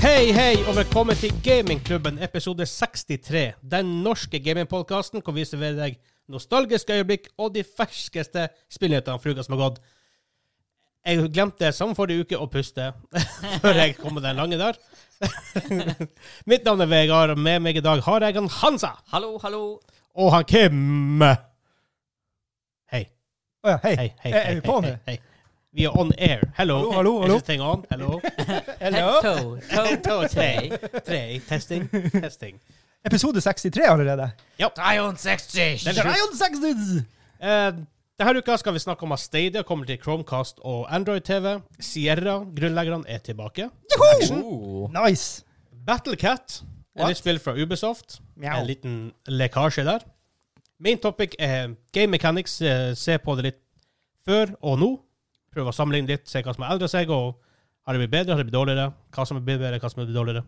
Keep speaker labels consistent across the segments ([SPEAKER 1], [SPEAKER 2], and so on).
[SPEAKER 1] Hei, hei, og velkommen til Gamingklubben, episode 63. Den norske gamingpodkasten hvor vi serverer deg nostalgiske øyeblikk og de ferskeste spillnyhetene for uka som har gått. Jeg glemte som forrige uke å puste før jeg kom med den lange der. Mitt navn er Vegard, og med meg i dag har jeg han Hansa
[SPEAKER 2] Hallo, hallo.
[SPEAKER 1] og han Kim. Hei.
[SPEAKER 3] Å ja, hei.
[SPEAKER 1] Hei, hei,
[SPEAKER 3] Er- er vi på
[SPEAKER 1] hei,
[SPEAKER 3] nå?
[SPEAKER 1] hei. Vi er on air. Hello.
[SPEAKER 3] Hallo, hallo, hallo.
[SPEAKER 1] Is this thing on? Hello.
[SPEAKER 3] Hello.
[SPEAKER 2] Toe,
[SPEAKER 1] Toe,
[SPEAKER 2] toe,
[SPEAKER 1] tre.
[SPEAKER 2] tre.
[SPEAKER 1] Tre. Testing. Testing.
[SPEAKER 3] Episode 63 allerede.
[SPEAKER 2] Trion 60.
[SPEAKER 1] Den er sjuk. Eh, Denne uka skal vi snakke om at Stadia kommer til Chromecast og Android-TV. Sierra, grunnleggerne, er tilbake.
[SPEAKER 2] Oh.
[SPEAKER 3] Nice.
[SPEAKER 1] Battlecat, et
[SPEAKER 3] What?
[SPEAKER 1] nytt spill fra Ubisoft.
[SPEAKER 3] Mjau.
[SPEAKER 1] En liten lekkasje der. Main topic er game mechanics. Eh, Se på det litt før og nå. Prøv å sammenligne litt, se hva som har endret seg. og Har det blitt bedre, har det blitt dårligere? Hva som er blitt bedre, hva som er blitt dårligere?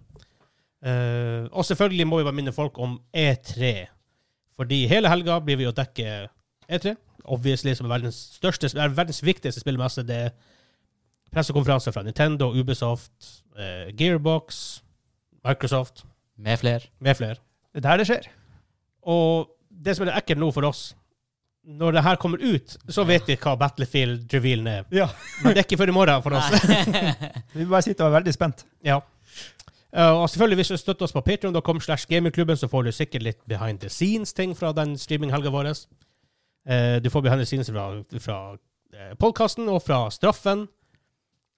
[SPEAKER 1] Eh, og selvfølgelig må vi bare minne folk om E3. Fordi hele helga blir vi å dekke E3. Obviously som er verdens største, er verdens viktigste spillmesse. Det er pressekonferanser fra Nintendo, Ubisoft, eh, Gearbox, Microsoft
[SPEAKER 2] Med fler.
[SPEAKER 1] med flere.
[SPEAKER 3] Det er der det skjer.
[SPEAKER 1] Og det som er ekkelt nå for oss Når det her kommer ut, så vet vi hva Battlefield-revealen er.
[SPEAKER 3] Ja.
[SPEAKER 1] Men det er ikke før i morgen for oss.
[SPEAKER 3] Vi bare sitter og er veldig spent.
[SPEAKER 1] Ja. Uh, og selvfølgelig, hvis du støtter oss på patreon.com slash gamingklubben, så får du sikkert litt behind the scenes-ting fra den streaminghelga vår. Eh, du får behind the scenes fra, fra eh, podkasten og fra straffen.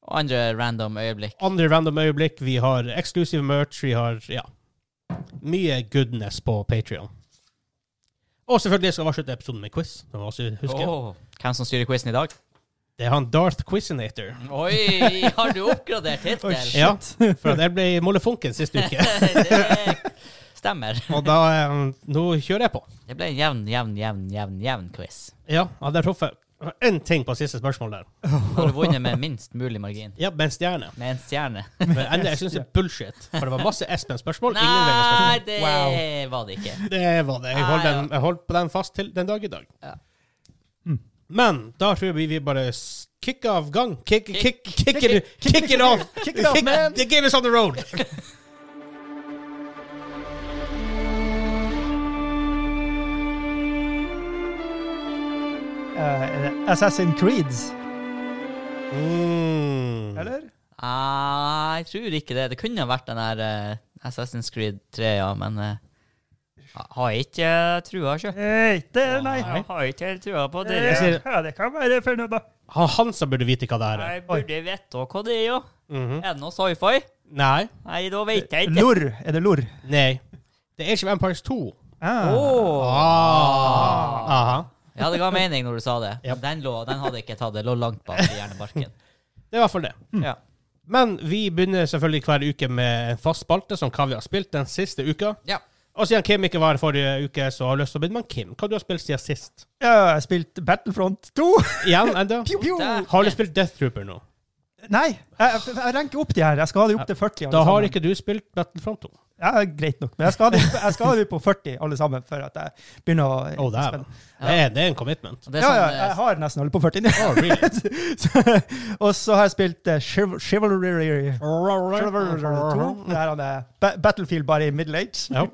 [SPEAKER 2] Og andre random øyeblikk.
[SPEAKER 1] Andre random øyeblikk. Vi har eksklusiv merch. Vi har ja, mye goodness på Patrion. Og selvfølgelig skal vi avslutte episoden med quiz. som vi også husker.
[SPEAKER 2] Åh. Hvem som styrer quizen i dag?
[SPEAKER 1] Det er han Darth Quizinator.
[SPEAKER 2] Oi, har du oppgradert
[SPEAKER 3] Oi,
[SPEAKER 2] tittel?
[SPEAKER 3] shit.
[SPEAKER 1] Ja, for det ble molefonken sist uke.
[SPEAKER 2] det stemmer.
[SPEAKER 1] Og da eh, Nå kjører jeg på.
[SPEAKER 2] Det ble en jevn, jevn, jevn, jevn jevn quiz.
[SPEAKER 1] Ja, han der proffe. Én ting på siste spørsmål der.
[SPEAKER 2] Har du vunnet med minst mulig margin?
[SPEAKER 1] Ja, med en stjerne.
[SPEAKER 2] Med en stjerne?
[SPEAKER 1] Men enda, jeg syns det er bullshit. For det var masse Espen-spørsmål. Ingen
[SPEAKER 2] Nei,
[SPEAKER 1] Vegard-spørsmål.
[SPEAKER 2] det
[SPEAKER 3] Wow.
[SPEAKER 2] var det ikke.
[SPEAKER 1] Det var det. Jeg holdt,
[SPEAKER 2] Ah, ja.
[SPEAKER 1] den, jeg holdt på den fast til den dag i dag.
[SPEAKER 2] Ja.
[SPEAKER 3] Mm.
[SPEAKER 1] Men da tror jeg vi- vi bare s- kick av gang. Kick, kick, kick, it, kick it off!
[SPEAKER 3] Kick it off,
[SPEAKER 1] Kick-
[SPEAKER 3] man.
[SPEAKER 1] The game is on the road!
[SPEAKER 3] Eh, Assassin Creeds,
[SPEAKER 1] Mm.
[SPEAKER 3] eller?
[SPEAKER 2] Ah, jeg tror ikke det. Det kunne ha vært den der eh, Assassin's Creed 3, ja, men eh, ha- har jeg ikke eh, trua sjøl.
[SPEAKER 3] Nei, det nei.
[SPEAKER 2] Har ikke helt trua på det.
[SPEAKER 1] Jeg sier-
[SPEAKER 3] Ja, det kan være for noe, da.
[SPEAKER 1] Han Hansa burde vite hva det her er.
[SPEAKER 2] Jeg burde vite hva det er, jo.
[SPEAKER 1] Mhm.
[SPEAKER 2] Er det noe sci-fi?
[SPEAKER 1] Nei.
[SPEAKER 2] Nei, da vet jeg ikke.
[SPEAKER 3] Lor. Er det lor?
[SPEAKER 1] Nei. Det er ikke Empires 2.
[SPEAKER 3] Ah.
[SPEAKER 2] Åh.
[SPEAKER 1] Ah. Aha.
[SPEAKER 2] Ja, det ga mening når du sa det.
[SPEAKER 1] Ja.
[SPEAKER 2] Den, lå, den hadde jeg ikke tatt. Det lå langt bak i hjernebarken.
[SPEAKER 1] Det er i hvert fall det.
[SPEAKER 3] Mm.
[SPEAKER 2] Ja.
[SPEAKER 1] Men vi begynner selvfølgelig hver uke med en fast spalte som hva vi har spilt den siste uka.
[SPEAKER 2] ja.
[SPEAKER 1] Og siden Kim ikke var her forrige uke, så har jeg lyst til å begynne med Kim. Hva du har spilt siden sist?
[SPEAKER 3] Ja, jeg har spilt Battlefront 2.
[SPEAKER 1] Igjen, enda?
[SPEAKER 3] Pew, pew.
[SPEAKER 2] Der.
[SPEAKER 1] Har du spilt Death Trooper nå?
[SPEAKER 3] Nei, jeg, jeg ranker opp de her. Jeg skal ha de opp til 40. alle
[SPEAKER 1] Da har
[SPEAKER 3] sammen.
[SPEAKER 1] ikke du spilt Battlefront 2.
[SPEAKER 3] Ja, greit nok. Men jeg skal ha de, jeg skal ha de på 40, alle sammen, før at jeg begynner
[SPEAKER 1] Å,
[SPEAKER 3] å
[SPEAKER 1] dæven. Det er- det er en commitment.
[SPEAKER 2] Og Det er
[SPEAKER 3] Ja,
[SPEAKER 2] sånn,
[SPEAKER 3] ja,
[SPEAKER 2] eh,
[SPEAKER 3] jeg har nesten alle på 40.
[SPEAKER 1] Oh, really?
[SPEAKER 3] Så- og så har jeg spilt eh, Chival- Chivalry
[SPEAKER 1] Uh-huh.
[SPEAKER 3] Chivalry 2. Det er han, eh, Ba- Battlefield bare i middle age.
[SPEAKER 1] Ja.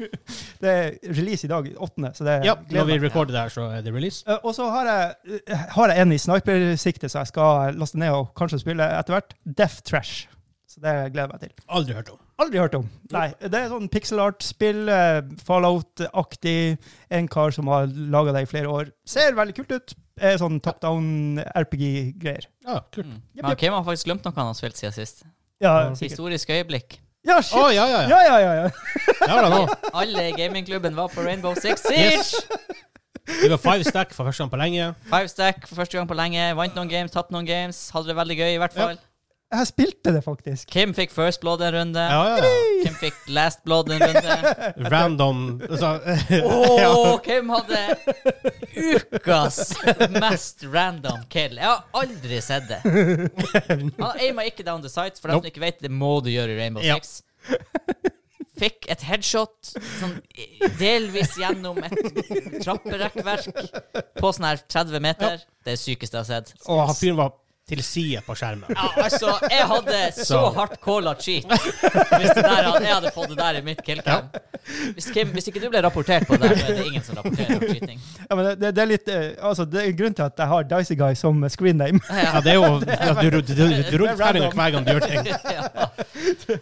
[SPEAKER 3] Det er release i dag, 8. Så det
[SPEAKER 1] ja, når
[SPEAKER 3] gleder
[SPEAKER 1] vi
[SPEAKER 3] meg.
[SPEAKER 1] recorder det her, så er det release.
[SPEAKER 3] Eh, Og så har jeg, eh, har jeg en i snipersikte, så jeg skal laste ned og kanskje spille etter hvert. Death Trash. Så det gleder jeg meg til.
[SPEAKER 1] Aldri hørt om.
[SPEAKER 3] Aldri hørt om. Nei, det er sånn pixel art-spill, eh, Fallout-aktig. En kar som har laga det i flere år. Ser veldig kult ut. Er sånn top down RPG-greier.
[SPEAKER 1] Ja, kult.
[SPEAKER 2] mm.
[SPEAKER 3] Jep,
[SPEAKER 2] Men
[SPEAKER 3] jep.
[SPEAKER 2] Kim har faktisk glemt noe han har spilt siden sist.
[SPEAKER 3] Ja, sikkert.
[SPEAKER 2] Historisk øyeblikk.
[SPEAKER 3] Ja,
[SPEAKER 1] Å,
[SPEAKER 3] shit!
[SPEAKER 1] ja, ja, ja.
[SPEAKER 3] Ja, ja, ja. ja.
[SPEAKER 1] Det var det nå.
[SPEAKER 2] Alle i gamingklubben var på Rainbow Six
[SPEAKER 1] Yes.
[SPEAKER 2] Siege!
[SPEAKER 1] Vi var five stack for første gang på lenge.
[SPEAKER 2] Five stack for første gang på lenge. Vant noen games, tatt noen games. Hadde det veldig gøy, i hvert fall.
[SPEAKER 3] Jeg spilte det faktisk.
[SPEAKER 2] Kim fikk first blood en runde.
[SPEAKER 1] Ja, ja, ja.
[SPEAKER 2] Kim fikk last blood en runde.
[SPEAKER 1] Random altså,
[SPEAKER 2] Åh,
[SPEAKER 1] ja.
[SPEAKER 2] Kim hadde ukas mest random kill. Jeg har aldri sett det. Han aima ikke down the sight. For dem som
[SPEAKER 1] Nope.
[SPEAKER 2] ikke vet, det må du gjøre i Rainbow
[SPEAKER 1] Ja.
[SPEAKER 2] Six. Fikk et headshot sånn, delvis gjennom et trapperekkverk på sånn her 30 meter. Det er det sykeste jeg har sett.
[SPEAKER 1] Og han fyren var til sida på skjermen.
[SPEAKER 2] Ja, altså, jeg hadde så
[SPEAKER 1] Så.
[SPEAKER 2] hardt calla cheat hvis det der, jeg hadde fått det der i mitt killcam. Hvis, Kim, hvis ikke du ble rapportert på det, der, så er det ingen som rapporterer om cheating.
[SPEAKER 3] Ja, men det, det er litt eh, Altså, det er grunnen til at jeg har Dicey Guy som screen name.
[SPEAKER 1] Ja, det er jo ja, Du, du, du, du, du ruller terningen
[SPEAKER 3] random.
[SPEAKER 1] hver gang du gjør ting.
[SPEAKER 2] Ja,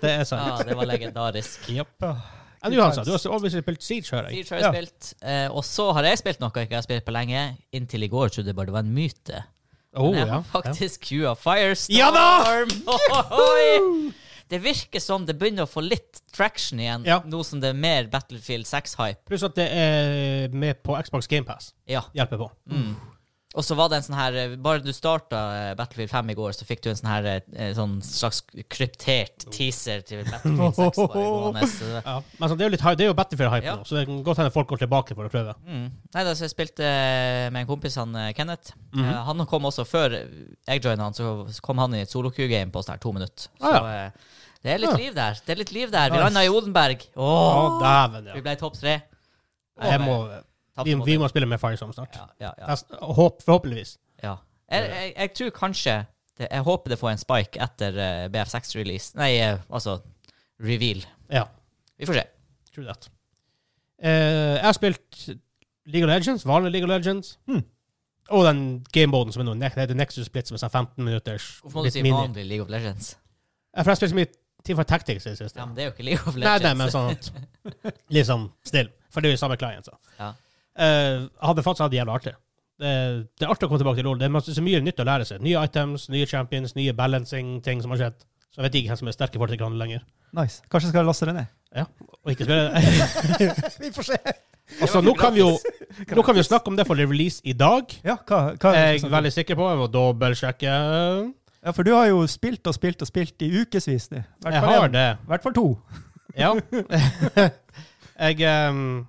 [SPEAKER 1] Det er sant.
[SPEAKER 2] ah, det var legendarisk.
[SPEAKER 1] Yep.
[SPEAKER 3] Åh,
[SPEAKER 1] Ja, du, Hansa, du har overbevist spilt Siege, hører jeg.
[SPEAKER 2] Siege har jeg
[SPEAKER 3] Ja.
[SPEAKER 2] spilt, eh, og så har jeg spilt noe jeg ikke har spilt på lenge. Inntil i går trodde jeg bare det var en myte.
[SPEAKER 1] Oh,
[SPEAKER 2] Men jeg
[SPEAKER 1] ja.
[SPEAKER 2] har faktisk queua Firestorm.
[SPEAKER 1] Ja da!
[SPEAKER 2] Ohoi! Det virker som det begynner å få litt traction igjen,
[SPEAKER 1] Ja.
[SPEAKER 2] nå som det er mer Battlefield 6-hype.
[SPEAKER 1] Pluss at det er med på Xbox GamePass.
[SPEAKER 2] Ja.
[SPEAKER 1] Hjelper på.
[SPEAKER 2] Og så var det en sånn her eh, Bare du starta eh, Battlefield 5 i går, så fikk du en sånn her eh, sånn slags kryptert teaser til Battlefield 6. Bare, gående, så-
[SPEAKER 1] Ja. Men altså, det er jo litt hy- det er jo Battlefield-hype
[SPEAKER 2] Ja.
[SPEAKER 1] nå, så det kan godt hende folk går tilbake for å prøve.
[SPEAKER 2] Mm. Nei, da, så jeg spilte eh, med en kompis, han eh, Kenneth.
[SPEAKER 1] Mhm.
[SPEAKER 2] Eh, han kom også før jeg joina han, så kom han i et solo-Q-game på sånn her to minutter. Så
[SPEAKER 1] Ah,
[SPEAKER 2] eh, det er litt
[SPEAKER 1] Ja.
[SPEAKER 2] liv der. Det er litt liv der. Vi
[SPEAKER 1] Nice.
[SPEAKER 2] landa i Odenberg.
[SPEAKER 1] Å,
[SPEAKER 2] Åh,
[SPEAKER 1] dæven,
[SPEAKER 2] Vi
[SPEAKER 1] ja.
[SPEAKER 2] ble topp tre.
[SPEAKER 1] Jeg må,
[SPEAKER 2] Tapte
[SPEAKER 1] vi,
[SPEAKER 2] mot
[SPEAKER 1] vi
[SPEAKER 2] dem.
[SPEAKER 1] må spille med Firestorm snart.
[SPEAKER 2] ja, ja, ja,
[SPEAKER 1] Test- Håp, forhåpentligvis.
[SPEAKER 2] ja. Jeg, jeg, jeg tror kanskje det, Jeg håper det får en spike etter eh, BF6-release. Nei, eh, altså reveal.
[SPEAKER 1] Ja.
[SPEAKER 2] Vi får se.
[SPEAKER 1] True that. Eh, jeg har spilt League of Legends, vanlig League of Legends.
[SPEAKER 3] Hmm.
[SPEAKER 1] Og den gamemoden som er nå, ne- det heter Nexus Split, som er sånn 15 minutters.
[SPEAKER 2] Hvorfor må du
[SPEAKER 1] litt
[SPEAKER 2] si
[SPEAKER 1] mini.
[SPEAKER 2] vanlig League of Legends?
[SPEAKER 1] Ja, For jeg har spilt så mye Team Fight Tactics i det siste.
[SPEAKER 2] Ja, men det er jo ikke League of
[SPEAKER 1] Nei,
[SPEAKER 2] Legends.
[SPEAKER 1] nei, men sånn at Liksom still. For det er jo samme client, så.
[SPEAKER 2] Ja.
[SPEAKER 1] Eh, hadde faktisk hatt det jævla artig. Det, det er artig å komme tilbake til LOL. Det er masse, så mye nytt å lære seg. Nye items, nye champions, nye balancing-ting som har skjedd. Så jeg vet ikke hvem som er sterke folk til hverandre lenger.
[SPEAKER 3] Nice. Kanskje jeg skal laste det ned?
[SPEAKER 1] Og ikke spille
[SPEAKER 3] Vi får se.
[SPEAKER 1] Altså, nå kan vi jo Nå kan vi jo snakke om det for release i dag.
[SPEAKER 3] Ja, hva, hva er
[SPEAKER 1] Jeg
[SPEAKER 3] det
[SPEAKER 1] er
[SPEAKER 3] som-
[SPEAKER 1] veldig sikker på. Jeg må dobbeltsjekke.
[SPEAKER 3] ja, for du har jo spilt og spilt og spilt i ukevis nå. Hvert
[SPEAKER 1] Jeg
[SPEAKER 3] fall
[SPEAKER 1] har
[SPEAKER 3] en.
[SPEAKER 1] det.
[SPEAKER 3] hvert fall to.
[SPEAKER 1] Ja. jeg ehm,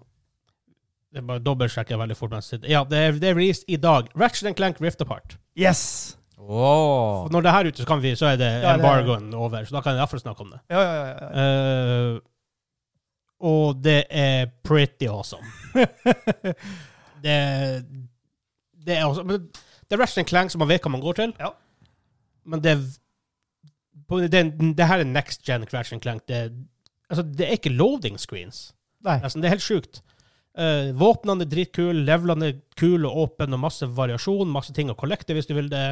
[SPEAKER 1] Jeg bare dobbeltsjekker veldig fort. mens jeg sitter. Ja, det er, det er released i dag. Ratchet and Clank Rift Apart.
[SPEAKER 3] Yes!
[SPEAKER 2] Åh.
[SPEAKER 1] Og når det her er ute, så, kan vi, så er det
[SPEAKER 3] Ja, det-
[SPEAKER 1] embargoen over. Så da kan jeg iallfall snakke om det.
[SPEAKER 3] Ja, ja, ja, ja.
[SPEAKER 1] Eh, og det er pretty awesome. det, det er awesome. Men Det er Ratchet and Clank som man vet hva man går til.
[SPEAKER 3] Ja.
[SPEAKER 1] Men det, er- på den- det her er next gen Ratchet and Clank. Det, altså, det er ikke loading screens.
[SPEAKER 3] Nei.
[SPEAKER 1] Nesten. Det er helt sjukt. Eh, våpnene er dritkule, levelene er kule og åpne, og masse variasjon, masse ting å collecte hvis du vil det.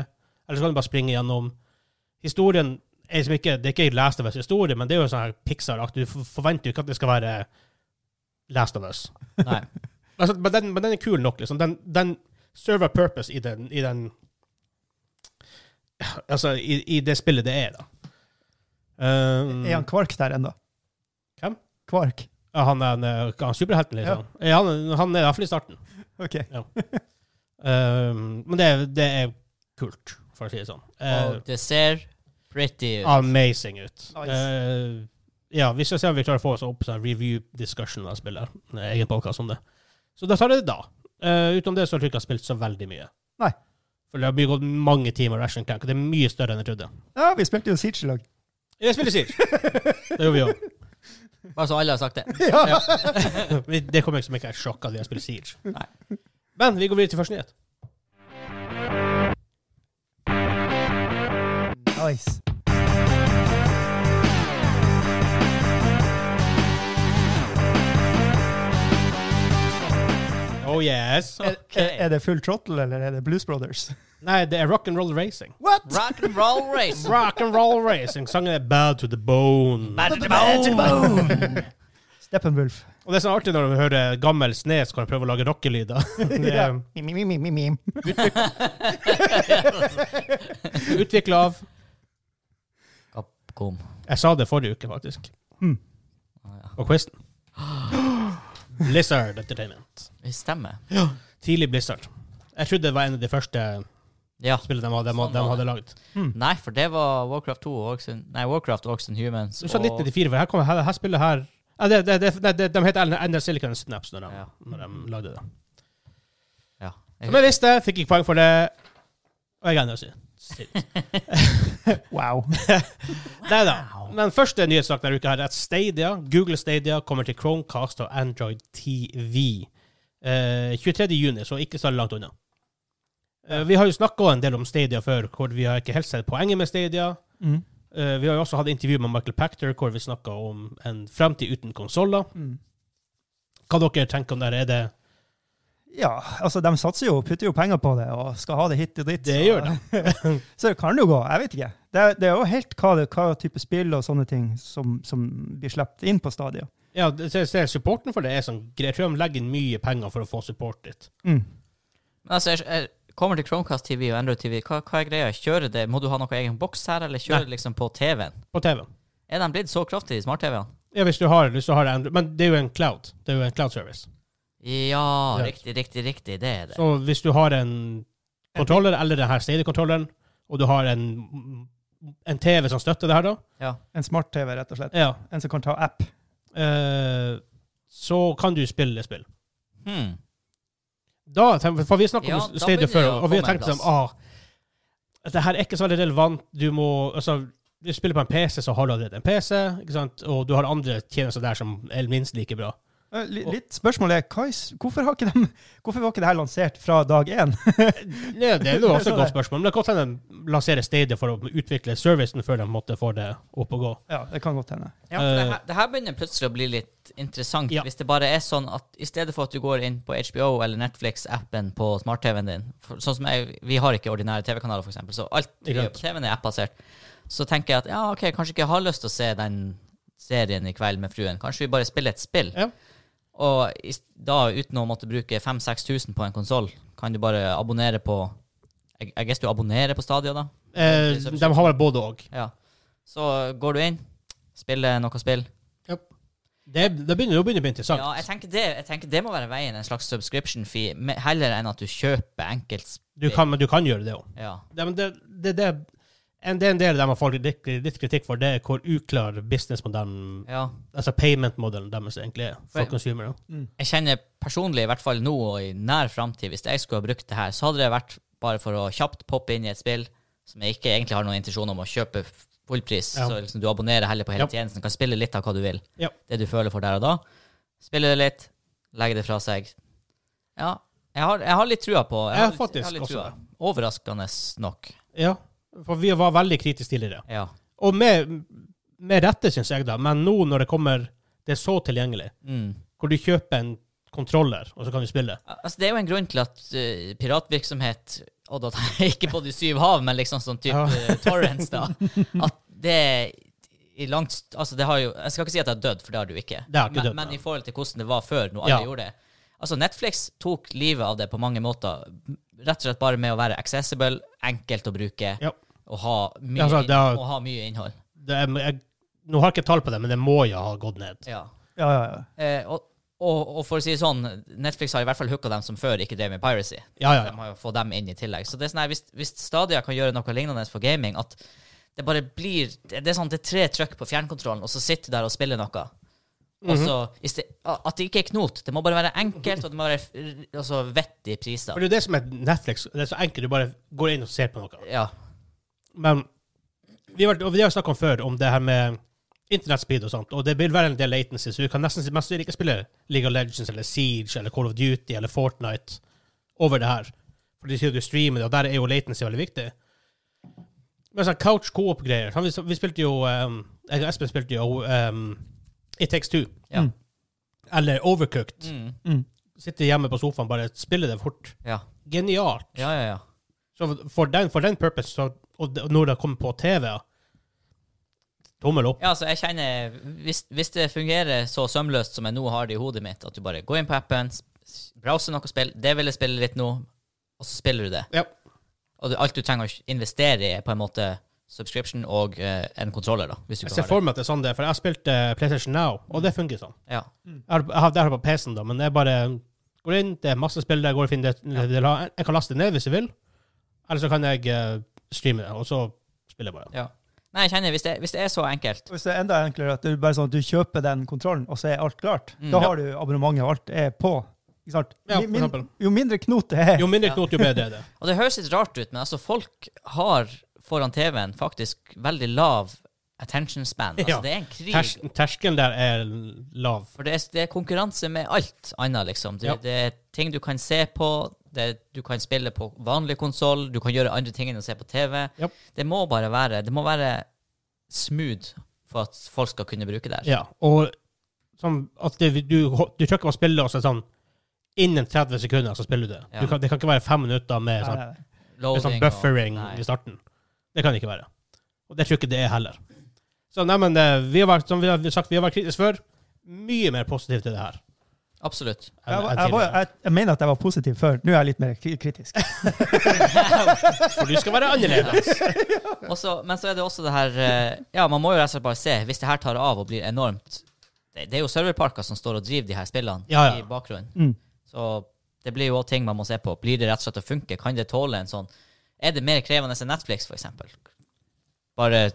[SPEAKER 1] Eller så kan du bare springe gjennom. Historien er liksom ikke, det er ikke Last of Us historie, men det er jo sånn her Pixar-aktig. Du f- forventer jo ikke at det skal være Last of Us.
[SPEAKER 2] Nei.
[SPEAKER 1] Altså, men, den, men den er kul nok, liksom. Den, den server purpose i den, i den Altså, i, i det spillet det er, da. Um,
[SPEAKER 3] Er han Kvark der ennå?
[SPEAKER 1] Hvem?
[SPEAKER 3] Kvark.
[SPEAKER 1] ja, han er en, eh, han er superhelten, liksom. Ja. han, han er i hvert fall i starten.
[SPEAKER 3] OK.
[SPEAKER 1] Um, men det, er- det er kult, for å si det sånn. Eh, Ah.
[SPEAKER 2] Og det ser pretty ut.
[SPEAKER 1] amazing ut.
[SPEAKER 3] Nice.
[SPEAKER 1] Eh, ja, vi skal se om vi klarer å få oss opp sånn review-discussion av spillet. En egen podcast om det. Så da tar jeg det da. Eh, utenom det så har jeg ikke spilt så veldig mye.
[SPEAKER 3] Nei.
[SPEAKER 1] For det har mye gått mange timer Ration Clank, og det er mye større enn jeg trodde.
[SPEAKER 3] Ja, vi spilte jo Siege i lag.
[SPEAKER 1] Jeg spiller Siege. Det gjorde vi òg.
[SPEAKER 2] Bare så alle har sagt det.
[SPEAKER 3] Ja.
[SPEAKER 1] Vi- Det kommer liksom ikke som et sjokk at jeg spiller Siege.
[SPEAKER 2] Nei.
[SPEAKER 1] Men vi går videre til første nyhet.
[SPEAKER 3] Nice.
[SPEAKER 1] Oh yes.
[SPEAKER 2] Ok.
[SPEAKER 3] Er, er det Full Trottle, eller er det Blues Brothers?
[SPEAKER 1] Nei, det er rock and roll racing.
[SPEAKER 3] What?!
[SPEAKER 2] Rock and roll race.
[SPEAKER 1] Rock and roll racing. Sangen er Bad to the Bone.
[SPEAKER 3] Steppenwolf.
[SPEAKER 1] Og det er sånn artig når du hører gammel sne, så kan du prøve å lage rockelyder. Det
[SPEAKER 3] Ja.
[SPEAKER 1] er
[SPEAKER 3] Mim, mim, mim, mim, mim.
[SPEAKER 1] Utvikla av
[SPEAKER 2] Capcom.
[SPEAKER 1] Jeg sa det forrige uke, faktisk.
[SPEAKER 3] Mm.
[SPEAKER 2] Ah,
[SPEAKER 1] På quizen. Blizzard Entertainment.
[SPEAKER 2] Det stemmer.
[SPEAKER 1] Tidlig Blizzard. Jeg trodde det var en av de første
[SPEAKER 2] Ja.
[SPEAKER 1] spillene de hadde, de, de hadde lagd.
[SPEAKER 2] Nei, for det var Warcraft 2 og Orcs and- Nei, Warcraft Orcs and Humans.
[SPEAKER 1] Du sa
[SPEAKER 2] og-
[SPEAKER 1] 1994, for her, kommer, her, her spiller her ja, det, det, det, nei, det, De heter Ender Silicon Snaps når de,
[SPEAKER 2] Ja. Mm.
[SPEAKER 1] når de lagde det.
[SPEAKER 2] Ja.
[SPEAKER 1] Som jeg visste, fikk ikke poeng for det. Og jeg er ennå sint.
[SPEAKER 3] Wow.
[SPEAKER 1] Nei da. Men første nyhetssak denne uka her er at Stadia, Google Stadia kommer til Chromecast og Android TV. Eh, 23. juni, så ikke så langt unna. Eh, Vi har jo snakka en del om Stadia før, hvor vi har ikke helt sett poenget med Stadia.
[SPEAKER 3] Mm.
[SPEAKER 1] Eh, Vi har jo også hatt intervju med Michael Pachter, hvor vi snakka om en fremtid uten konsoller.
[SPEAKER 3] Mm.
[SPEAKER 1] Hva dere tenker om det? her? Er det
[SPEAKER 3] Ja, altså de satser jo, putter jo penger på det og skal ha det hit og dit.
[SPEAKER 1] Det
[SPEAKER 3] så-
[SPEAKER 1] gjør
[SPEAKER 3] så det kan det jo gå, jeg vet ikke. Det, er- det er jo helt hva, det, hva type spill og sånne ting som, som blir sluppet inn på stadion.
[SPEAKER 1] Ja, det, det, det, supporten for det er sånn grei. Jeg tror de legger inn mye penger for å få support dit.
[SPEAKER 3] Mm.
[SPEAKER 2] Men altså, jeg, jeg kommer til Chromecast TV og Android TV. Hva, hva er greia? Kjører det? Må du ha noe egen boks her, eller kjører det liksom på TV-en?
[SPEAKER 1] På TV-en.
[SPEAKER 2] Er de blitt så kraftige, smart-TV-ene?
[SPEAKER 1] Ja, hvis du har lyst, så har det Android. Men det er jo en cloud. Det er jo en cloud-service.
[SPEAKER 2] Ja,
[SPEAKER 1] Ja.
[SPEAKER 2] riktig, riktig, riktig. Det er det.
[SPEAKER 1] Så hvis du har en kontroller, eller denne Stadia-kontrolleren, og du har en, en TV som støtter det her, da,
[SPEAKER 2] Ja.
[SPEAKER 3] En smart-TV, rett og slett.
[SPEAKER 1] ja,
[SPEAKER 3] En som kan ta app.
[SPEAKER 1] eh, så kan du spille spill.
[SPEAKER 2] Hmm.
[SPEAKER 1] Da, tenk- for vi snakket
[SPEAKER 2] Ja,
[SPEAKER 1] om
[SPEAKER 2] da
[SPEAKER 1] Stadia
[SPEAKER 2] begynner
[SPEAKER 1] før,
[SPEAKER 2] jeg å
[SPEAKER 1] og vi har
[SPEAKER 2] komme en
[SPEAKER 1] tenkt sånn,
[SPEAKER 2] plass.
[SPEAKER 1] ah, det her er ikke så veldig relevant. Du må, altså, du spiller på en PC, så har du allerede en PC, ikke sant? Og du har andre tjenester der som er minst like bra.
[SPEAKER 3] Eh, li- Litt spørsmål er, hva, i s- hvorfor, har ikke dem- hvorfor var ikke det her lansert fra dag én?
[SPEAKER 1] Nei, det er jo også
[SPEAKER 3] Så
[SPEAKER 1] et
[SPEAKER 3] det-
[SPEAKER 1] godt spørsmål. Men det kan godt hende de lanserer Stadia for å utvikle servicen før de måtte få det opp og gå.
[SPEAKER 3] Ja, det kan godt hende.
[SPEAKER 2] Ja, for det,
[SPEAKER 1] Eh.
[SPEAKER 2] her, det her begynner plutselig å bli litt interessant.
[SPEAKER 1] Ja.
[SPEAKER 2] Hvis det bare er sånn at i stedet for at du går inn på HBO eller Netflix-appen på smart-TV-en din for, Sånn som jeg, Vi har ikke ordinære TV-kanaler, for eksempel så alt vi
[SPEAKER 1] Ikke
[SPEAKER 2] gjør på TV-en er app-basert. Så tenker jeg at ja, ok, kanskje ikke jeg har lyst til å se den serien i kveld med fruen. Kanskje vi bare spiller et spill.
[SPEAKER 1] Ja.
[SPEAKER 2] Og i, s- da, uten å måtte bruke 5000-6000 på en konsoll, kan du bare abonnere på Jeg, jeg guess du abonnerer på Stadia, da?
[SPEAKER 1] Eh, de har vel både og.
[SPEAKER 2] Ja. Så går du inn, spiller noe spill.
[SPEAKER 1] Det, det begynner jo å bli interessant.
[SPEAKER 2] Ja, jeg tenker, det, jeg tenker det må være veien. En slags subscription fee, me- heller enn at du kjøper enkelt.
[SPEAKER 1] Du kan, men du kan gjøre det òg.
[SPEAKER 2] Ja.
[SPEAKER 1] Det, men det, det, det, en, det er en del av dem har fått litt, litt kritikk for, det er hvor uklar businessmodellen,
[SPEAKER 2] ja.
[SPEAKER 1] altså payment-modellen deres egentlig er for
[SPEAKER 2] For-
[SPEAKER 1] consumere.
[SPEAKER 2] Jeg kjenner personlig, i hvert fall nå og i nær framtid, hvis jeg skulle ha brukt det her, så hadde det vært bare for å kjapt poppe inn i et spill som jeg ikke egentlig har noen intensjon om å kjøpe f- fullpris.
[SPEAKER 1] Ja.
[SPEAKER 2] Så liksom du abonnerer heller på hele
[SPEAKER 1] Ja.
[SPEAKER 2] tjenesten, kan spille litt av hva du vil.
[SPEAKER 1] Ja.
[SPEAKER 2] Det du føler for der og da. Spille det litt, legge det fra seg. Ja. Jeg har, jeg har litt trua på
[SPEAKER 1] Jeg har
[SPEAKER 2] litt-
[SPEAKER 1] faktisk
[SPEAKER 2] litt
[SPEAKER 1] også
[SPEAKER 2] trua. Overraskende nok.
[SPEAKER 1] Ja, for vi var veldig kritiske tidligere.
[SPEAKER 2] Ja.
[SPEAKER 1] Og med, med rette, syns jeg, da. Men nå når det kommer Det er så tilgjengelig,
[SPEAKER 2] Mm.
[SPEAKER 1] hvor du kjøper en kontroller, og så kan du spille.
[SPEAKER 2] Altså, det er jo en grunn til at eh, piratvirksomhet og da tenker jeg ikke på de syv hav, men liksom sånn type
[SPEAKER 1] Ja.
[SPEAKER 2] eh, torrents, da. At det i langt st- Altså, det har jo Jeg skal ikke si at det har dødd, for det har det jo ikke.
[SPEAKER 1] Det har ikke
[SPEAKER 2] men,
[SPEAKER 1] dødd,
[SPEAKER 2] men
[SPEAKER 1] nei.
[SPEAKER 2] i forhold til hvordan det var før, når alle
[SPEAKER 1] Ja.
[SPEAKER 2] gjorde det. Altså, Netflix tok livet av det på mange måter. Rett og slett bare med å være accessible, enkelt å bruke
[SPEAKER 1] Ja.
[SPEAKER 2] og, ha mye,
[SPEAKER 1] Ja, altså, det har-
[SPEAKER 2] inn- og ha mye innhold.
[SPEAKER 1] Det er, jeg, nå har jeg ikke tall på det, men det må jo ha gått ned.
[SPEAKER 2] Ja.
[SPEAKER 3] Ja, ja, ja.
[SPEAKER 2] Eh, og, og, og for å si det sånn, Netflix har i hvert fall hooka dem som før ikke drev med piracy.
[SPEAKER 1] Ja, ja,
[SPEAKER 2] De
[SPEAKER 1] ja.
[SPEAKER 2] har jo fått dem inn i tillegg. Så det er sånn her, hvis, hvis Stadia kan gjøre noe lignende for gaming, at det bare blir Det det er sånn det er tre trykk på fjernkontrollen, og så sitter du der og spiller noe. Og så,
[SPEAKER 1] Mhm.
[SPEAKER 2] i ste- At det ikke er knot. Det må bare være enkelt, og det må være f- altså, vettige priser.
[SPEAKER 1] For det er jo det som er Netflix. Det er så enkelt. Du bare går inn og ser på noe.
[SPEAKER 2] Ja.
[SPEAKER 1] Men vi har, vært- og vi har snakket om før, om det her med internettspeed og sånt, og det vil være en del latency, så du kan nesten mest ikke spille League of Legends eller Siege eller Call of Duty eller Fortnite over det her. For de sier du streamer det, og der er jo latency veldig viktig. Men sånn couch co-op-greier sånn, vi, vi spilte jo um, Jeg og Espen spilte jo um, It Takes Two.
[SPEAKER 2] Ja.
[SPEAKER 3] Mm.
[SPEAKER 1] Eller Overcooked.
[SPEAKER 2] Mm.
[SPEAKER 3] Mm.
[SPEAKER 1] Sitte hjemme på sofaen, bare spille det fort.
[SPEAKER 2] ja.
[SPEAKER 1] Genialt.
[SPEAKER 2] Ja, ja, ja.
[SPEAKER 1] Så for den, for den purpose, så, og det- når det kommer på TV Tommel opp.
[SPEAKER 2] Ja, altså, jeg kjenner hvis, hvis det fungerer så sømløst som jeg nå har det i hodet mitt, at du bare går inn på appen, s- s- browser noe spill, det vil jeg spille litt nå, og så spiller du det.
[SPEAKER 1] Ja.
[SPEAKER 2] Og det, alt du trenger å investere i, er på en måte subscription og eh, en kontroller, da, hvis du
[SPEAKER 1] Jeg
[SPEAKER 2] ikke
[SPEAKER 1] ser
[SPEAKER 2] har det.
[SPEAKER 1] for meg at det er sånn det er, for jeg spilte PlayStation Now, og det fungerer sånn.
[SPEAKER 2] Ja.
[SPEAKER 1] Jeg har, jeg har det her på PC-en, da, men jeg bare går inn, det er masse spill der, jeg går og finner det jeg vil ha. Jeg kan laste det ned hvis jeg vil, eller så kan jeg eh, streame det, og så spiller jeg bare.
[SPEAKER 2] ja. Nei, jeg kjenner, hvis det, hvis det er så enkelt
[SPEAKER 3] Og Hvis det er enda enklere at du bare sånn at du kjøper den kontrollen, og så er alt klart,
[SPEAKER 2] Mm.
[SPEAKER 3] da
[SPEAKER 2] Ja.
[SPEAKER 3] har du abonnementet, og alt er på. Ikke sant?
[SPEAKER 1] Ja,
[SPEAKER 3] Min-
[SPEAKER 1] for
[SPEAKER 3] min-
[SPEAKER 1] eksempel.
[SPEAKER 3] jo mindre knot det er,
[SPEAKER 1] Jo mindre knot, jo bedre er det.
[SPEAKER 2] Og det høres litt rart ut, men altså, folk har foran TV-en faktisk veldig lav attention span. Altså,
[SPEAKER 1] Ja.
[SPEAKER 2] Det er en krig.
[SPEAKER 1] Ters, terskelen der er lav.
[SPEAKER 2] For det er, det er konkurranse med alt annet, liksom. Du,
[SPEAKER 1] Ja.
[SPEAKER 2] Det er ting du kan se på. Det, du kan spille på vanlig konsoll, du kan gjøre andre ting enn å se på TV.
[SPEAKER 1] Japp.
[SPEAKER 2] Det må bare være Det må være smooth for at folk skal kunne bruke det. her.
[SPEAKER 1] Ja, og sånn at det, du, du trykker på spillet, og så er det sånn Innen 30 sekunder så spiller du det.
[SPEAKER 2] Ja.
[SPEAKER 1] Du kan, det kan ikke være fem minutter med
[SPEAKER 3] Nei,
[SPEAKER 1] sånn,
[SPEAKER 3] nei, nei.
[SPEAKER 1] med
[SPEAKER 2] Loading
[SPEAKER 1] sånn
[SPEAKER 2] og-
[SPEAKER 1] buffering
[SPEAKER 2] nei.
[SPEAKER 1] i starten. Det kan det ikke være. Og det tror jeg ikke det er heller. Så nei, men eh, vi har vært, som vi har sagt, vi har vært kritiske før. Mye mer positive til det her.
[SPEAKER 2] Absolutt.
[SPEAKER 1] enn-
[SPEAKER 3] Jeg, var-
[SPEAKER 1] enn
[SPEAKER 3] jeg, var-
[SPEAKER 1] tidligere.
[SPEAKER 3] jeg, jeg mener at jeg var positiv før. Nå er jeg litt mer kri- kritisk.
[SPEAKER 1] For du skal være annerledes.
[SPEAKER 2] Og så- men så er det også det her eh, Ja, man må jo rett og slett bare se. Hvis det her tar av og blir enormt Det, det er jo serverparker som står og driver de her spillene
[SPEAKER 1] Ja, ja.
[SPEAKER 2] i bakgrunnen.
[SPEAKER 3] Mm.
[SPEAKER 2] Så det blir jo også ting man må se på. Blir det rett og slett å funke? Kan det tåle en sånn Er det mer krevende enn Netflix, for eksempel? Bare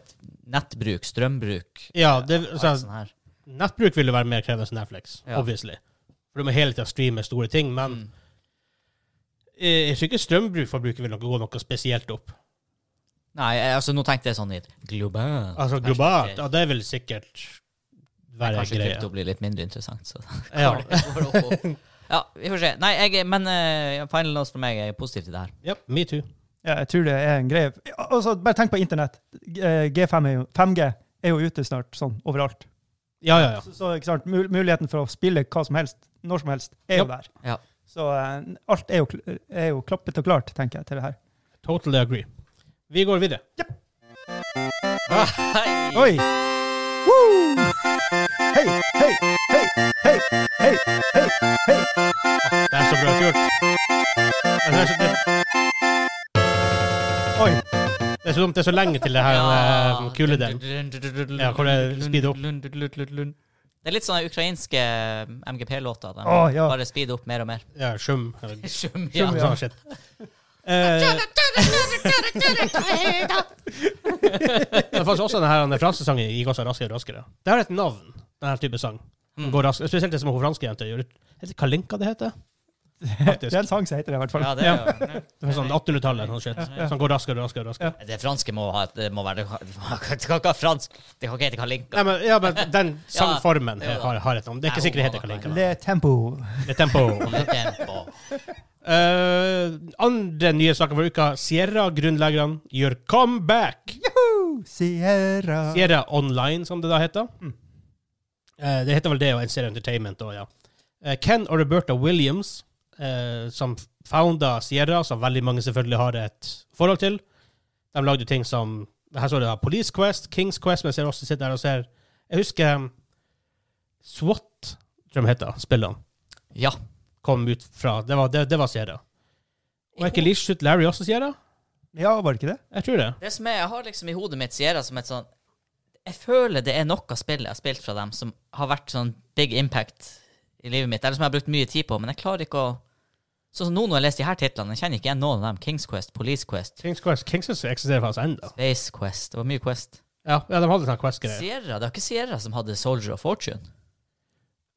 [SPEAKER 2] nettbruk, strømbruk,
[SPEAKER 1] Ja, det,
[SPEAKER 2] alt
[SPEAKER 1] så, altså,
[SPEAKER 2] sånn her.
[SPEAKER 1] nettbruk vil jo være mer krevende enn Netflix,
[SPEAKER 2] Ja.
[SPEAKER 1] obviously. For du må hele tiden streame store ting, men
[SPEAKER 2] Mm.
[SPEAKER 1] eh, jeg tror ikke strømbrukforbruket vil nok gå noe spesielt opp.
[SPEAKER 2] Nei, eh, altså nå tenkte jeg sånn i et globalt
[SPEAKER 1] Altså
[SPEAKER 2] perspektiv.
[SPEAKER 1] globalt, ja, det vil sikkert være
[SPEAKER 2] Kanskje
[SPEAKER 1] greia.
[SPEAKER 2] krypto blir litt mindre interessant, så
[SPEAKER 1] Ja.
[SPEAKER 2] går det opp og- Ja, vi får se. Nei, jeg, er- men eh, final loss for meg er positiv til det her.
[SPEAKER 1] Yep, me too.
[SPEAKER 3] Ja, jeg tror det er en greie. Og så bare tenk på internett. Eh, G5 er jo, 5G er jo ute snart, sånn overalt.
[SPEAKER 1] Ja, ja, ja.
[SPEAKER 3] Så, så ikke sant? Mul muligheten for å spille hva som helst, når som helst, er jo der.
[SPEAKER 2] Ja.
[SPEAKER 3] Så eh, alt er jo, kl- er jo klappet og klart, tenker jeg, til det her.
[SPEAKER 1] Totally agree. Vi går videre.
[SPEAKER 2] Hei!
[SPEAKER 3] Oi! Woo! Hei, hei, hei, hei, hei, hei, hei.
[SPEAKER 1] Det er så bra kult. Det er så, det,
[SPEAKER 3] Oi,
[SPEAKER 1] det er så dumt, det er så lenge til det her eh, kule den. Ja, hvor det speeder opp.
[SPEAKER 2] Det er litt sånn eh, sånne ukrainske MGP-låter. De
[SPEAKER 3] Å, ja.
[SPEAKER 2] bare speeder opp mer og mer.
[SPEAKER 1] Ja, sjum. eller
[SPEAKER 2] Sjum, ja.
[SPEAKER 1] Sjum, ja. Shit. Eh, det er faktisk også denne her, denne fransesangen gikk også raskere og raskere. Det har et navn, denne type sang. Den
[SPEAKER 2] Mm.
[SPEAKER 1] Går rask, spesielt det som hun franske jenter gjør. Heter det Kalinka det heter?
[SPEAKER 3] det er en sang som heter det, i hvert fall.
[SPEAKER 2] Ja, det, er,
[SPEAKER 1] Det er sånn 1800-tallet. Sånn shit. Som går raskere og raskere. og raskere.
[SPEAKER 2] jo- det franske må, ha, det må være Det kan ikke ha fransk. Det kan ikke hete Kalinka.
[SPEAKER 1] Nei, men, ja, men den sangformen
[SPEAKER 2] Ja, jo da.
[SPEAKER 1] har, har et navn. Det er ikke
[SPEAKER 2] Nei,
[SPEAKER 1] sikkert det heter
[SPEAKER 2] hun har
[SPEAKER 1] Kalinka.
[SPEAKER 3] Le Tempo.
[SPEAKER 1] Det er tempo.
[SPEAKER 2] Med tempo.
[SPEAKER 1] Eh, andre nye saker for uka. Sierra-grunnleggerne gjør comeback.
[SPEAKER 3] Juhu! Sierra.
[SPEAKER 1] Sierra Online, som det da heter. Eh, det heter vel det og NCR Entertainment òg, ja. Eh, Ken og Roberta Williams, eh, som founda Sierra, som veldig mange selvfølgelig har et forhold til, de lagde jo ting som Her står det da Police Quest, Kings Quest, mens jeg også sitter her og ser Jeg husker um, SWAT, tror jeg de heter, spillene,
[SPEAKER 2] Ja.
[SPEAKER 1] kom ut fra Det var, det, det var Sierra. Og er ikke Lish Shoot Larry også Sierra?
[SPEAKER 3] Ja, var det ikke det?
[SPEAKER 1] Jeg tror det.
[SPEAKER 2] Det som er, Jeg har liksom i hodet mitt Sierra som et sånn Jeg føler det er noe spill jeg har spilt fra dem som har vært sånn big impact i livet mitt, eller som jeg har brukt mye tid på, men jeg klarer ikke å Sånn som nå når jeg leser de her titlene, jeg kjenner ikke igjen noen av dem. Kings Quest, Police Quest,
[SPEAKER 1] Kings Quest Kings Quest eksisterer faktisk ennå.
[SPEAKER 2] Space Quest. Det var mye Quest.
[SPEAKER 1] Ja, ja, de hadde sånne Quest-greier.
[SPEAKER 2] Sierra, Det var ikke Sierra som hadde Soldier of Fortune?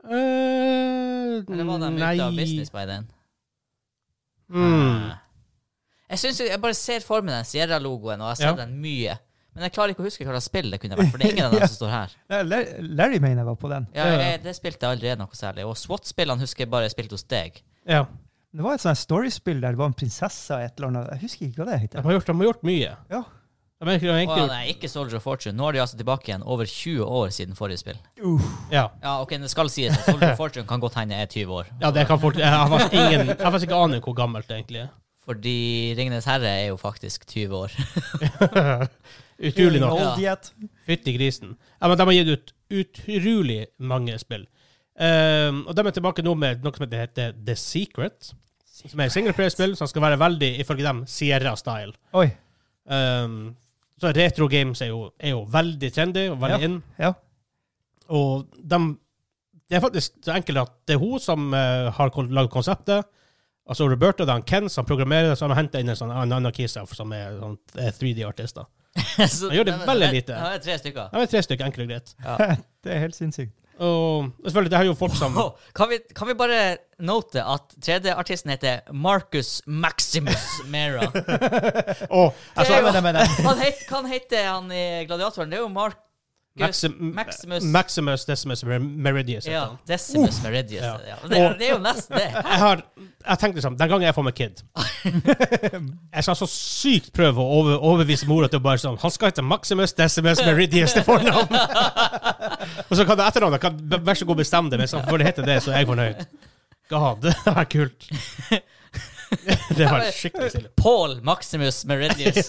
[SPEAKER 1] Eh,
[SPEAKER 2] Eller var de
[SPEAKER 1] nei.
[SPEAKER 2] ute av business by then?
[SPEAKER 1] Mm.
[SPEAKER 2] Eh, Jeg synes, jeg bare ser for meg den Sierra-logoen, og jeg ser
[SPEAKER 1] Ja.
[SPEAKER 2] den mye. Men jeg klarer ikke å huske hva slags spill det kunne vært, for det er ingen av dem
[SPEAKER 3] Ja.
[SPEAKER 2] som står her.
[SPEAKER 3] Ja, Le- Larry mener jeg var på den.
[SPEAKER 2] Ja,
[SPEAKER 1] Ja, ja.
[SPEAKER 2] jeg, det spilte jeg allerede noe særlig. Og SWAT-spillene husker jeg bare jeg spilte hos deg.
[SPEAKER 1] Ja.
[SPEAKER 3] Det var et sånt storiespill der det var en prinsesse og et eller annet. Jeg husker ikke hva det
[SPEAKER 1] De
[SPEAKER 3] heter.
[SPEAKER 1] har gjort, de har gjort mye.
[SPEAKER 3] Ja.
[SPEAKER 1] De har egentlig, de har
[SPEAKER 2] Å
[SPEAKER 1] egentlig
[SPEAKER 2] nei, ikke Soldier of Fortune. Nå er de altså tilbake igjen over 20 år siden forrige spill.
[SPEAKER 1] gjort, ja.
[SPEAKER 2] Ja, ok, det skal sies at Soldier of Fortune kan godt hende er 20 år.
[SPEAKER 1] ja, det kan folk Jeg har faktisk ingen Jeg har faktisk ikke aning hvor gammelt det egentlig er.
[SPEAKER 2] Fordi Ringenes herre er jo faktisk 20 år.
[SPEAKER 1] Utrolig nok.
[SPEAKER 3] Old yet.
[SPEAKER 1] Fytti grisen. Ja, men de har gitt ut utrolig mange spill. Ehm, og de er tilbake nå med noe som heter The Secret. Som er et singleplayerspill som skal være veldig, ifølge dem, Sierra-style.
[SPEAKER 3] Oi.
[SPEAKER 1] Ehm, så retro games er jo, er jo veldig trendy og veldig in.
[SPEAKER 3] Ja.
[SPEAKER 1] Og de Det er faktisk så enkelt at det er hun som eh, har kon- lagd konseptet. Altså Roberta det er han Ken som programmerer, så han har henta inn en sånn en annen kis her som er sånn 3D-artist. da.
[SPEAKER 2] Så-
[SPEAKER 1] Han gjør det
[SPEAKER 2] Nei, men-
[SPEAKER 1] veldig
[SPEAKER 2] nei,
[SPEAKER 1] lite.
[SPEAKER 2] Han er tre stykker.
[SPEAKER 1] De er tre stykker, enkelt og greit.
[SPEAKER 3] Det er helt sinnssykt.
[SPEAKER 1] Og selvfølgelig, det er jo folk som
[SPEAKER 2] Åh, kan, vi, kan vi bare note at 3D-artisten heter Marcus Maximus Mera?
[SPEAKER 1] Å, altså,
[SPEAKER 2] Det er jo-
[SPEAKER 3] mener, mener.
[SPEAKER 2] Han het, hva han heter han i Gladiatoren? Det er jo Mark
[SPEAKER 1] Maxim,
[SPEAKER 2] Maximus.
[SPEAKER 1] Maximus Decimus Mer- Meridius. heter
[SPEAKER 2] Ja,
[SPEAKER 1] han.
[SPEAKER 2] Decimus Meridius.
[SPEAKER 1] Ja.
[SPEAKER 2] Ja. Det, det er jo nesten det.
[SPEAKER 1] Jeg har jeg tenkte liksom, Den gangen jeg får meg kid Jeg skal så sykt prøve å over, overbevise mora til å bare sånn Han skal hete Maximus Decimus Meridius til fornavn! og så kan det etternavnet kan b- Vær så god, bestemme det, men så får det hete det, så er jeg fornøyd. God, det var kult. det var skikkelig stille.
[SPEAKER 2] Paul Maximus Meridius.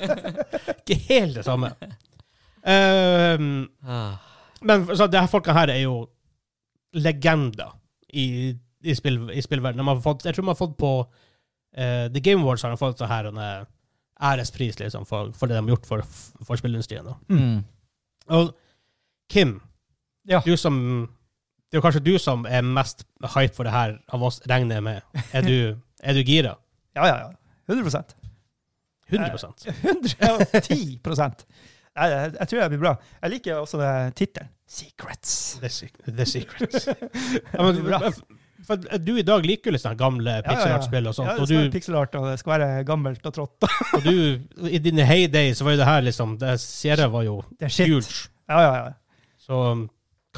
[SPEAKER 1] Ikke helt det samme. Ehm,
[SPEAKER 2] Ah.
[SPEAKER 1] men så, de her folka her er jo legender i, i, spill, i spillverdenen. De har fått, jeg tror de har fått på eh, The Game Awards har de fått sånn her en eh, ærespris liksom, for, for det de har gjort for, for spillindustrien. da.
[SPEAKER 2] Mm.
[SPEAKER 1] Og Kim,
[SPEAKER 3] Ja.
[SPEAKER 1] du som det er jo kanskje du som er mest hype for det her av oss, regner jeg med. Er du, er du gira?
[SPEAKER 3] Ja, ja, ja. 100
[SPEAKER 1] 100
[SPEAKER 3] 110 Nei, jeg, jeg tror jeg blir bra. Jeg liker også det tittelen. Secrets.
[SPEAKER 1] The, sec the Secret. Ja,
[SPEAKER 3] Det blir bra.
[SPEAKER 1] men, for at du i dag liker jo litt sånne gamle
[SPEAKER 3] ja, ja.
[SPEAKER 1] pixelart-spill og sånt,
[SPEAKER 3] Ja, det
[SPEAKER 1] og
[SPEAKER 3] skal
[SPEAKER 1] du
[SPEAKER 3] være pixelart, og det skal være gammelt og trått.
[SPEAKER 1] Og du, i dine heyday, så var jo det her liksom Det Sierra var jo
[SPEAKER 3] Det er shit.
[SPEAKER 1] huge.
[SPEAKER 3] Ja, ja, ja.
[SPEAKER 1] Så um,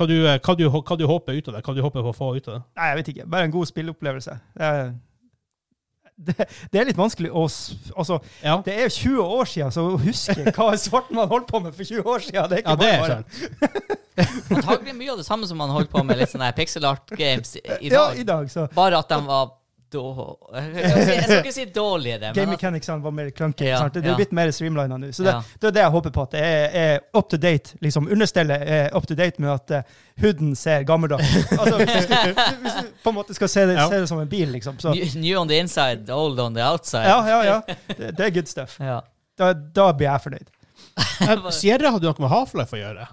[SPEAKER 1] hva du, eh, hva, du, hå- hva du håper ut av det? Hva du håper på å få ut av det?
[SPEAKER 3] Nei, jeg vet ikke. Bare en god spilleopplevelse. Det er, det, det er litt vanskelig å s- Altså,
[SPEAKER 1] Ja,
[SPEAKER 3] det er jo 20 år siden, så å huske hva en svart mann holdt på med for 20 år siden, det er ikke
[SPEAKER 1] ja det er
[SPEAKER 3] bare bare.
[SPEAKER 1] sant.
[SPEAKER 2] Antagelig mye av det samme som man holdt på med litt sånne her pixel art games i i
[SPEAKER 3] Ja,
[SPEAKER 2] dag.
[SPEAKER 3] i dag, så
[SPEAKER 2] Bare at de var då... Jeg skal ikke si- jeg skal ikke si dårligere,
[SPEAKER 3] Game
[SPEAKER 2] men at,
[SPEAKER 3] mechanicsene var mer clunky.
[SPEAKER 2] Ja,
[SPEAKER 3] sant? Det
[SPEAKER 2] ja.
[SPEAKER 3] er jo blitt mer streamlina nå. Så det,
[SPEAKER 2] Ja.
[SPEAKER 3] det er det jeg håper på. At det er, er up to date. liksom Understellet er up to date med at eh, huden ser gammeldags ut. Altså, hvis, du skal- hvis du på en måte skal se det,
[SPEAKER 1] Ja.
[SPEAKER 3] se det som en bil, liksom. Så,
[SPEAKER 2] new, new on the inside, old on the outside.
[SPEAKER 3] ja, ja, ja. Det, det er good stuff.
[SPEAKER 2] Ja.
[SPEAKER 3] Da, da blir jeg fornøyd.
[SPEAKER 1] Eh, Sierra hadde jo noe med Half-Life å gjøre.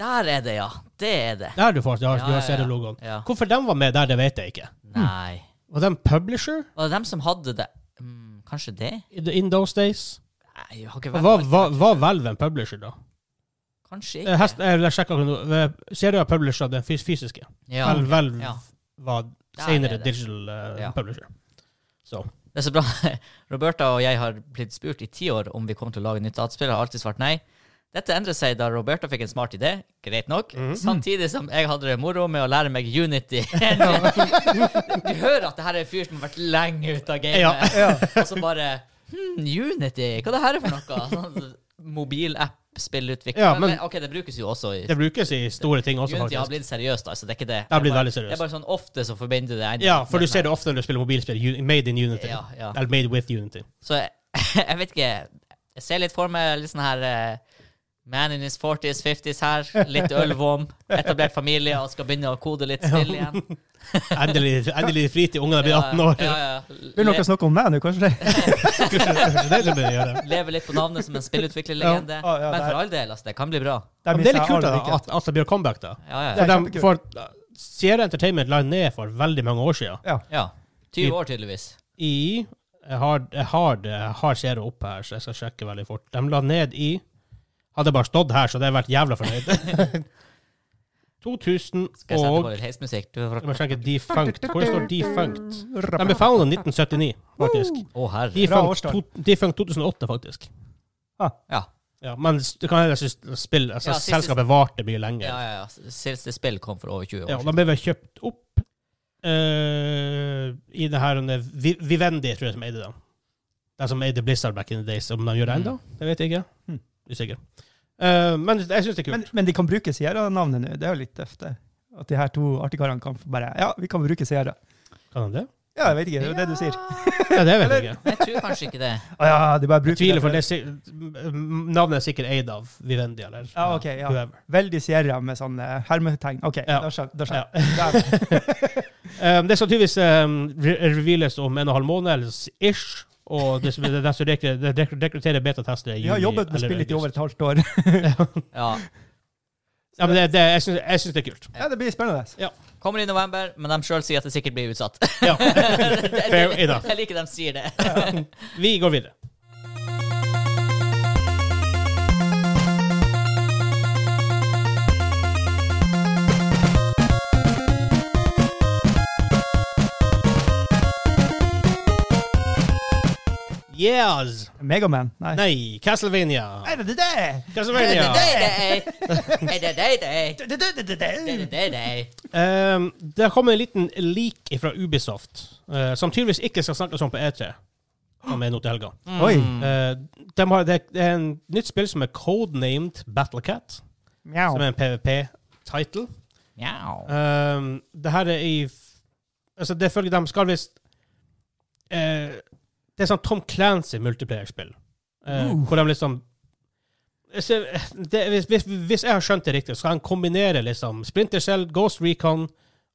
[SPEAKER 2] Der er det, ja. Det er det.
[SPEAKER 1] Der du får, du har,
[SPEAKER 2] Ja,
[SPEAKER 1] du
[SPEAKER 2] ja,
[SPEAKER 1] har
[SPEAKER 2] ja.
[SPEAKER 1] Sierra-logoen.
[SPEAKER 2] Ja.
[SPEAKER 1] Hvorfor den var med der, det vet jeg ikke.
[SPEAKER 2] Nei.
[SPEAKER 1] Var den publisher
[SPEAKER 2] Var det dem som hadde det? Mm, kanskje det?
[SPEAKER 1] i the- in those days?
[SPEAKER 2] Nei, jeg har ikke vært
[SPEAKER 1] Var, var, var Valve en publisher da?
[SPEAKER 2] Kanskje
[SPEAKER 1] Eh,
[SPEAKER 2] ikke.
[SPEAKER 1] Hest, eh, jeg sjekket ikke noe. Eh, Sierra er publisher av den fys fysiske.
[SPEAKER 2] Ja.
[SPEAKER 1] Valve, Valve
[SPEAKER 2] Ja.
[SPEAKER 1] var
[SPEAKER 2] Der er
[SPEAKER 1] senere
[SPEAKER 2] det.
[SPEAKER 1] digital eh,
[SPEAKER 2] Ja.
[SPEAKER 1] publisher. Så.
[SPEAKER 2] Det er så bra. Roberta og jeg har blitt spurt i ti år om vi kommer til å lage nytt dataspill. Jeg har alltid svart nei. Dette endret seg da Roberta fikk en smart idé, greit nok,
[SPEAKER 1] Mhm.
[SPEAKER 2] samtidig som jeg hadde det moro med å lære meg Unity. du hører at det her er en fyr som har vært lenge ute av gamet,
[SPEAKER 1] Ja,
[SPEAKER 2] og så bare hm, Unity, hva er det her er for noe? Sånn Mobilapp-spillutvikling.
[SPEAKER 1] Ja,
[SPEAKER 2] men,
[SPEAKER 1] men-
[SPEAKER 2] OK, det brukes jo også i
[SPEAKER 1] Det brukes i store ting også,
[SPEAKER 2] Unity har
[SPEAKER 1] faktisk.
[SPEAKER 2] blitt seriøst, altså. Det er ikke det.
[SPEAKER 1] har blitt
[SPEAKER 2] bare-
[SPEAKER 1] veldig seriøst.
[SPEAKER 2] Det er bare sånn ofte så forbinder det ene-
[SPEAKER 1] Ja, for du ser det ofte når du spiller mobilspill. U- Made in Unity.
[SPEAKER 2] Ja, ja.
[SPEAKER 1] Eller made with Unity.
[SPEAKER 2] Så jeg, jeg vet ikke Jeg ser litt for meg litt sånn her eh, Man in his 40s, 50s her. Litt ølvom. Etablert familie og skal begynne å kode litt spill igjen.
[SPEAKER 1] Endelig, endelig fritid. Ungene blir 18 år.
[SPEAKER 2] Ja, ja.
[SPEAKER 3] Begynner dere
[SPEAKER 2] Le,
[SPEAKER 3] å snakke om meg nå, kanskje?
[SPEAKER 1] Kanskje kanskje det er det du begynner å gjøre.
[SPEAKER 2] leve litt på navnet som en spillutviklerlegende.
[SPEAKER 3] Ja, ja, ja,
[SPEAKER 2] Men
[SPEAKER 3] det er-
[SPEAKER 2] for all del, altså. Det kan bli bra.
[SPEAKER 1] Men det er litt kult da, at, at det blir comeback, da.
[SPEAKER 2] Ja, ja.
[SPEAKER 1] For
[SPEAKER 3] Det er
[SPEAKER 1] de, for, Sierra Entertainment la ned for veldig mange år siden.
[SPEAKER 2] ja. 20 år, tydeligvis.
[SPEAKER 1] I Jeg har, jeg har, det- jeg har Sierra oppe her, så jeg skal sjekke veldig fort. De la ned i Hadde jeg bare stått her, så hadde jeg vært jævla fornøyd. 2000
[SPEAKER 2] Skal jeg sette
[SPEAKER 1] og
[SPEAKER 2] på litt heismusikk? Du-
[SPEAKER 1] Jeg må sjekke defunct. Hvor står defunct? De
[SPEAKER 3] Rappet.
[SPEAKER 1] ble founded i 1979, faktisk.
[SPEAKER 2] Å, herre.
[SPEAKER 1] De
[SPEAKER 3] Bra
[SPEAKER 1] fant,
[SPEAKER 3] årstall.
[SPEAKER 1] to, de fant 2008, faktisk.
[SPEAKER 2] Ja.
[SPEAKER 1] Ja, men s- du kan heller synes spill, altså,
[SPEAKER 2] Ja, siste-
[SPEAKER 1] selskapet varte mye lenger.
[SPEAKER 2] ja,
[SPEAKER 1] Ja,
[SPEAKER 2] ja, ja. Siste spill kom for over 20 år.
[SPEAKER 1] de ble vel kjøpt opp eh, i det her under Vi- Vivendi, tror jeg, som eide dem. De som eide Blizzard back in the days. Om de gjør det
[SPEAKER 2] Mm.
[SPEAKER 1] ennå, det vet jeg ikke.
[SPEAKER 3] Mm.
[SPEAKER 1] Usikker. Eh, men jeg syns det er kult.
[SPEAKER 3] Men, men de kan bruke Sierra-navnet nå. Det er jo litt tøft, det. At de her to artikarene kan få bare Ja, vi kan bruke Sierra.
[SPEAKER 1] kan de det?
[SPEAKER 3] Ja, jeg vet ikke. Det er jo det du sier.
[SPEAKER 1] Ja, det vet jeg
[SPEAKER 3] Eller-
[SPEAKER 1] ikke.
[SPEAKER 2] Jeg tror kanskje ikke det.
[SPEAKER 3] Å ja, de bare
[SPEAKER 1] Jeg
[SPEAKER 3] bruker
[SPEAKER 1] tviler, for det er, si- m- navnet er sikkert eid av Vivendi eller
[SPEAKER 3] Ja, ok, ja.
[SPEAKER 1] whoever.
[SPEAKER 3] Veldig Sierra med sånn eh, hermetegn. OK,
[SPEAKER 1] Ja.
[SPEAKER 3] da skjønner da
[SPEAKER 1] Ja.
[SPEAKER 3] skjønner jeg.
[SPEAKER 1] Um, det skal tydeligvis um, re- reveales om en og en halv måned, eller s- ish. Og det som det, det som rekre- det rekre- rekrutterer betatester i
[SPEAKER 3] Vi har
[SPEAKER 1] juni
[SPEAKER 3] jobbet med
[SPEAKER 1] eller
[SPEAKER 3] spillet
[SPEAKER 1] august.
[SPEAKER 3] i over et halvt år.
[SPEAKER 2] Ja.
[SPEAKER 1] Ja, men det, det, jeg syns jeg syns det er kult.
[SPEAKER 3] Ja, det blir spennende.
[SPEAKER 2] Kommer i november, men de sjøl sier at det sikkert blir utsatt.
[SPEAKER 1] Ja. Fair
[SPEAKER 2] Jeg
[SPEAKER 1] enough.
[SPEAKER 2] liker de sier det.
[SPEAKER 1] Vi går videre. Yes!
[SPEAKER 3] Megaman? Nei.
[SPEAKER 1] Nei, Castlevania.
[SPEAKER 3] Er det det?
[SPEAKER 1] Castlevania.
[SPEAKER 3] Det- det- det- det- det-
[SPEAKER 1] Um, det har kommet en liten leak fra Ubisoft, eh, som tydeligvis ikke skal snakkes om på E3, som er nå til helga.
[SPEAKER 3] Oi.
[SPEAKER 1] Eh, de har, det det er en nytt spill som er codenamed Battlecat, som
[SPEAKER 3] Mjau.
[SPEAKER 1] er en PVP-title.
[SPEAKER 2] Mjau.
[SPEAKER 1] Um, det her er i f- Altså, det følger dem skal visst eh, Det er sånn Tom Clancy-multiplayerspill. Eh,
[SPEAKER 3] Uh.
[SPEAKER 1] Hvor de liksom Jeg ser- det, hvis, hvis, hvis jeg har skjønt det riktig, så skal han kombinere liksom Splinter Cell, Ghost Recon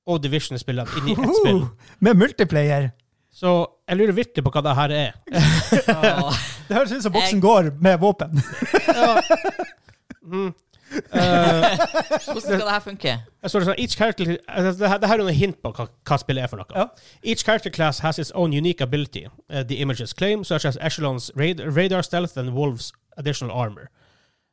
[SPEAKER 1] og Division-spillene inn i
[SPEAKER 3] Uh-huh.
[SPEAKER 1] ett spill.
[SPEAKER 3] Med multiplayer.
[SPEAKER 1] Så jeg lurer virkelig på hva det her er.
[SPEAKER 2] Åh.
[SPEAKER 3] Det høres ut som boksen går med våpen.
[SPEAKER 1] Mm. Eh,
[SPEAKER 2] Hvordan skal det her funke?
[SPEAKER 1] jeg står det sånn, Eh, each character, altså, det, her, det her er noen hint på hva, hva spillet er for noe.
[SPEAKER 3] Ja.
[SPEAKER 1] Each character class has its own unique ability, uh, the images claim, such as Echelon's rad radar stealth and Wolf's additional armor.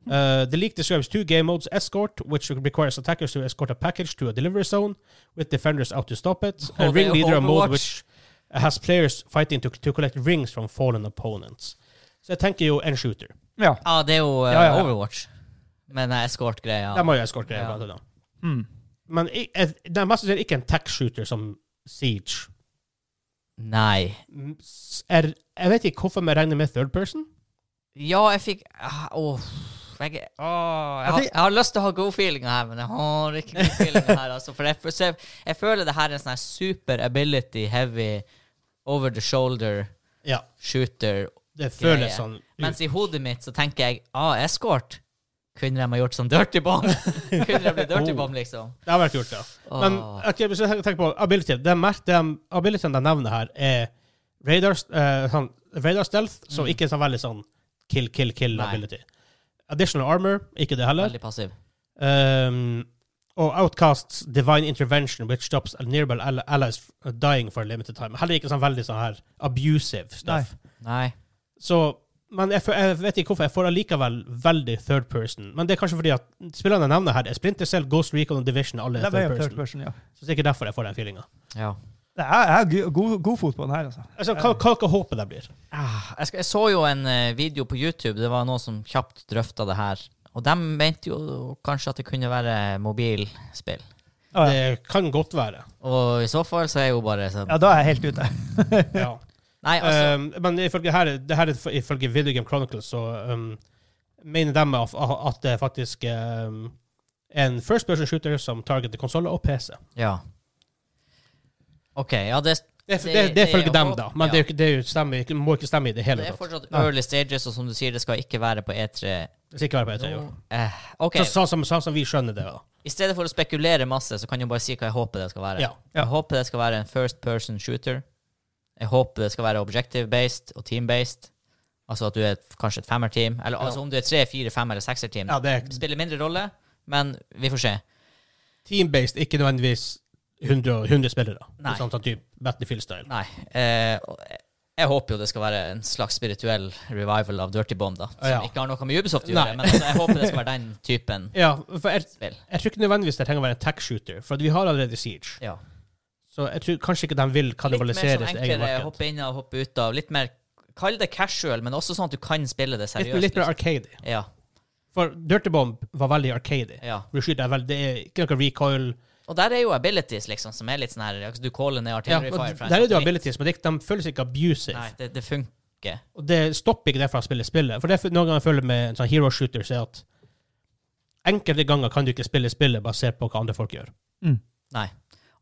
[SPEAKER 2] Hmm.
[SPEAKER 1] Uh, the leak describes two game modes escort, which requires attackers to escort a package to a delivery zone, with defenders out to stop it,
[SPEAKER 2] Oh,
[SPEAKER 1] and
[SPEAKER 2] they
[SPEAKER 1] ring leader a mode
[SPEAKER 2] Overwatch.
[SPEAKER 1] which has players fighting to, to collect rings from fallen opponents. Så jeg tenker jo en shooter.
[SPEAKER 3] Ja.
[SPEAKER 2] Ja, det er jo eh,
[SPEAKER 3] Ja, ja, ja.
[SPEAKER 2] Overwatch. Men eh, escort-greia.
[SPEAKER 1] De har jo escort-greier.
[SPEAKER 2] Ja.
[SPEAKER 1] blant annet.
[SPEAKER 3] Mm.
[SPEAKER 1] Men i- eh, det er mest sannsynlig ikke en tech-shooter som Siege.
[SPEAKER 2] Nei.
[SPEAKER 1] Mm, s- Er, jeg vet ikke hvorfor jeg regner med third person.
[SPEAKER 2] Ja, jeg fikk ah, Åh. Jeg, åh, jeg, har,
[SPEAKER 3] Ah, Jeg fikk-
[SPEAKER 2] jeg har lyst til å ha god feeling her, men jeg har ikke god feeling her. Altså, for jeg, får se- jeg føler det her er en sånn her super ability heavy over the shoulder
[SPEAKER 1] Ja.
[SPEAKER 2] shooter.
[SPEAKER 1] Det
[SPEAKER 2] Greie.
[SPEAKER 1] føles sånn ut.
[SPEAKER 2] Mens i hodet mitt så tenker jeg ah, escort. Kunne de ha gjort sånn dirty bomb? Kunne de bli dirty
[SPEAKER 1] Oh.
[SPEAKER 2] bomb, liksom?
[SPEAKER 1] Det har vært gjort, ja.
[SPEAKER 2] Åh.
[SPEAKER 1] Men ok, hvis jeg tenker på ability de, mer- de abilityen de nevner her, er radar, eh, sånn, radar stealth, så ikke sånn veldig sånn kill, kill, kill
[SPEAKER 2] Mm. Nei.
[SPEAKER 1] ability. Additional armor, ikke det heller.
[SPEAKER 2] Veldig passiv.
[SPEAKER 1] Um, og Outcasts Divine Intervention, which stops nearby all- allies f- dying for a limited time. Heller ikke sånn veldig sånn her abusive stuff.
[SPEAKER 2] Nei.
[SPEAKER 1] Så, men jeg, f- jeg vet ikke hvorfor. Jeg får allikevel veldig third person. Men det er kanskje fordi at spillerne jeg nevner her, er Splinter Cell, Ghost Recon og Division. Alle
[SPEAKER 3] Det
[SPEAKER 1] er
[SPEAKER 3] er
[SPEAKER 1] third
[SPEAKER 3] bare
[SPEAKER 1] person.
[SPEAKER 3] third person, ja.
[SPEAKER 1] Så det er ikke derfor jeg får den feelinga.
[SPEAKER 2] Ja.
[SPEAKER 3] Det er, jeg har go- god, god fot på den her, altså.
[SPEAKER 1] Altså, hva, hva skal håpet det blir?
[SPEAKER 2] Ah, Jeg, skal, jeg så jo en eh, video på YouTube, det var noen som kjapt drøfta det her. Og de mente jo kanskje at det kunne være mobilspill.
[SPEAKER 3] Ja, ja.
[SPEAKER 1] Det kan godt være.
[SPEAKER 2] Og i så fall så er jo bare sånn
[SPEAKER 3] ja, da er jeg helt ute.
[SPEAKER 1] Ja.
[SPEAKER 2] Nei, altså.
[SPEAKER 1] um, men ifølge her, det her er ifølge Video Game Chronicles, så um, mener de at, at det er faktisk um, en first person shooter som targeter konsoller og PC.
[SPEAKER 2] Ja. OK. Ja, det,
[SPEAKER 1] Det, er- det,
[SPEAKER 2] Det-
[SPEAKER 1] det
[SPEAKER 2] det
[SPEAKER 1] er
[SPEAKER 2] er
[SPEAKER 1] ifølge dem,
[SPEAKER 2] håp,
[SPEAKER 1] da. Men
[SPEAKER 2] ja.
[SPEAKER 1] det, er jo ikke- det er jo stemmer, ikke- må ikke stemme i det hele
[SPEAKER 2] det er
[SPEAKER 1] tatt.
[SPEAKER 2] fortsatt
[SPEAKER 3] Nei.
[SPEAKER 2] early stages, og som du sier, det skal ikke være på E3.
[SPEAKER 1] Hvis ikke være på E3. jo.
[SPEAKER 2] Eh, OK.
[SPEAKER 1] Så- Sånn som, sånn som vi skjønner det, da.
[SPEAKER 2] I stedet for å spekulere masse, så kan jeg bare si hva jeg håper det skal være.
[SPEAKER 1] Ja.
[SPEAKER 3] Ja.
[SPEAKER 2] Jeg håper det skal være en first person shooter. Jeg håper det skal være objective-based og team-based. Altså at du er et, kanskje et femmer-team. Eller altså om du er tre, fire, fem eller sekser-team.
[SPEAKER 1] ja det er
[SPEAKER 2] Det spiller mindre rolle, men vi får se.
[SPEAKER 1] team-based, ikke nødvendigvis 100, 100 spillere.
[SPEAKER 2] Nei.
[SPEAKER 1] Sånn sånn type Battlefield-style.
[SPEAKER 2] Nei. Eh, og jeg- jeg håper jo det skal være en slags spirituell revival av Dirty Bomb, da. Som
[SPEAKER 1] Ja.
[SPEAKER 2] ikke har noe med Ubisoft å gjøre,
[SPEAKER 1] Nei.
[SPEAKER 2] men altså, jeg håper det skal være den typen
[SPEAKER 1] Ja, for jeg,
[SPEAKER 2] spill.
[SPEAKER 1] jeg tror ikke nødvendigvis det trenger å være en tech-shooter, for vi har allerede Siege.
[SPEAKER 2] Ja.
[SPEAKER 1] Så jeg tror kanskje ikke de vil
[SPEAKER 2] Litt mer
[SPEAKER 1] kannibalisere
[SPEAKER 2] sånn
[SPEAKER 1] sitt eget
[SPEAKER 2] enklere
[SPEAKER 1] marked.
[SPEAKER 2] hoppe inn og hoppe ut av. Litt mer Kall det casual, men også sånn at du kan spille
[SPEAKER 1] Litt,
[SPEAKER 2] det seriøst.
[SPEAKER 1] litt mer
[SPEAKER 2] liksom.
[SPEAKER 1] arcade.
[SPEAKER 2] ja.
[SPEAKER 1] For Dirty Bomb var veldig arcade.
[SPEAKER 2] Ja.
[SPEAKER 1] Du skyter deg vel, det er ikke noe recoil.
[SPEAKER 2] Og der er jo abilities, liksom, som er litt sånn her Du caller ned
[SPEAKER 1] Ja,
[SPEAKER 2] artillery
[SPEAKER 1] og
[SPEAKER 2] fire. fra en
[SPEAKER 1] der er det jo
[SPEAKER 2] satellitt.
[SPEAKER 1] abilities, men det, er ikke- de føles ikke abusive.
[SPEAKER 2] Nei, det, det funker.
[SPEAKER 1] Og det stopper ikke det fra å spille spillet. For det er noen ganger jeg føler med en sånn hero shooter, så er at enkelte ganger kan du ikke spille spillet basert på hva andre folk gjør.
[SPEAKER 2] Nei.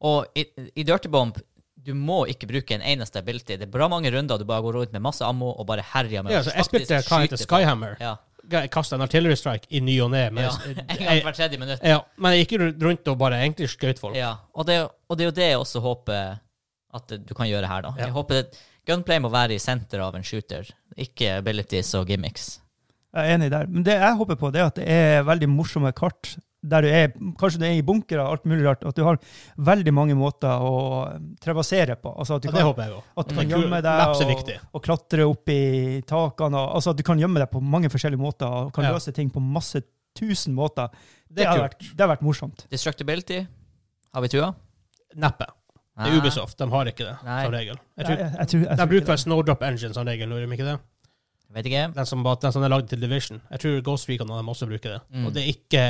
[SPEAKER 2] Og i, i Dirty Bomb du må ikke bruke en eneste ability. Det er bra mange runder du bare går rundt med masse ammo og bare herjer med
[SPEAKER 1] Ja, så jeg
[SPEAKER 2] faktisk
[SPEAKER 1] spilte hva heter
[SPEAKER 2] skyter på.
[SPEAKER 1] Skyhammer.
[SPEAKER 2] Ja.
[SPEAKER 1] Jeg kastet en artillery strike i ny og ne. Men,
[SPEAKER 2] ja.
[SPEAKER 1] jeg-
[SPEAKER 2] En gang
[SPEAKER 1] jeg,
[SPEAKER 2] hvert tredje minutt.
[SPEAKER 1] ja, men jeg gikk jo rundt og bare egentlig skjøt folk.
[SPEAKER 2] Ja. Og, det, og det er jo det jeg også håper at du kan gjøre her, da.
[SPEAKER 1] Ja.
[SPEAKER 2] Jeg håper det, Gunplay må være i senter av en shooter, ikke abilities og gimmicks.
[SPEAKER 3] Jeg er enig der. Men det jeg håper på, det er at det er veldig morsomme kart. Der du er, kanskje du er i bunkere og alt mulig rart. At du har veldig mange måter å traversere på. Altså at du
[SPEAKER 1] Og det
[SPEAKER 3] kan,
[SPEAKER 1] håper jeg òg.
[SPEAKER 3] at du
[SPEAKER 1] Mm.
[SPEAKER 3] kan gjemme
[SPEAKER 1] Maps er
[SPEAKER 3] deg og,
[SPEAKER 1] viktig.
[SPEAKER 3] og klatre opp i takene. Og, altså at du kan gjemme deg på mange forskjellige måter og kan
[SPEAKER 1] Ja.
[SPEAKER 3] løse ting på masse tusen måter.
[SPEAKER 1] Det
[SPEAKER 3] Det,
[SPEAKER 1] er
[SPEAKER 3] har
[SPEAKER 1] kult.
[SPEAKER 3] vært, det har vært morsomt.
[SPEAKER 2] Destructibility, har vi trua?
[SPEAKER 1] Neppe. Det er Ubisoft. De har ikke det,
[SPEAKER 2] Nei.
[SPEAKER 1] som regel. Jeg
[SPEAKER 3] Nei,
[SPEAKER 1] tror,
[SPEAKER 3] jeg, jeg tror, jeg
[SPEAKER 1] de
[SPEAKER 3] tror ikke
[SPEAKER 1] bruker
[SPEAKER 3] det.
[SPEAKER 1] vel Snowdrop Engine som regel, gjør de ikke det?
[SPEAKER 2] Vet ikke.
[SPEAKER 1] Den som, den som er lagd til Division. Jeg tror Ghost Recon og dem også bruker det.
[SPEAKER 2] Mm.
[SPEAKER 1] Og det er ikke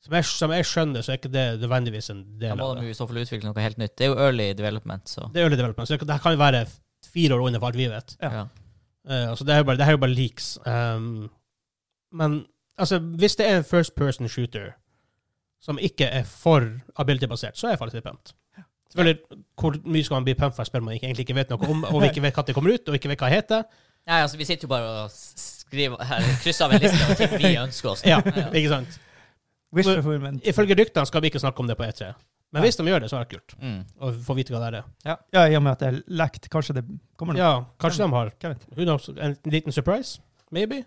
[SPEAKER 1] som jeg, som jeg skjønner, så er ikke det nødvendigvis en
[SPEAKER 2] Da
[SPEAKER 1] del
[SPEAKER 2] må
[SPEAKER 1] av
[SPEAKER 2] de
[SPEAKER 1] det.
[SPEAKER 2] jo i så fall utvikle noe helt nytt. Det er jo early development, så
[SPEAKER 1] Det er early development, så det, det her kan jo være fire år under for alt vi vet.
[SPEAKER 3] Ja.
[SPEAKER 2] ja.
[SPEAKER 1] Eh, altså, det er jo bare, det her er jo bare leaks. Ehm, men altså, hvis det er en first person shooter som ikke er for ability-basert, så er jeg faktisk litt pumped. Selvfølgelig, Hvor mye skal man bli pumped for et spill man ikke- egentlig ikke vet noe om, og ikke vet hva det kommer ut, og ikke vet hva det heter?
[SPEAKER 2] Nei, altså, vi sitter jo bare og s- skriver her, krysser av en liste av ting vi ønsker oss.
[SPEAKER 1] Ja, ikke sant?
[SPEAKER 3] Wish-fulfillment.
[SPEAKER 1] Ifølge ryktene skal vi ikke snakke om det på E3. Men hvis de gjør det, så er det kult
[SPEAKER 2] Mm.
[SPEAKER 1] å få vite hva det er.
[SPEAKER 3] Ja, i og med at det er lekt. Kanskje det kommer noe.
[SPEAKER 1] Ja, kanskje de har
[SPEAKER 3] Hvem vet?
[SPEAKER 1] who knows, en liten surprise? Maybe?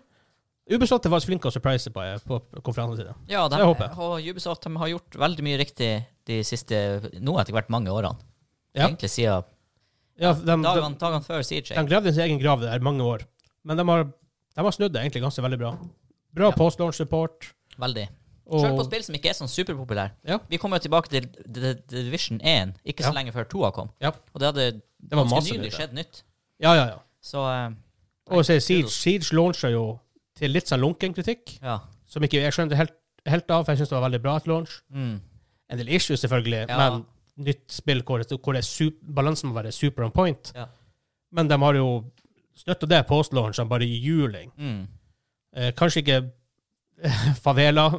[SPEAKER 1] Ubesatt er faktisk flinke å surprise på, på konferansene sine.
[SPEAKER 2] Ja, de,
[SPEAKER 1] Det håper jeg.
[SPEAKER 2] og Ubisoft de har gjort veldig mye riktig de siste nå etter hvert mange årene.
[SPEAKER 1] Ja.
[SPEAKER 2] Egentlig siden
[SPEAKER 1] Ja, de, de,
[SPEAKER 2] dagene, dagene før CJ.
[SPEAKER 1] De gravde sin egen grav der mange år, men de har, de har snudd det egentlig ganske veldig bra. Bra
[SPEAKER 2] Ja.
[SPEAKER 1] post-launch support.
[SPEAKER 2] Veldig.
[SPEAKER 1] Og,
[SPEAKER 2] Selv på spill som ikke er sånn superpopulære.
[SPEAKER 1] Ja.
[SPEAKER 2] Vi kommer jo tilbake til D- D- D- Division 1, ikke så
[SPEAKER 1] Ja.
[SPEAKER 2] lenge før 2 kom.
[SPEAKER 1] Ja.
[SPEAKER 2] Og det hadde
[SPEAKER 1] var
[SPEAKER 2] ganske
[SPEAKER 1] masse
[SPEAKER 2] nylig
[SPEAKER 1] nytt, ja.
[SPEAKER 2] skjedd nytt.
[SPEAKER 1] ja, ja, ja.
[SPEAKER 2] Så eh,
[SPEAKER 1] Og så er Siege,
[SPEAKER 2] kudos.
[SPEAKER 1] Siege launcha jo til litt sånn lunken kritikk,
[SPEAKER 2] ja.
[SPEAKER 1] som ikke jeg skjønte helt, helt av, for jeg syns det var veldig bra at launch.
[SPEAKER 2] Mm.
[SPEAKER 1] En del issues, selvfølgelig,
[SPEAKER 2] Ja.
[SPEAKER 1] men nytt spill hvor, det, hvor det er sup- balansen må være super on point.
[SPEAKER 2] Ja.
[SPEAKER 1] Men de har jo støtta det post-launchen bare i juling.
[SPEAKER 2] Mm.
[SPEAKER 1] Eh, kanskje ikke favela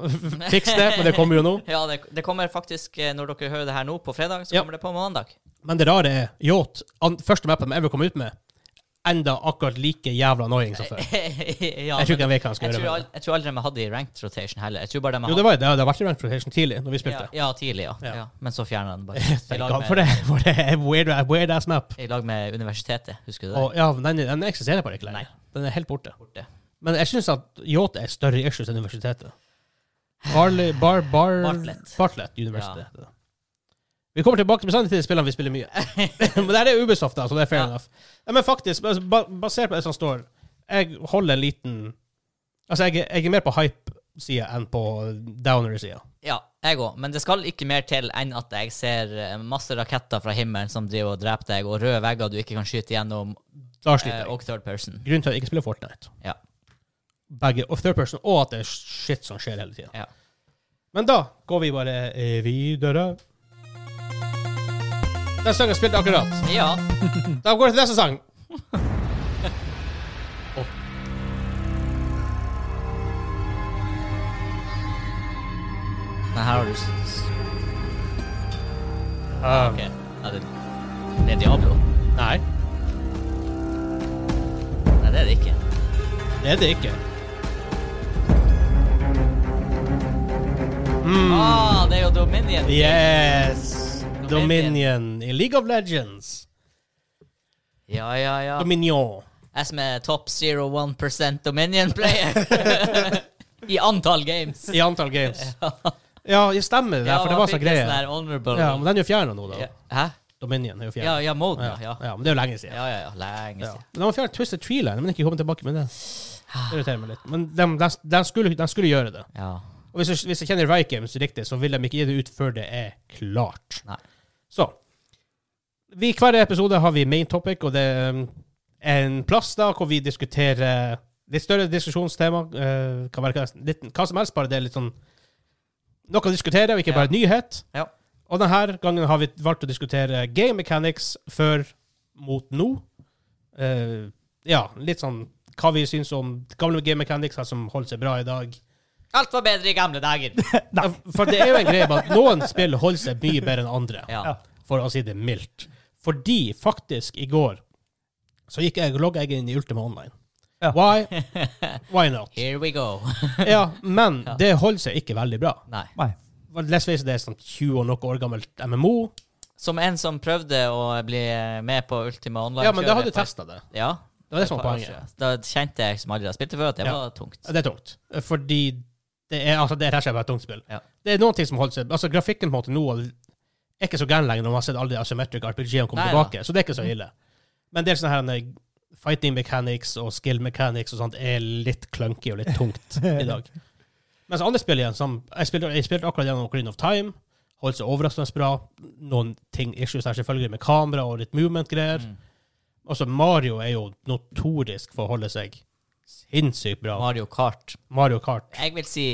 [SPEAKER 1] fiks det, men det kommer jo nå.
[SPEAKER 2] Ja, det, det kommer faktisk, eh, når dere hører det her nå på fredag, så
[SPEAKER 1] Ja.
[SPEAKER 2] kommer det på mandag.
[SPEAKER 1] Men det rare er, Yacht, an- første mappen de ever kom ut med, enda akkurat like jævla annoying som før.
[SPEAKER 2] ja,
[SPEAKER 1] Jeg tror ikke jeg
[SPEAKER 2] men
[SPEAKER 1] vet hva han skal
[SPEAKER 2] jeg
[SPEAKER 1] gjøre
[SPEAKER 2] tror,
[SPEAKER 1] med
[SPEAKER 2] al-
[SPEAKER 1] det.
[SPEAKER 2] jeg tror aldri de hadde i ranked rotation heller. Jeg tror bare de
[SPEAKER 1] Jo, det var det. Det har vært i ranked rotation tidlig, når vi
[SPEAKER 2] ja,
[SPEAKER 1] spilte.
[SPEAKER 2] ja, tidlig, ja.
[SPEAKER 1] Ja.
[SPEAKER 2] ja. Men så fjerna den bare. I
[SPEAKER 1] Thank
[SPEAKER 2] lag
[SPEAKER 1] God For
[SPEAKER 2] med,
[SPEAKER 1] det, for det er weird, weird ass map.
[SPEAKER 2] i lag med universitetet, husker du det?
[SPEAKER 1] Og ja, den, den eksisterer bare ikke lenger. Den er helt borte.
[SPEAKER 2] Borte.
[SPEAKER 1] Men jeg syns at Yacht er større issues enn universitetet. Barley, bar, bar,
[SPEAKER 2] Bartlett.
[SPEAKER 1] Bartlett Universitet. Vi kommer tilbake bestandig til de spillene vi spiller mye. men det her er Ubisoft, da, så det er fair
[SPEAKER 2] Ja.
[SPEAKER 1] enough. Nei, men faktisk, bas- ba- basert på det som står, jeg holder en liten Altså, jeg, jeg er mer på hype-sida enn på downer-sida.
[SPEAKER 2] Ja, jeg òg. Men det skal ikke mer til enn at jeg ser eh, masse raketter fra himmelen som driver og dreper deg, og røde vegger du ikke kan skyte gjennom,
[SPEAKER 1] Da sliter
[SPEAKER 2] eh,
[SPEAKER 1] jeg.
[SPEAKER 2] og third person.
[SPEAKER 1] Grunnen til at jeg ikke spiller Fortnite.
[SPEAKER 2] Ja.
[SPEAKER 1] Begge og third person, og at det er shit som skjer hele tida.
[SPEAKER 2] Ja.
[SPEAKER 1] Men da går vi bare eh, videre. Den sangen spilte jeg akkurat.
[SPEAKER 2] ja.
[SPEAKER 1] Da går vi til neste sang.
[SPEAKER 2] Men her har du s- s-
[SPEAKER 1] Um,
[SPEAKER 2] Ok. Ja, det, det er Diablo.
[SPEAKER 1] Nei,
[SPEAKER 2] Nei, det er det ikke.
[SPEAKER 1] det er det ikke.
[SPEAKER 2] Ah, det er jo Dominion.
[SPEAKER 1] Yes!
[SPEAKER 2] Dominion.
[SPEAKER 1] Dominion i League of Legends.
[SPEAKER 2] Ja, ja, ja.
[SPEAKER 1] Dominion.
[SPEAKER 2] Jeg som er top 0,1 Dominion-player. I antall games.
[SPEAKER 1] I antall games. Ja, det stemmer det, der, for det var så
[SPEAKER 2] Ja, man fikk en sånn
[SPEAKER 1] greie.
[SPEAKER 2] her honorable.
[SPEAKER 1] Ja, men den er jo fjerna nå, da.
[SPEAKER 2] Ja, Hæ?
[SPEAKER 1] Dominion er jo
[SPEAKER 2] Ja,
[SPEAKER 1] fjerna.
[SPEAKER 2] ja, Moden,
[SPEAKER 1] Ja,
[SPEAKER 2] ja.
[SPEAKER 1] ja, men det er jo lenge siden.
[SPEAKER 2] Ja, ja, ja. Lenge
[SPEAKER 1] Ja.
[SPEAKER 2] siden. Ah.
[SPEAKER 1] Men de har fjernet Twisted Tree Line, men ikke kommet tilbake med det. Det irriterer meg litt. Men de, de, de, skulle, de skulle gjøre det.
[SPEAKER 2] Ja.
[SPEAKER 1] Og hvis jeg, hvis jeg kjenner Riot Games riktig, så vil de ikke gi det ut før det er klart.
[SPEAKER 2] Nei.
[SPEAKER 1] Så vi, I hver episode har vi main topic, og det um, er en plass da hvor vi diskuterer litt større diskusjonstema. eh, kan være hva- litt, hva som helst, bare det er litt sånn noe å diskutere, og ikke bare nyhet.
[SPEAKER 2] Ja.
[SPEAKER 1] Og denne gangen har vi valgt å diskutere game mechanics før mot nå. Eh, ja, litt sånn hva vi syns om gamle game mechanics, hva som holder seg bra i dag.
[SPEAKER 2] Alt var bedre i gamle dager.
[SPEAKER 1] Ja, For det er jo en greie med at noen spill holder seg mye bedre enn andre,
[SPEAKER 2] Ja.
[SPEAKER 3] Ja.
[SPEAKER 1] for å si det mildt. Fordi faktisk, i går så gikk jeg logga jeg inn i Ultima Online.
[SPEAKER 3] Ja.
[SPEAKER 1] Why? Why not?
[SPEAKER 2] Here we go.
[SPEAKER 1] Ja, men det holder seg ikke veldig bra.
[SPEAKER 2] Nei.
[SPEAKER 3] Nei.
[SPEAKER 1] For Let's face it, det er sånn 20 og noe år gammelt MMO.
[SPEAKER 2] Som en som prøvde å bli med på Ultima Online.
[SPEAKER 1] Ja, men det
[SPEAKER 2] kjøret
[SPEAKER 1] hadde
[SPEAKER 2] for-
[SPEAKER 1] testa det.
[SPEAKER 2] Ja.
[SPEAKER 1] Det var det som
[SPEAKER 2] for
[SPEAKER 1] var
[SPEAKER 2] et par år
[SPEAKER 1] poenget.
[SPEAKER 2] siden. Da kjente jeg som aldri har spilt det før, at det
[SPEAKER 1] Ja.
[SPEAKER 2] var tungt.
[SPEAKER 1] Det er tungt. Fordi det er altså, det er rett og slett bare et tungt spill.
[SPEAKER 2] Ja.
[SPEAKER 1] Det er noen ting som holder seg Altså, grafikken på en måte nå er ikke så gæren lenger når man har sett alle de asymmetric RPG-ene komme
[SPEAKER 2] Nei,
[SPEAKER 1] tilbake, så det er ikke så ille. Men en del sånne her nei, fighting mechanics og skill mechanics og sånt er litt clunky og litt tungt i dag. Mens andre spill igjen, som Jeg spilte, jeg spilte akkurat gjennom Green of Time, holdt seg overraskende bra. Noen ting issues der selvfølgelig med kamera og litt movement-greier.
[SPEAKER 2] Mm.
[SPEAKER 1] Altså, Mario er jo notorisk for å holde seg sinnssykt bra.
[SPEAKER 2] Mario Kart.
[SPEAKER 1] Mario Kart.
[SPEAKER 2] Jeg vil si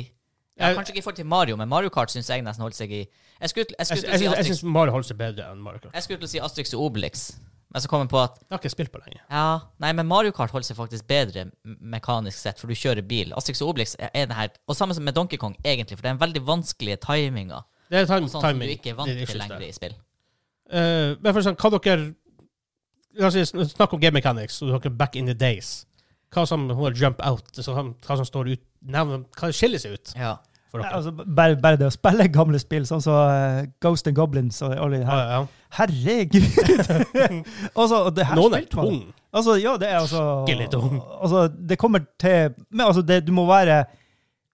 [SPEAKER 2] ja,
[SPEAKER 1] Jeg-
[SPEAKER 2] Kanskje ikke i forhold til Mario, men Mario Kart syns jeg nesten holdt seg i Jeg skulle, jeg
[SPEAKER 1] Jeg,
[SPEAKER 2] skulle,
[SPEAKER 1] sy-
[SPEAKER 2] til å
[SPEAKER 1] jeg,
[SPEAKER 2] si
[SPEAKER 1] syns- jeg
[SPEAKER 2] Asterix-
[SPEAKER 1] syns Mario holder seg bedre enn Mario Kart.
[SPEAKER 2] jeg skulle til å si Astrix og Obelix, men så kom jeg på at
[SPEAKER 1] Jeg har ikke spilt på lenge.
[SPEAKER 2] Ja, nei, men Mario Kart holder seg faktisk bedre m- mekanisk sett, for du kjører bil. Astrix og Obelix er, er det her Og samme som med Donkey Kong, egentlig, for det er en veldig vanskelige timinger.
[SPEAKER 1] Det er time,
[SPEAKER 2] Sånn som
[SPEAKER 1] timing.
[SPEAKER 2] du ikke er
[SPEAKER 1] det
[SPEAKER 2] vant
[SPEAKER 1] er issues
[SPEAKER 2] til
[SPEAKER 1] der.
[SPEAKER 2] lenger i spill.
[SPEAKER 1] Eh, men for eksempel, hva dere La oss si, sn- snakke om game mechanics og dere back in the days. Hva som hun har jump out, så han- hva som står ut nevn, Hva skiller seg ut
[SPEAKER 2] Ja.
[SPEAKER 1] for dere?
[SPEAKER 3] Altså, bare, bare det å spille gamle spill, sånn som eh, Ghost and Goblins og alle de her.
[SPEAKER 1] ja, ja.
[SPEAKER 3] Herregud! altså, og det her
[SPEAKER 1] Noen er
[SPEAKER 3] spilte man-
[SPEAKER 1] tung.
[SPEAKER 3] Altså, ja, det er altså
[SPEAKER 1] Skikkelig tung.
[SPEAKER 3] Altså, det kommer til Men altså, det, du må være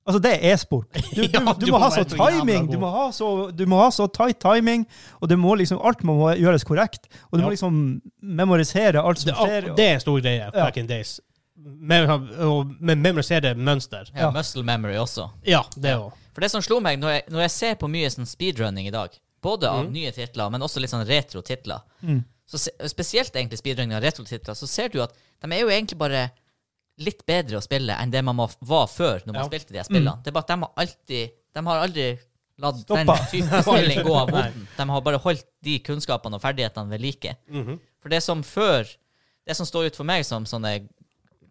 [SPEAKER 3] Altså, det er e-sport. Du, du,
[SPEAKER 1] Ja,
[SPEAKER 3] du, må ha så
[SPEAKER 1] være så jævla
[SPEAKER 3] timing! Du
[SPEAKER 1] god.
[SPEAKER 3] må ha så, du må ha så tight timing, og du må liksom Alt må gjøres korrekt. Og du må
[SPEAKER 1] Ja.
[SPEAKER 3] liksom memorisere alt som
[SPEAKER 1] Det,
[SPEAKER 3] skjer.
[SPEAKER 1] det er en stor greie
[SPEAKER 3] Ja.
[SPEAKER 1] back in the days. Med, og med memorisere mønster.
[SPEAKER 2] ja.
[SPEAKER 3] Ja.
[SPEAKER 2] Muscle memory også.
[SPEAKER 1] Ja, det òg.
[SPEAKER 2] For det som slo meg når jeg, når jeg ser på mye sånn speedrunning i dag, både av nye titler, men også litt sånn retro-titler, så se, spesielt egentlig speedrunning av retro-titler, så ser du at de er jo egentlig bare litt bedre å spille enn det man må- var før når man
[SPEAKER 1] Ja.
[SPEAKER 2] spilte de her spillene. Det er bare at de har alltid De har aldri latt
[SPEAKER 3] Stoppa.
[SPEAKER 2] den type spilling gå av moten. De har bare holdt de kunnskapene og ferdighetene ved like. For det som før Det som står ut for meg som sånne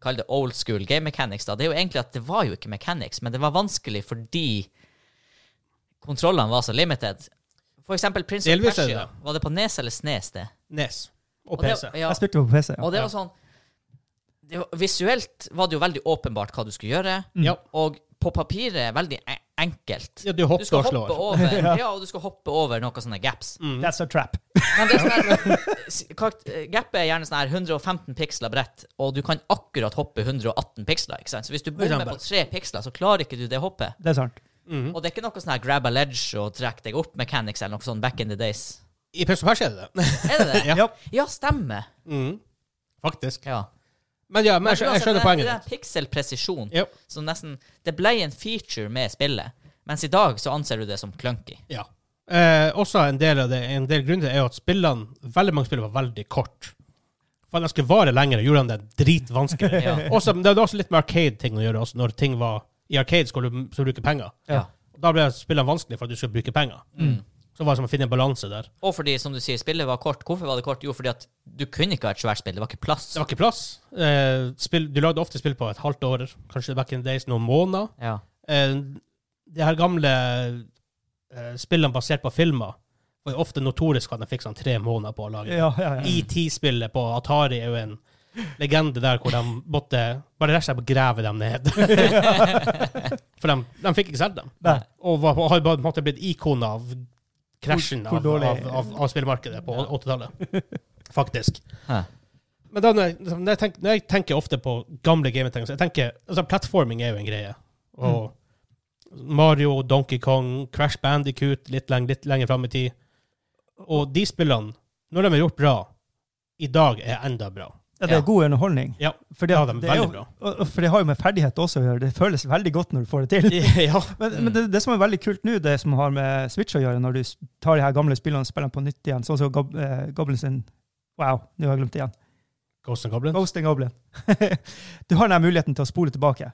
[SPEAKER 2] Kall det old school game mechanics, da. Det er jo egentlig at det var jo ikke mechanics, men det var vanskelig fordi kontrollene var så limited. For eksempel Prince of
[SPEAKER 1] Delvis er det
[SPEAKER 2] Persia. Var det på Nes eller Snes, det?
[SPEAKER 1] Nes E og
[SPEAKER 2] Og det-
[SPEAKER 1] PC.
[SPEAKER 2] Ja,
[SPEAKER 3] Jeg spilte jo på PC. Ja.
[SPEAKER 2] og det var
[SPEAKER 1] Ja.
[SPEAKER 2] sånn det var, Visuelt var det jo veldig åpenbart hva du skulle gjøre,
[SPEAKER 1] Ja.
[SPEAKER 2] og på papiret veldig e- enkelt.
[SPEAKER 1] ja, du hopper
[SPEAKER 2] Du skal
[SPEAKER 1] og slår.
[SPEAKER 2] hoppe over, ja, og du skal hoppe over noen sånne gaps.
[SPEAKER 3] Mm. That's a trap.
[SPEAKER 2] Men det er sånn her, s- karakt- eh, Gapet er gjerne sånn her 115 piksler bredt, og du kan akkurat hoppe 118 piksler. ikke sant? Så hvis du bommer på tre piksler, så klarer ikke du det hoppet.
[SPEAKER 3] Det er sant.
[SPEAKER 1] Mhm.
[SPEAKER 2] Og det er ikke noe sånn her grab a ledge og trekk deg opp mechanics eller noe sånn back in the days.
[SPEAKER 1] I Prince of Persia er det det.
[SPEAKER 2] Er det det?
[SPEAKER 1] Ja.
[SPEAKER 3] Ja.
[SPEAKER 2] Ja, stemmer.
[SPEAKER 1] Mhm. Faktisk.
[SPEAKER 2] Ja.
[SPEAKER 1] Men ja, men jeg, skjø- jeg skjønner poenget
[SPEAKER 2] Det
[SPEAKER 1] ditt.
[SPEAKER 2] er pikselpresisjon
[SPEAKER 1] Ja.
[SPEAKER 2] som nesten Det ble en feature med spillet, mens i dag så anser du det som clunky.
[SPEAKER 1] Ja. Eh, også en del av det, en del grunner er jo at spillene, veldig mange spiller var veldig kort. For at de skulle vare lenger, gjorde de det dritvanskelig.
[SPEAKER 2] Ja.
[SPEAKER 1] også, men det hadde også litt med Arcade-ting å gjøre, også, når ting var i Arcade skulle du skulle bruke penger.
[SPEAKER 2] Ja. Mm.
[SPEAKER 1] Og Da ble spillene vanskelig for at du skulle bruke penger. Så var det som å finne en balanse der.
[SPEAKER 2] Og fordi, som du sier, spillet var kort. Hvorfor var det kort? Jo, fordi at du kunne ikke ha et svært spill. Det var ikke plass.
[SPEAKER 1] Det var ikke plass. Eh, spill, du lagde ofte spill på et halvt år, kanskje back in the days, noen måneder.
[SPEAKER 2] Ja.
[SPEAKER 1] Eh, de her gamle eh, spillene basert på filmer var jo ofte notorisk for at de fikk sånn tre måneder på å lage.
[SPEAKER 3] Ja, ja, ja.
[SPEAKER 1] ET-spillet på Atari er jo en legende der hvor de måtte bare rett og slett grave dem ned. For de, de fikk ikke solgt dem.
[SPEAKER 3] Nei.
[SPEAKER 1] Og var, har bare på en måte blitt ikoner av krasjen
[SPEAKER 3] Hvor-
[SPEAKER 1] av,
[SPEAKER 3] hvor
[SPEAKER 1] av,
[SPEAKER 3] dårlig-
[SPEAKER 1] av, av spillmarkedet på
[SPEAKER 2] Ja.
[SPEAKER 1] 80-tallet. Faktisk.
[SPEAKER 2] Hæ.
[SPEAKER 1] Men da, når, jeg, liksom, når, jeg tenker, når jeg tenker ofte på gamle gameting, så jeg tenker altså Platforming er jo en greie. Og Mario, Donkey Kong, Crash Bandicoot litt, leng, litt lenger fram i tid. Og de spillene, når de er gjort bra, i dag er enda bra.
[SPEAKER 3] Ja, det
[SPEAKER 2] Ja.
[SPEAKER 3] er god underholdning.
[SPEAKER 1] Ja,
[SPEAKER 3] For
[SPEAKER 1] det
[SPEAKER 3] det,
[SPEAKER 1] har de
[SPEAKER 3] det er
[SPEAKER 1] veldig
[SPEAKER 3] jo,
[SPEAKER 1] bra.
[SPEAKER 3] og- og- for det har jo med ferdighet også å gjøre. Det føles veldig godt når du får det til.
[SPEAKER 1] ja.
[SPEAKER 3] Men, men det, det som er veldig kult nå, det som har med Switch å gjøre, når du s- tar de her gamle spillene og spiller dem på nytt igjen, sånn som Gob eh, Goblin sin Wow, nå har jeg glemt det igjen.
[SPEAKER 1] Ghost and Goblin.
[SPEAKER 3] Ghost and Goblin. du har den her muligheten til å spole tilbake.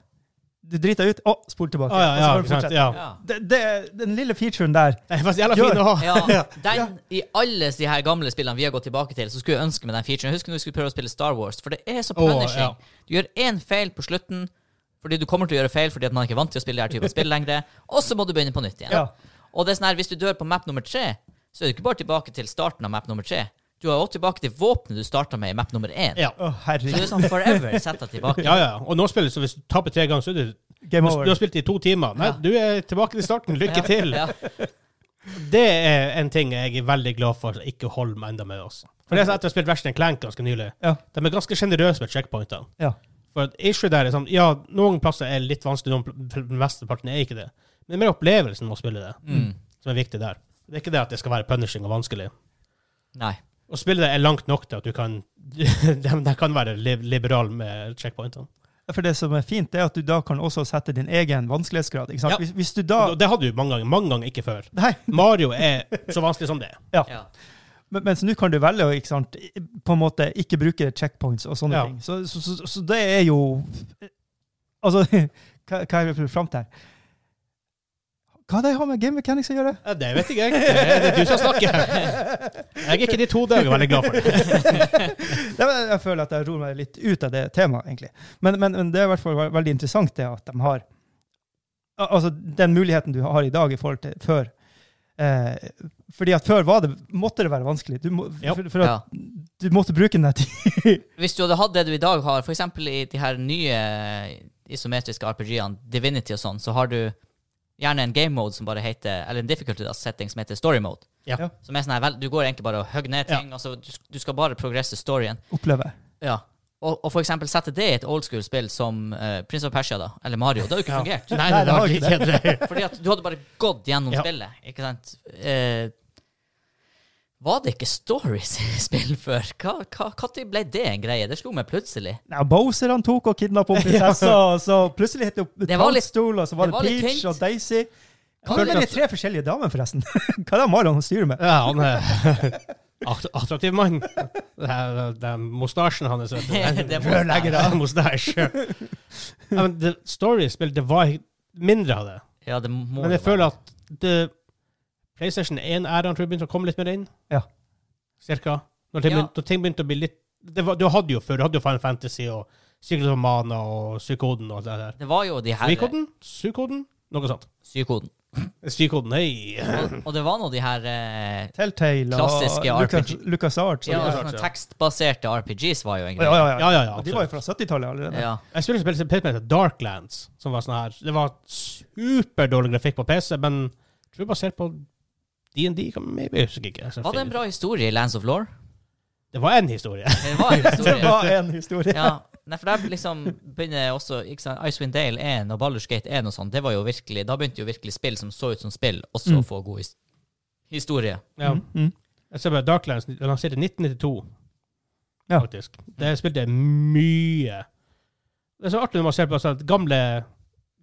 [SPEAKER 3] Du driter deg ut, å, spol tilbake.
[SPEAKER 1] Å, ja, ja,
[SPEAKER 3] og så
[SPEAKER 1] ikke
[SPEAKER 3] kan du
[SPEAKER 1] sant,
[SPEAKER 3] fortsette.
[SPEAKER 1] ja.
[SPEAKER 2] Ja.
[SPEAKER 3] Det, det, den lille featuren der
[SPEAKER 1] Det er faktisk jævla fin å ha.
[SPEAKER 2] Ja, den, I alle de her gamle spillene vi har gått tilbake til, så skulle jeg ønske med den featuren. Jeg husker når vi skulle prøve å spille Star Wars, for det er så
[SPEAKER 1] Åh,
[SPEAKER 2] punishing.
[SPEAKER 1] ja.
[SPEAKER 2] Du gjør én feil på slutten, fordi du kommer til å gjøre feil fordi at man ikke er vant til å spille de her typen spill lenger, og så må du begynne på nytt igjen.
[SPEAKER 3] Ja.
[SPEAKER 2] Og det er sånn her, hvis du dør på map nummer tre, så er du ikke bare tilbake til starten av map nummer tre. Du er også tilbake til våpenet du starta med i map nummer én.
[SPEAKER 1] Ja.
[SPEAKER 3] Å,
[SPEAKER 2] Så du er
[SPEAKER 3] herregud.
[SPEAKER 2] sånn forever sett deg tilbake.
[SPEAKER 1] Ja, ja. Og nå spiller så hvis du taper tre ganger, så er du Du
[SPEAKER 3] Game
[SPEAKER 1] har
[SPEAKER 3] over.
[SPEAKER 1] spilt i to timer. Nei,
[SPEAKER 2] Ja.
[SPEAKER 1] du er tilbake til starten. Lykke til.
[SPEAKER 2] Ja.
[SPEAKER 1] Det er en ting jeg er veldig glad for at jeg ikke holder meg enda med. Også. For det er sånn at jeg har spilt Ratchet Clank ganske nylig.
[SPEAKER 3] Ja.
[SPEAKER 1] De er ganske sjenerøse med checkpointene.
[SPEAKER 3] Ja.
[SPEAKER 1] For at issue der er sånn, ja, noen plasser er litt vanskelig, noen pl- pl- mesteparten er ikke det. Men det er mer opplevelsen med å spille det
[SPEAKER 2] Mm.
[SPEAKER 1] som er viktig der. Det er ikke det at det skal være punishing og vanskelig.
[SPEAKER 2] Nei.
[SPEAKER 1] Å spille det er langt nok til at du kan De, de kan være li liberale med checkpointene.
[SPEAKER 3] For det som er fint, det er at du da kan også sette din egen vanskelighetsgrad. Ikke sant?
[SPEAKER 1] Ja.
[SPEAKER 3] Hvis, hvis du da
[SPEAKER 1] Det hadde du mange ganger, mange ganger ikke før.
[SPEAKER 3] Nei,
[SPEAKER 1] Mario er så vanskelig som det.
[SPEAKER 2] Ja.
[SPEAKER 3] men, mens nå kan du velge å ikke sant, på en måte ikke bruke checkpoints og sånne
[SPEAKER 1] Ja.
[SPEAKER 3] ting. Så, så, så, så det er jo Altså, hva, hva er det fram til her? Hva har det har med game mechanics å gjøre?
[SPEAKER 1] Ja, det vet ikke jeg. Eh, Det er det du som snakker. Jeg er ikke de to der, jeg er veldig glad for det.
[SPEAKER 3] Det er- jeg føler at jeg ror meg litt ut av det temaet, egentlig. Men, men, men det er i hvert fall ve- veldig interessant det at de har al- Altså den muligheten du har i dag i forhold til før. Eh, fordi at før var det, måtte det være vanskelig. Du, må,
[SPEAKER 1] Ja.
[SPEAKER 3] for, for at du måtte bruke den der tiden.
[SPEAKER 2] Hvis du hadde hatt det du i dag har, f.eks. i de her nye eh, isometriske RPG-ene, Divinity og sånn, så har du gjerne en game mode som bare heter Eller en difficulty da, setting som heter story mode.
[SPEAKER 1] Ja.
[SPEAKER 3] Ja.
[SPEAKER 2] Som er sånn her, vel, Du går egentlig bare og hogger ned ting. Altså, du, du skal bare progresse storyen.
[SPEAKER 3] Oppleve.
[SPEAKER 2] Ja. Og, og for eksempel sette det i et old school-spill som eh, Prince of Persia, da, eller Mario. Det hadde jo ikke fungert.
[SPEAKER 1] Nei, det var litt kjedelig.
[SPEAKER 2] Fordi at du hadde bare gått gjennom
[SPEAKER 1] Ja.
[SPEAKER 2] spillet, ikke sant? Eh, var det ikke stories i spill før? Hva, hva, når ble det en greie? Det slo meg plutselig.
[SPEAKER 3] Nei, Bowser han tok og kidnappa prinsessa, og så plutselig het det jo
[SPEAKER 2] Det var litt-
[SPEAKER 3] Tannstol, og så var
[SPEAKER 2] det
[SPEAKER 3] det,
[SPEAKER 2] var litt
[SPEAKER 3] Peach
[SPEAKER 2] tynt.
[SPEAKER 3] og Daisy. Hva
[SPEAKER 1] følte
[SPEAKER 3] er det
[SPEAKER 1] at-
[SPEAKER 3] tre forskjellige damer, forresten? Hva er det Marlon styrer med?
[SPEAKER 1] Ja, han er att- attraktiv mann. Det her- eh, Den mostasjen hans, vet du. Den-
[SPEAKER 2] Det er
[SPEAKER 1] Rørleggere av mostasj. Ja, men det- Story-spill, det var mindre av det.
[SPEAKER 2] Ja, det må
[SPEAKER 1] Men jeg
[SPEAKER 2] jo
[SPEAKER 1] føler
[SPEAKER 2] være.
[SPEAKER 1] at det, PlayStation 1-æraen tror jeg begynte å komme litt mer inn.
[SPEAKER 3] Ja.
[SPEAKER 1] Cirka. Når ting,
[SPEAKER 2] Ja.
[SPEAKER 1] begynte, når ting begynte å bli litt det var, Du hadde jo før, du hadde jo Final Fantasy og Secret of Mana og Psykoden og det der.
[SPEAKER 2] Det var jo de her
[SPEAKER 1] Vikoden? Sukoden? Noe sånt.
[SPEAKER 2] Sykoden.
[SPEAKER 1] Sykoden, hei.
[SPEAKER 2] Og, og det var nå de her eh,
[SPEAKER 3] Telltale og
[SPEAKER 2] Klassiske
[SPEAKER 3] Lucas,
[SPEAKER 2] RPG.
[SPEAKER 3] Lucas Arts.
[SPEAKER 1] det
[SPEAKER 2] ja,
[SPEAKER 1] er klart,
[SPEAKER 2] sånne
[SPEAKER 1] ja.
[SPEAKER 2] tekstbaserte RPGs var jo en
[SPEAKER 3] Ja,
[SPEAKER 2] greie.
[SPEAKER 3] ja, ja.
[SPEAKER 1] Ja, ja, ja.
[SPEAKER 3] Og De var jo
[SPEAKER 1] absolutt.
[SPEAKER 3] fra 70-tallet allerede.
[SPEAKER 2] Ja.
[SPEAKER 1] Jeg spiller spill som PC heter Darklands, som var sånn her Det var superdårlig grafikk på PC, men jeg tror basert på DND, kan- maybe, jeg husker ikke.
[SPEAKER 2] Var det en bra historie i Lands of Law?
[SPEAKER 1] Det var en historie.
[SPEAKER 2] Det var en
[SPEAKER 3] Det
[SPEAKER 2] historie.
[SPEAKER 3] var en historie.
[SPEAKER 2] Ja. Nei, for der liksom begynner også ikke sant, Icewind Dale 1 og Baldur's Gate 1 og sånn, det var jo virkelig Da begynte jo virkelig spill som så ut som spill, også
[SPEAKER 3] Mm.
[SPEAKER 2] å få god his historie.
[SPEAKER 1] Ja.
[SPEAKER 3] Mm, mm.
[SPEAKER 1] Mhm. Jeg ser bare Darklands den lanserte i 1992,
[SPEAKER 3] Ja.
[SPEAKER 1] faktisk. Det spilte mye. Det er så artig når man ser på sånn at gamle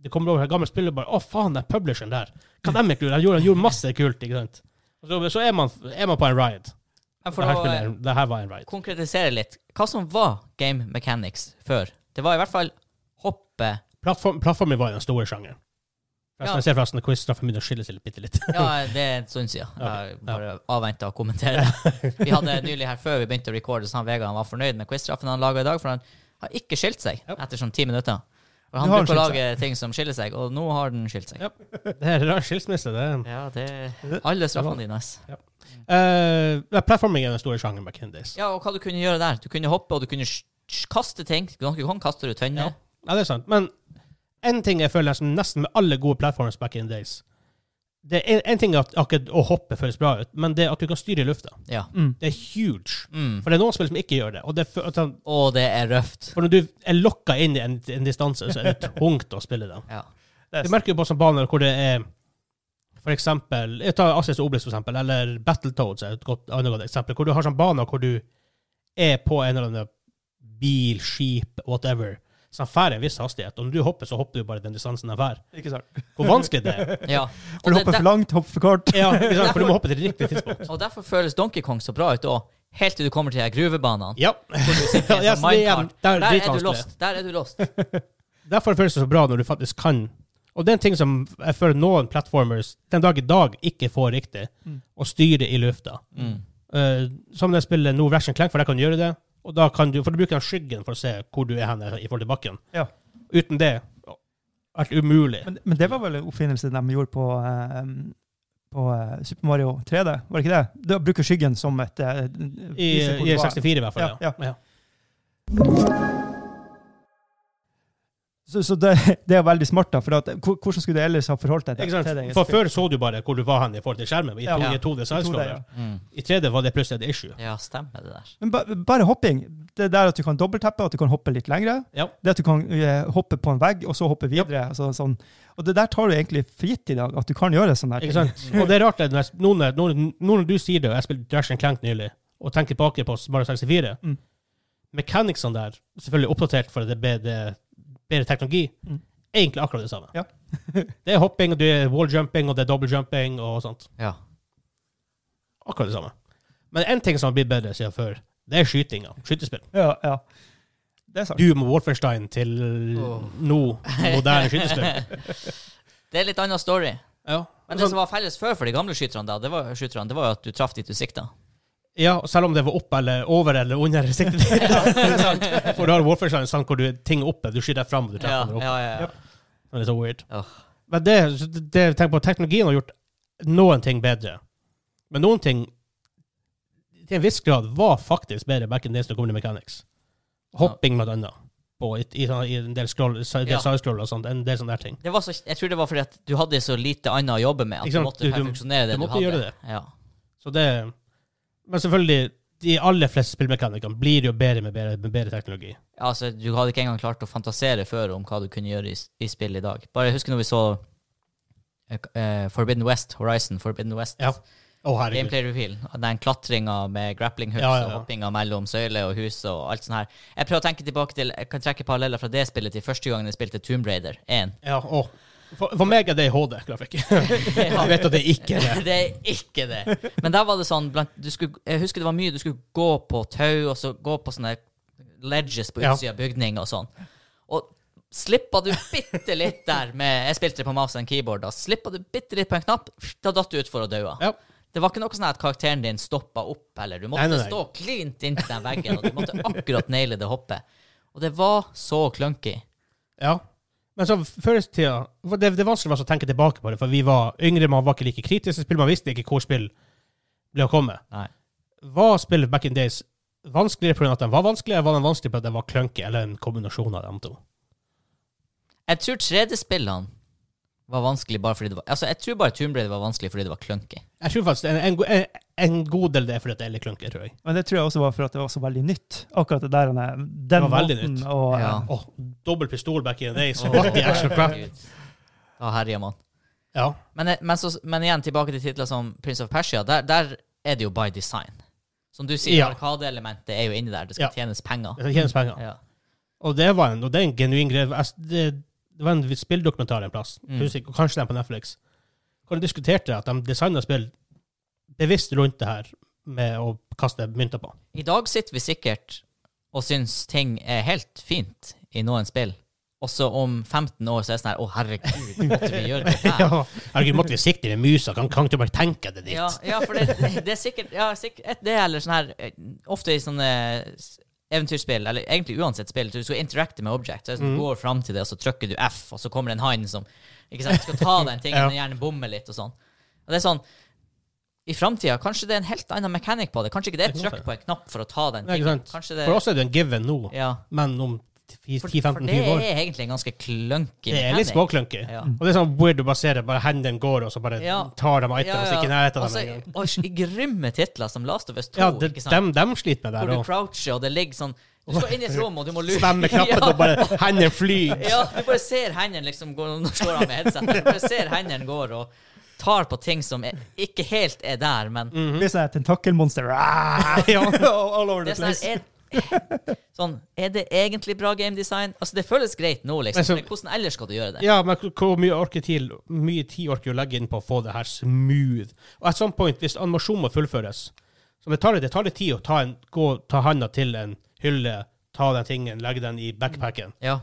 [SPEAKER 1] det kommer over her, gamle spillere bare 'Å, faen, den publisheren der. Hva de ikke gjorde? De gjorde, de gjorde masse kult.' ikke sant? Og så, så er, man, er man på en ride.
[SPEAKER 2] Men
[SPEAKER 1] Det
[SPEAKER 2] for
[SPEAKER 1] her,
[SPEAKER 2] å eh,
[SPEAKER 1] spillet, det her var en ride.
[SPEAKER 2] konkretisere litt, hva som var game mechanics før? Det var i hvert fall hoppe
[SPEAKER 1] Plattform, plattformen var jo den store sjangeren. Forresten,
[SPEAKER 2] Ja.
[SPEAKER 1] Jeg ser forresten at quiz-straffen begynner å skille seg litt, bitte litt.
[SPEAKER 2] Ja, det er en stund siden. Jeg
[SPEAKER 1] Ok, ja.
[SPEAKER 2] bare avventa å kommentere. Vi hadde nylig her før vi begynte å recorde, så han Vegard han var fornøyd med quizstraffen han laga i dag, for han har ikke skilt seg
[SPEAKER 1] Ja.
[SPEAKER 2] etter sånn ti minutter. Og
[SPEAKER 3] Nå
[SPEAKER 2] han
[SPEAKER 3] har han
[SPEAKER 2] bruker å
[SPEAKER 3] skilt
[SPEAKER 2] lage ting som skiller seg, og nå har den skilt seg.
[SPEAKER 1] Ja. Det her er en skilsmisse, det.
[SPEAKER 2] Ja, det Alle straffene dine, ass.
[SPEAKER 1] Eh, nei, plattforming er den store sjangeren back in days.
[SPEAKER 2] Ja, og hva du kunne gjøre der? Du kunne hoppe, og du kunne sj- sj- kaste ting. Donkey Kong kaster du tønner.
[SPEAKER 1] Ja, det er sant. Men en ting jeg føler som nesten med alle gode platformers back in days det er en, en ting er at akkurat å hoppe føles bra ut, men det at du kan styre i lufta,
[SPEAKER 2] Ja.
[SPEAKER 3] Mm.
[SPEAKER 1] det er huge.
[SPEAKER 2] Mm.
[SPEAKER 1] For det er noen spill som ikke gjør det. Og det er for, at han-
[SPEAKER 2] Å, det er røft.
[SPEAKER 1] for når du er lokka inn i en, en distanse, så er det tungt å spille dem.
[SPEAKER 2] Ja.
[SPEAKER 1] Du merker jo på sånne baner hvor det er for eksempel, jeg tar Assist Obelix for eksempel, eller Battletoads er et godt, annet godt eksempel, hvor du har sånne baner hvor du er på en eller annen bil, skip, whatever, som fær en viss hastighet, og når du hopper, så hopper du bare den distansen den fær.
[SPEAKER 3] Ikke sant?
[SPEAKER 1] Hvor vanskelig det er.
[SPEAKER 2] ja.
[SPEAKER 3] For du hopper for langt, hopper for kort.
[SPEAKER 1] Ja, ikke sant? for du må hoppe til riktig tidspunkt.
[SPEAKER 2] Og derfor føles Donkey Kong så bra ut òg, helt til du kommer til de her gruvebanene.
[SPEAKER 1] Ja. Ja, så det er, det er
[SPEAKER 2] sånn Der er du
[SPEAKER 1] dritvanskelig.
[SPEAKER 2] lost. Der er du lost.
[SPEAKER 1] Derfor føles det så bra når du faktisk kan. Og det er en ting som jeg føler noen platformers den dag i dag ikke får riktig,
[SPEAKER 3] Mm.
[SPEAKER 1] å styre i lufta.
[SPEAKER 2] Mm.
[SPEAKER 1] Eh, som det spillet No Ration Clank, for der kan du gjøre det. Og da kan du, for du bruker den skyggen for å se hvor du er hen eh, i forhold til bakken.
[SPEAKER 3] Ja.
[SPEAKER 1] Uten det alt umulig.
[SPEAKER 3] Men, men det var vel en oppfinnelse de gjorde på, eh, på eh, Super Mario 3D, var det ikke det? Det å bruke skyggen som et eh,
[SPEAKER 1] I,
[SPEAKER 3] viser hvor
[SPEAKER 1] I
[SPEAKER 3] du var.
[SPEAKER 1] 64 i hvert fall.
[SPEAKER 3] Ja,
[SPEAKER 1] Ja, ja.
[SPEAKER 3] Så, så det, det er veldig smart, da. For at, hvor- hvordan skulle du ellers ha forholdt deg
[SPEAKER 1] Ikke
[SPEAKER 3] til
[SPEAKER 1] sant?
[SPEAKER 3] til det? i et
[SPEAKER 1] For
[SPEAKER 3] spill?
[SPEAKER 1] før så du bare hvor du var hen i forhold til skjermen. I
[SPEAKER 3] Ja.
[SPEAKER 1] to-
[SPEAKER 2] Ja.
[SPEAKER 1] i 2D
[SPEAKER 3] I 2D,
[SPEAKER 1] sidescroller.
[SPEAKER 3] ja.
[SPEAKER 2] Mm.
[SPEAKER 1] I 3D var det plutselig et issue.
[SPEAKER 2] Ja, stemmer det der.
[SPEAKER 3] Men ba, bare hopping. Det der at du kan dobbeltteppe, at du kan hoppe litt lengre.
[SPEAKER 1] Ja.
[SPEAKER 3] Det at du kan eh, hoppe på en vegg, og så hoppe videre. Altså, sånn. Og det der tar du egentlig for gitt i dag, at du kan gjøre sånne her
[SPEAKER 1] Ikke
[SPEAKER 3] ting.
[SPEAKER 1] sant? Og det er rart at når jeg- nå når, nå nå når du sier det, og jeg spilte Dash and Clank nylig, og tenker tilbake på Mario 64
[SPEAKER 3] Mm.
[SPEAKER 1] Mechanicsene der, selvfølgelig oppdatert for det ble det bedre teknologi,
[SPEAKER 3] Mm.
[SPEAKER 1] egentlig akkurat det samme.
[SPEAKER 3] Ja.
[SPEAKER 1] det er hopping, og det er walljumping, og det er dobbeltjumping og sånt.
[SPEAKER 2] Ja.
[SPEAKER 1] Akkurat det samme. Men én ting som har blitt bedre siden før, det er skytinga. Skytespill.
[SPEAKER 3] Ja, ja. Det er sant.
[SPEAKER 1] Doom og Wolfenstein til
[SPEAKER 2] Åh.
[SPEAKER 1] nå moderne skytespill.
[SPEAKER 2] Det er litt annen story.
[SPEAKER 1] Ja.
[SPEAKER 2] Men det som var felles før for de gamle skyterne, da, det var, skyterne, det var jo at du traff dit du sikta.
[SPEAKER 1] ja, selv om det var opp eller over eller under siktet ditt. Sant? For du har Wolfenstein sant, hvor du, ting er oppe, du skyter deg fram og du
[SPEAKER 2] Ja,
[SPEAKER 1] treffer ja,
[SPEAKER 2] ja, ja, ja.
[SPEAKER 1] Det er så weird.
[SPEAKER 2] Ja.
[SPEAKER 1] Men det, det, tenk på, teknologien har gjort noen ting bedre. Men noen ting til en viss grad var faktisk bedre back in days når det kom til mechanics. Hopping, blant annet. På, i, i, sånn- I en del scroll, en del
[SPEAKER 2] Ja.
[SPEAKER 1] sidescroll og sånt. En del sånne der ting.
[SPEAKER 2] Det var så, jeg tror det var fordi at du hadde så lite annet å jobbe med. At
[SPEAKER 1] Ikke
[SPEAKER 2] du
[SPEAKER 1] sant?
[SPEAKER 2] måtte
[SPEAKER 1] Du- du-
[SPEAKER 2] perfeksjonere
[SPEAKER 1] du
[SPEAKER 2] det du,
[SPEAKER 1] måtte
[SPEAKER 2] hadde.
[SPEAKER 1] gjøre det.
[SPEAKER 2] Ja.
[SPEAKER 1] Så det Men selvfølgelig, de aller fleste spillmekanikerne blir jo bedre med bedre, med bedre teknologi.
[SPEAKER 2] Ja, Altså, du hadde ikke engang klart å fantasere før om hva du kunne gjøre i, s- i spill i dag. Bare husker når vi så eh, k- eh, Forbidden West, Horizon Forbidden West.
[SPEAKER 1] Ja. Å, herregud.
[SPEAKER 2] Gameplay reveal. Den klatringa med grappling hooks
[SPEAKER 1] Ja, ja, ja.
[SPEAKER 2] og hoppinga mellom søyler og hus og alt sånt her. Jeg prøver å tenke tilbake til Jeg kan trekke paralleller fra det spillet til første gangen jeg spilte Tomb Raider 1.
[SPEAKER 1] Ja, å. For, for meg er det HD-grafikk. Jeg vet at det ikke er det.
[SPEAKER 2] Det er ikke det. Men der var det sånn blant, du skulle, Jeg husker det var mye du skulle gå på tau, og så gå på sånne ledges på
[SPEAKER 1] Ja.
[SPEAKER 2] utsida av bygning og sånn. Og slippa du bitte litt der med Jeg spilte det på mouse and keyboard, da. Slippa du bitte litt på en knapp, da datt du utfor og daua.
[SPEAKER 1] Ja.
[SPEAKER 2] Det var ikke noe sånn at karakteren din stoppa opp, eller du måtte
[SPEAKER 1] Nei, nei, nei.
[SPEAKER 2] stå klint inntil den veggen, og du måtte akkurat naile det hoppet. Og det var så clunky.
[SPEAKER 1] Ja. Men så før i tida for det, det er vanskelig for oss å tenke tilbake på det, for vi var yngre, man var ikke like kritisk til spill, man visste ikke hvor spill ble å komme.
[SPEAKER 2] Nei.
[SPEAKER 1] Var spillet back in days vanskeligere pga. at de var vanskelige, eller var de vanskelige pga. at de var clunky, eller en kombinasjon av dem to?
[SPEAKER 2] Jeg tror 3D-spillene var vanskelig bare fordi det var Altså, jeg tror bare Tomb Raider var vanskelig fordi det var clunky.
[SPEAKER 1] Jeg tror faktisk en, en, go- en, en god del det er fordi at det er litt clunky, tror jeg.
[SPEAKER 3] Men det tror jeg også var for at det var så veldig nytt. Akkurat det der, den,
[SPEAKER 1] Det
[SPEAKER 3] den
[SPEAKER 1] var veldig
[SPEAKER 3] måten
[SPEAKER 1] nytt.
[SPEAKER 3] å eh,
[SPEAKER 2] Ja.
[SPEAKER 1] Åh, dobbel pistol back in the days.
[SPEAKER 2] Åh,
[SPEAKER 1] What the actual crap?
[SPEAKER 2] herregud. Da herjer man.
[SPEAKER 1] Ja.
[SPEAKER 2] Men, eh, men, så, men igjen, tilbake til titler som Prince of Persia. Der, der er det jo by design. Som du sier,
[SPEAKER 1] Ja.
[SPEAKER 2] arkadeelementet er jo inni der. Det
[SPEAKER 1] Ja.
[SPEAKER 2] skal tjenes penger.
[SPEAKER 1] Det tjenes penger.
[SPEAKER 2] Ja.
[SPEAKER 1] Og det var en, og det er en genuin greie. Jeg- Det, det var en spilldokumentar en plass,
[SPEAKER 2] Mm.
[SPEAKER 1] Husker ikke, kanskje den på Netflix, hvor de diskuterte at de designa spill bevisst rundt det her med å kaste mynter på.
[SPEAKER 2] I dag sitter vi sikkert og syns ting er helt fint i noen spill. Også om 15 år så er det sånn her Å, herregud, måtte vi gjøre det her?
[SPEAKER 1] Ja. Herregud, måtte vi sikte med musa? Kan, kan ikke du bare tenke det dit?
[SPEAKER 2] Ja, ja for det, det er sikkert ja, sikkert, et- Det eller sånn her eh, Ofte i sånne s- eventyrspill, eller egentlig uansett spill, du skal interacte med object. Så
[SPEAKER 1] Mm.
[SPEAKER 2] du går fram til det, og så trykker du F, og så kommer det en hand som ikke sant, skal ta den tingen,
[SPEAKER 1] Ja.
[SPEAKER 2] og gjerne bommer litt og sånn. Og det er sånn I framtida kanskje det er en helt annen mechanic på det. Kanskje ikke det er et
[SPEAKER 1] Det kan
[SPEAKER 2] trykk på en knapp for å ta den
[SPEAKER 1] Nei, ikke
[SPEAKER 2] tingen.
[SPEAKER 1] sant?
[SPEAKER 2] Kanskje det
[SPEAKER 1] For oss er det en given nå,
[SPEAKER 2] ja.
[SPEAKER 1] men om
[SPEAKER 2] For, for det
[SPEAKER 1] 10-15-20 år
[SPEAKER 2] er egentlig en ganske
[SPEAKER 1] Det
[SPEAKER 2] klunky
[SPEAKER 1] er litt
[SPEAKER 2] mechanic.
[SPEAKER 1] småklunky.
[SPEAKER 2] Ja.
[SPEAKER 1] Og det er sånn weird å basere bare hendene går, og så bare
[SPEAKER 2] Ja.
[SPEAKER 1] tar de items ikke i nærheten av
[SPEAKER 2] Altså,
[SPEAKER 1] dem engang.
[SPEAKER 2] og i grymme titler som Last of Us 2,
[SPEAKER 1] Ja, det-
[SPEAKER 2] ikke sant?
[SPEAKER 1] dem, dem sliter med det
[SPEAKER 2] hvor
[SPEAKER 1] her
[SPEAKER 2] du
[SPEAKER 1] òg.
[SPEAKER 2] croucher, og det ligger sånn Du skal inn i et rom, og du må lure
[SPEAKER 1] Spemme knappen
[SPEAKER 2] ja,
[SPEAKER 1] og bare hendene flyr.
[SPEAKER 2] ja, du bare ser hendene liksom gå Nå står han med headset. Du bare ser hendene går og tar på ting som er, ikke helt er der, men
[SPEAKER 1] Mm.
[SPEAKER 3] Det blir sånn her tentakelmonster ah,
[SPEAKER 1] Mhm. Ja.
[SPEAKER 3] all over
[SPEAKER 2] det
[SPEAKER 3] the
[SPEAKER 2] er sånn
[SPEAKER 3] place.
[SPEAKER 2] her, er, sånn, er det egentlig bra gamedesign? Altså, det føles greit nå, liksom.
[SPEAKER 1] Men så-
[SPEAKER 2] men hvordan ellers skal du gjøre det?
[SPEAKER 1] Ja, men hvor- hvor mye orker tid, mye tid orker du å legge inn på å få det her smooth? Og at some point, hvis animasjonen må fullføres så det tar, litt- det tar litt tid å ta, en, gå, ta handa til en hylle, ta den tingen, legge den i backpacken.
[SPEAKER 2] Ja.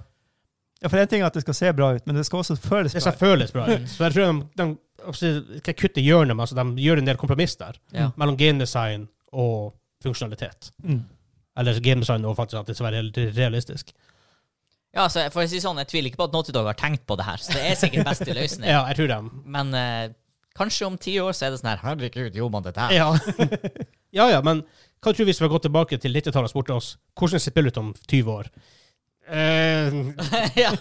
[SPEAKER 3] Ja, for en ting er at det skal se bra ut, men det skal også føles
[SPEAKER 1] Det
[SPEAKER 3] bra. Mm.
[SPEAKER 1] skal føles bra ut. Så jeg tror de, de altså, ikke kutter hjørnet, men altså, de gjør en del kompromiss der
[SPEAKER 2] Ja.
[SPEAKER 1] mellom gamedesign og funksjonalitet.
[SPEAKER 3] Mm.
[SPEAKER 1] Eller gamedesign og faktisk at det skal være helt realistisk.
[SPEAKER 2] ja, altså, for å si sånn, jeg tviler ikke på at Naughty Dog har tenkt på det her, så det er sikkert beste løsning.
[SPEAKER 1] Ja, jeg tror dem.
[SPEAKER 2] Men eh, kanskje om ti år så er det sånn her Herregud, gjorde man det der?
[SPEAKER 1] Ja. ja, ja, men hva tror du hvis vi har gått tilbake til 90-tallet og spurt oss hvordan ser spillet ut om 20 år? Eh,
[SPEAKER 2] ja.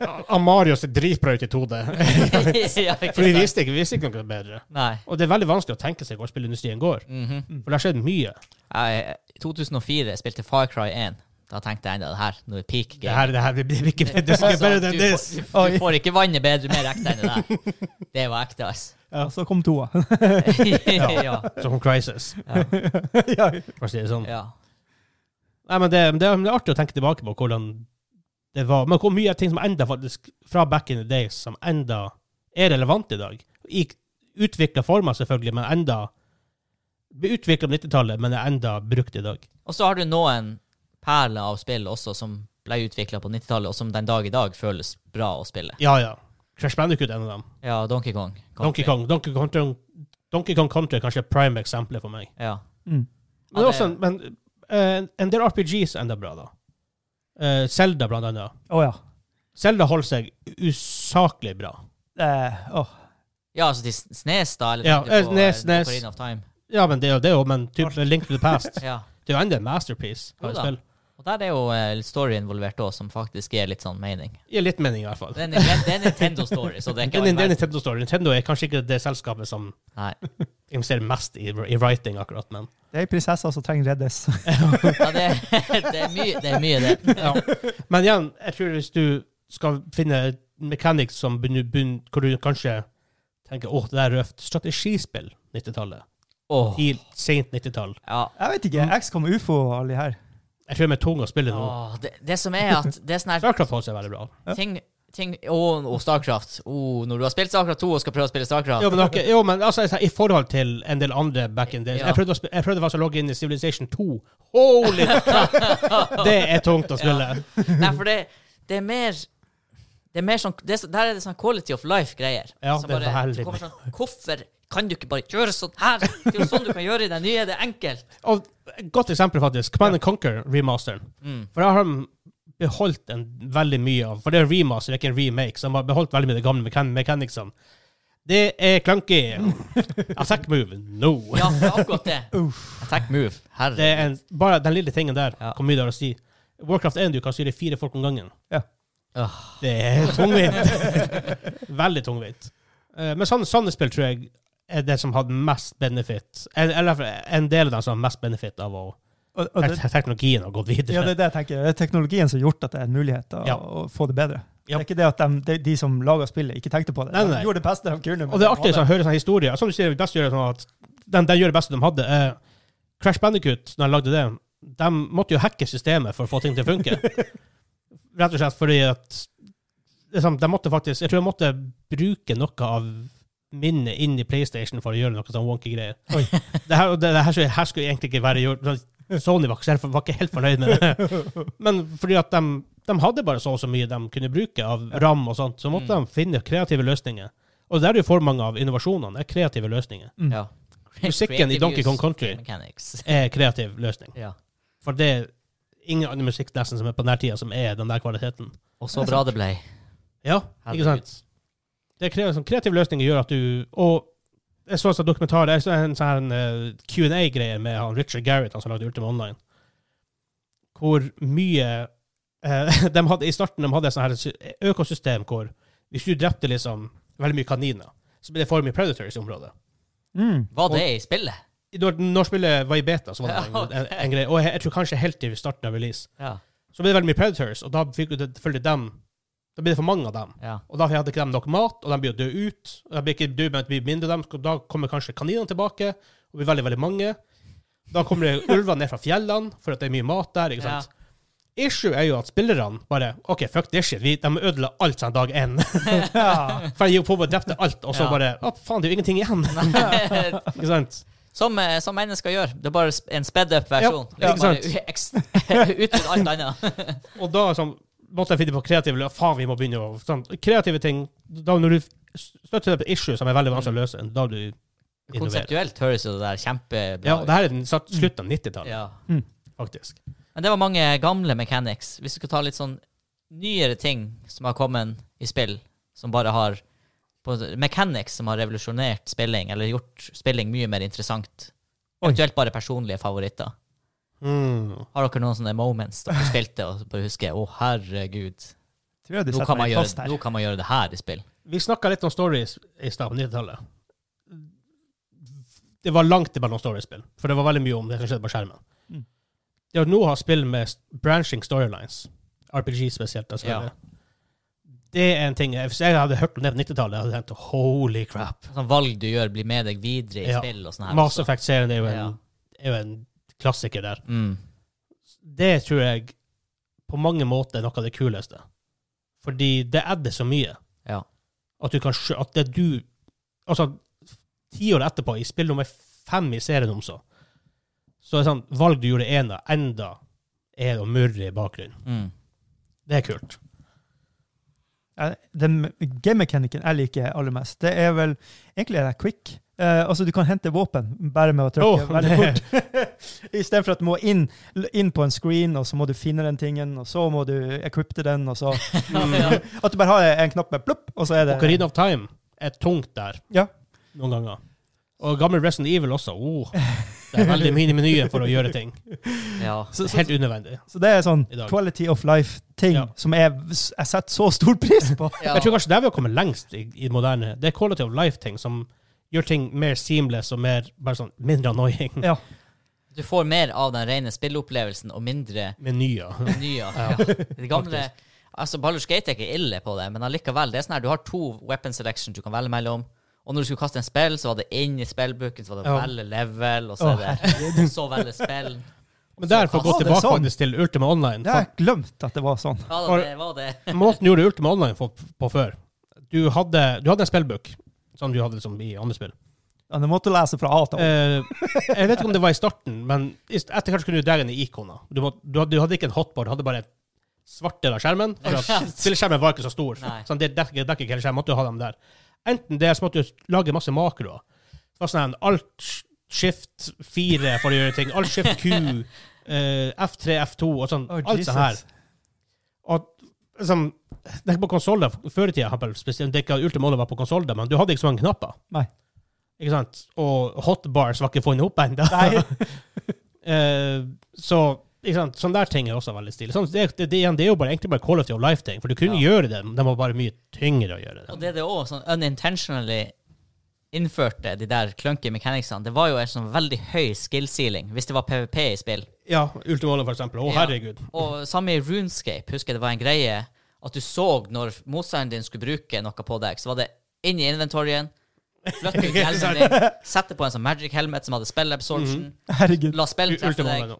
[SPEAKER 1] Amario ser dritbra ut i 2D.
[SPEAKER 2] ja, ikke
[SPEAKER 1] For vi
[SPEAKER 2] sant?
[SPEAKER 1] visste ikke, vi visste ikke noe bedre.
[SPEAKER 2] Nei.
[SPEAKER 1] Og det er veldig vanskelig å tenke seg hvor spillindustrien går.
[SPEAKER 2] Mhm.
[SPEAKER 1] For det har skjedd mye.
[SPEAKER 2] Jeg- I 2004 spilte Far Cry 1. Da tenkte jeg enda det her, nå er peak
[SPEAKER 1] Det
[SPEAKER 2] game.
[SPEAKER 1] her, det her det blir ikke bedre, det blir ikke
[SPEAKER 2] Altså,
[SPEAKER 1] bedre
[SPEAKER 2] du
[SPEAKER 1] than
[SPEAKER 2] får-
[SPEAKER 1] this.
[SPEAKER 2] Du, du får ikke vannet bedre, mer ekte enn det der. Det var ekte, ass.
[SPEAKER 3] Ja, så kom toa.
[SPEAKER 2] ja.
[SPEAKER 1] Som Crisis,
[SPEAKER 3] ja.
[SPEAKER 1] for å si det sånn.
[SPEAKER 2] ja.
[SPEAKER 1] Nei, men det, det, er- det er artig å tenke tilbake på hvordan det var Men hvor mye av ting som enda faktisk fra back in the days som enda er relevant i dag? I utvikla former, selvfølgelig, men enda Ble utvikla på 90-tallet, men er enda brukt i dag.
[SPEAKER 2] Og så har du noen perler av spill også som ble utvikla på 90-tallet, og som den dag i dag føles bra å spille.
[SPEAKER 1] Ja, ja. Crash Bandicoot er en av dem.
[SPEAKER 2] Ja, Donkey Kong. Country.
[SPEAKER 1] Donkey Kong, Donkey Kong, Country- Donkey Kong Country er kanskje prime eksempelet for meg.
[SPEAKER 2] Ja.
[SPEAKER 3] Mm.
[SPEAKER 1] Men,
[SPEAKER 2] Ja, det-
[SPEAKER 1] også, en- men eh, en- en del RPGs er enda bra, da. Eh, Zelda, blant annet.
[SPEAKER 3] Å ja.
[SPEAKER 1] Zelda holder seg usaklig bra.
[SPEAKER 3] Eh, åh.
[SPEAKER 2] ja, altså til Snes, da? Eller
[SPEAKER 1] Ja,
[SPEAKER 2] tenkte du på,
[SPEAKER 1] eh, Snes,
[SPEAKER 2] eh,
[SPEAKER 1] Snes.
[SPEAKER 2] Ocarina of Time.
[SPEAKER 1] Ja, men det er jo det òg, men typ Link to the Past
[SPEAKER 2] Ja.
[SPEAKER 1] Det er jo enda en masterpiece.
[SPEAKER 2] Jo
[SPEAKER 1] av et
[SPEAKER 2] da.
[SPEAKER 1] spill.
[SPEAKER 2] Og der er jo eh, litt story involvert òg, som faktisk gir litt sånn mening.
[SPEAKER 1] Gir litt mening, i hvert fall.
[SPEAKER 2] Det er, Ni- det er Nintendo Story,
[SPEAKER 1] Det
[SPEAKER 2] så det er ikke
[SPEAKER 1] er en- det er
[SPEAKER 2] all
[SPEAKER 1] en
[SPEAKER 2] verden.
[SPEAKER 1] Nintendo Story. Nintendo er kanskje ikke det selskapet som
[SPEAKER 2] Nei.
[SPEAKER 1] investerer mest i, i writing, akkurat, men
[SPEAKER 3] Det er prinsesser som trenger reddes.
[SPEAKER 2] Ja, det, det, er mye, det er mye, det.
[SPEAKER 1] ja. Men igjen, jeg tror hvis du skal finne mechanics som begynner, begynner, hvor du kanskje tenker åh, det der er røft Strategispill 90-tallet.
[SPEAKER 2] Åh.
[SPEAKER 1] Helt sent 90-tall.
[SPEAKER 2] Ja.
[SPEAKER 3] Jeg vet
[SPEAKER 1] Mm.
[SPEAKER 3] ikke. XCOM, UFO og alle de her.
[SPEAKER 1] Jeg tror de er tunge å spille nå.
[SPEAKER 2] Åh, det, det som er at det er sånn her
[SPEAKER 1] Starcraft holder seg veldig bra.
[SPEAKER 2] ting, ting Å, og Starcraft. Å, når du har spilt Starcraft 2 og skal prøve å spille Starcraft
[SPEAKER 1] Jo, men, ok, jo, men altså, jeg sa, i forhold til en del andre back in days
[SPEAKER 2] Ja.
[SPEAKER 1] Jeg prøvde, å sp- jeg prøvde faktisk å logge inn i Civilization 2. Holy crap! Det er tungt å spille.
[SPEAKER 2] Nei, for det, det er mer det er mer sånn, det, er så- Der er det sånn quality of life-greier.
[SPEAKER 1] Ja,
[SPEAKER 2] Som
[SPEAKER 1] det er
[SPEAKER 2] bare-
[SPEAKER 1] veldig
[SPEAKER 2] som kommer sånn, Hvorfor kan du ikke bare gjøre sånn her? Det er jo sånn du kan gjøre i den nye. Det er enkelt.
[SPEAKER 1] Og et godt eksempel, faktisk. Command and Conquer remasteren.
[SPEAKER 2] Mm.
[SPEAKER 1] For der har de beholdt en, veldig mye av For det er en remaster, det er ikke en remake. Så de har beholdt veldig mye av de gamle mechan mechanicsene. Det er clunky. Attack move, no.
[SPEAKER 2] Ja, det er akkurat det. Attack move. Herre.
[SPEAKER 1] Det er en, bare den lille tingen der,
[SPEAKER 2] Ja.
[SPEAKER 1] hvor mye det har å si. Warcraft 1, du kan styre fire folk om gangen.
[SPEAKER 3] Ja.
[SPEAKER 2] Åh.
[SPEAKER 1] Det er tungvint. Veldig tungvint. Eh, Men sånne, sånne spill tror jeg er det som hadde mest benefit. Eller i hvert fall en del av dem som har mest benefit av å
[SPEAKER 3] Og, og det,
[SPEAKER 1] tek- teknologien har gått videre.
[SPEAKER 3] ja, det er det jeg tenker. Det er teknologien som har gjort at det er en mulighet å,
[SPEAKER 1] Ja.
[SPEAKER 3] å få det bedre.
[SPEAKER 1] Ja.
[SPEAKER 3] Det er ikke det at de, de, de som laga spillet, ikke tenkte på det.
[SPEAKER 1] Nei, nei.
[SPEAKER 3] De gjorde det beste de kunne. men
[SPEAKER 1] Og det er
[SPEAKER 3] de
[SPEAKER 1] artig
[SPEAKER 3] hadde-
[SPEAKER 1] å høre sånne historier. Som du sier, best gjør det sånn at de, de gjør det beste de hadde. Eh, Crash Bandicoot, når de lagde det, de måtte jo hacke systemet for å få ting til å funke. Rett og slett fordi at liksom, de måtte faktisk, Jeg tror de måtte bruke noe av minnet inn i PlayStation for å gjøre noe sånn wonky greier. Det her, det, det her, skulle- her skulle egentlig ikke være gjort. Sony var ikke, var ikke helt fornøyd med det. Men fordi at de, de hadde bare så og så mye de kunne bruke av ram og sånt, så måtte
[SPEAKER 2] Mm.
[SPEAKER 1] de finne kreative løsninger. Og der er jo for mange av innovasjonene er kreative løsninger.
[SPEAKER 2] Ja.
[SPEAKER 1] Musikken i Donkey Kong
[SPEAKER 2] Creative
[SPEAKER 1] Country.
[SPEAKER 2] use Mechanics.
[SPEAKER 1] Er Eh, kreativ løsning.
[SPEAKER 2] Ja.
[SPEAKER 1] For det er ingen annen musikk nesten som er på denne tida som er den der kvaliteten.
[SPEAKER 2] Og så bra det ble.
[SPEAKER 1] Ja, ikke sant? Det er kreativ, sånn, kreative løsninger gjør at du Og jeg så en sånn dokumentar, jeg så en sånn eh, Q&A-greie med han Richard Garrett, han som lagde Ultima Online, hvor mye eh, de hadde, I starten de hadde et sånt her sy- økosystem hvor hvis du drepte liksom veldig mye kaniner, så ble det for mye predators i området.
[SPEAKER 3] Mm.
[SPEAKER 2] Var det i spillet?
[SPEAKER 1] Når, når spillet var i beta, så var det en,
[SPEAKER 2] Ja, ok.
[SPEAKER 1] en, en greie. Og jeg, jeg tror kanskje helt til starten av release.
[SPEAKER 2] Ja.
[SPEAKER 1] Så ble det veldig mye predators, og da fikk du selvfølgelig dem Da ble det for mange av dem.
[SPEAKER 2] ja.
[SPEAKER 1] Og da hadde ikke de nok mat, og de blir jo døde ut. Og de blir ikke døde, men de blir mindre av dem. så Da kommer kanskje kaninene tilbake, og blir veldig, veldig mange. Da kommer det ulvene ned fra fjellene, for at det er mye mat der. ikke sant? Issue er jo at spillerne bare OK, fuck this shit. Vi, de ødela alt siden dag én.
[SPEAKER 3] Ja.
[SPEAKER 1] For de gikk på og drepte alt, og så
[SPEAKER 2] Ja.
[SPEAKER 1] bare Å, faen, det er jo ingenting igjen.
[SPEAKER 2] Ja.
[SPEAKER 1] ikke sant?
[SPEAKER 2] Som, eh, som mennesker gjør. Det er bare sp- en sped up-versjon.
[SPEAKER 1] Ja,
[SPEAKER 2] Liksom
[SPEAKER 1] ikke
[SPEAKER 2] bare u- eks- Utrydde alt annet.
[SPEAKER 1] Og da sånn, måtte jeg finne på kreative lø- Faen, vi må begynne å sånn, Kreative ting da Når du støtter deg på issue som er veldig vanskelig å løse, da du innoverer.
[SPEAKER 2] Konseptuelt høres jo det der kjempebra
[SPEAKER 1] Ja, og det
[SPEAKER 2] ut.
[SPEAKER 1] her er den satt- slutten av 90-tallet,
[SPEAKER 2] Ja.
[SPEAKER 1] faktisk.
[SPEAKER 2] Men det var mange gamle mechanics. Hvis du skal ta litt sånn nyere ting som har kommet i spill, som bare har på, Mechanics som har revolusjonert spilling, eller gjort spilling mye mer interessant. Eventuelt bare personlige favoritter.
[SPEAKER 1] Mm.
[SPEAKER 2] Har dere noen sånne moments dere spilte og bare husker Å, herregud.
[SPEAKER 3] Tror jeg du
[SPEAKER 2] Nå
[SPEAKER 3] setter
[SPEAKER 2] kan, man
[SPEAKER 3] meg fast
[SPEAKER 2] gjøre,
[SPEAKER 3] her.
[SPEAKER 2] nå kan man gjøre det her i spill.
[SPEAKER 1] Vi snakka litt om stories i stad på 90-tallet. Det var langt imellom storiespill, for det var veldig mye om det som skjedde på skjermen.
[SPEAKER 3] Mm.
[SPEAKER 1] Det å nå ha spill med s- branching storylines, RPG spesielt, da, selvfølgelig. det er en ting jeg- Hvis jeg hadde hørt om det på 90-tallet, hadde jeg tenkt holy crap.
[SPEAKER 2] Sånn valg du gjør, blir med deg videre i
[SPEAKER 1] Ja.
[SPEAKER 2] spill og sånn her.
[SPEAKER 1] Mass
[SPEAKER 2] også.
[SPEAKER 1] Effect-serien er, jo en-
[SPEAKER 2] Ja.
[SPEAKER 1] er jo en klassiker der.
[SPEAKER 2] Mm.
[SPEAKER 1] Det tror jeg på mange måter noe av det kuleste. Fordi det er det så mye.
[SPEAKER 2] Ja.
[SPEAKER 1] At du kan skjø... At det du Altså, ti år etterpå, i spill nummer fem i serien om så, så er det sånn Valg du gjorde ena, enda er det å murre i bakgrunnen.
[SPEAKER 2] Mm.
[SPEAKER 1] Det er kult.
[SPEAKER 3] Ja, Den game-mekanikken jeg liker aller mest, det er vel egentlig det er quick. Eh, altså, du kan hente våpen bare med å
[SPEAKER 1] Åh,
[SPEAKER 3] trykke veldig
[SPEAKER 1] det-
[SPEAKER 3] fort. Istedenfor at du må inn, inn på en screen, og så må du finne den tingen, og så må du equippe den, og så
[SPEAKER 2] ja.
[SPEAKER 3] At du bare har en knapp med plopp, og så er det
[SPEAKER 1] Ocarina of Time er tungt der
[SPEAKER 3] Ja.
[SPEAKER 1] noen ganger. Og gamle Resident Evil også. Oh, det er veldig mye i menyen for å gjøre ting.
[SPEAKER 2] ja.
[SPEAKER 1] Det er helt unødvendig.
[SPEAKER 3] Så det er sånn
[SPEAKER 1] I dag.
[SPEAKER 3] quality of life-ting
[SPEAKER 1] Ja.
[SPEAKER 3] som jeg, jeg setter så stor pris på.
[SPEAKER 2] Ja.
[SPEAKER 1] Jeg tror kanskje der vi har kommet lengst i, i moderne. Det er quality of life-ting som gjør ting mer seamless og mer, bare sånn, mindre annoying.
[SPEAKER 3] ja.
[SPEAKER 2] Du får mer av den rene spilleopplevelsen og mindre
[SPEAKER 1] Menyer.
[SPEAKER 2] Nyer. Ja. De gamle Altså, Baldur's Gate er ikke ille på det, men allikevel. Det er sånn her, du har to weapon selection du kan velge mellom. Og når du skulle kaste en spill, så var det inn i spillbooken, så var det
[SPEAKER 3] Ja.
[SPEAKER 2] velge level, og så, er det, så velge spill.
[SPEAKER 1] Men der, for å gå
[SPEAKER 3] Ja, det er
[SPEAKER 1] tilbake
[SPEAKER 3] sånn.
[SPEAKER 1] faktisk til Ultima Online
[SPEAKER 3] Jeg har glemt at det var sånn.
[SPEAKER 2] Ja da,
[SPEAKER 1] For-
[SPEAKER 2] det var det.
[SPEAKER 1] for Måten du gjorde Ultima Online for, på før Du hadde, du hadde en spillbook, som du hadde liksom i andre spill.
[SPEAKER 3] Ja, Du måtte lese fra A til Å.
[SPEAKER 1] Eh, jeg vet ikke om det var i starten, men i st- etter hvert kunne du dra inn i ikoner. Du, må- du, hadde- du hadde ikke en hotbar, du hadde bare et svart del av skjermen. for at
[SPEAKER 2] Ja.
[SPEAKER 1] Spilleskjermen var ikke så stor.
[SPEAKER 2] Nei.
[SPEAKER 1] Sånn, det dekker, dekker ikke hele skjermen. Måtte du ha dem der. Enten det, så måtte du lage masse makroer. Det var sånn en alt shift 4 for å gjøre ting. Alt shift Q, eh, F3, F2 og sånn.
[SPEAKER 3] Å,
[SPEAKER 1] alt sånn her.
[SPEAKER 3] Oh, Jesus.
[SPEAKER 1] Og liksom, det er ikke på konsoller. Før i tida, for eksempel, spesielt, det er ikke Ultimate var på konsoller, men du hadde ikke så mange knapper.
[SPEAKER 3] Nei.
[SPEAKER 1] Ikke sant? Og hotbars var ikke funnet opp ennå. Eh, så ikke sant? sånne der ting er også veldig stilig. Sånn, det, det, det, igjen, det er jo bare, egentlig bare quality of life-ting, for du kunne
[SPEAKER 2] Ja.
[SPEAKER 1] gjøre det, men det var bare mye tyngre å gjøre det.
[SPEAKER 2] Og det det òg, sånn unintentionally innførte de der clunky mechanicsene, det var jo en sånn veldig høy skill ceiling hvis det var PVP i spill.
[SPEAKER 1] Ja, Ultimate, for eksempel. Å,
[SPEAKER 2] Ja.
[SPEAKER 1] herregud.
[SPEAKER 2] Og samme i Runescape, husker jeg det var en greie at du så når motstanderen din skulle bruke noe på deg, så var det inn i inventoryen, flytte ut hjelmen din, sette på en sånn magic helmet som hadde spell absorption,
[SPEAKER 3] Herregud.
[SPEAKER 2] la spillet treffe
[SPEAKER 1] Ultimate,
[SPEAKER 2] deg,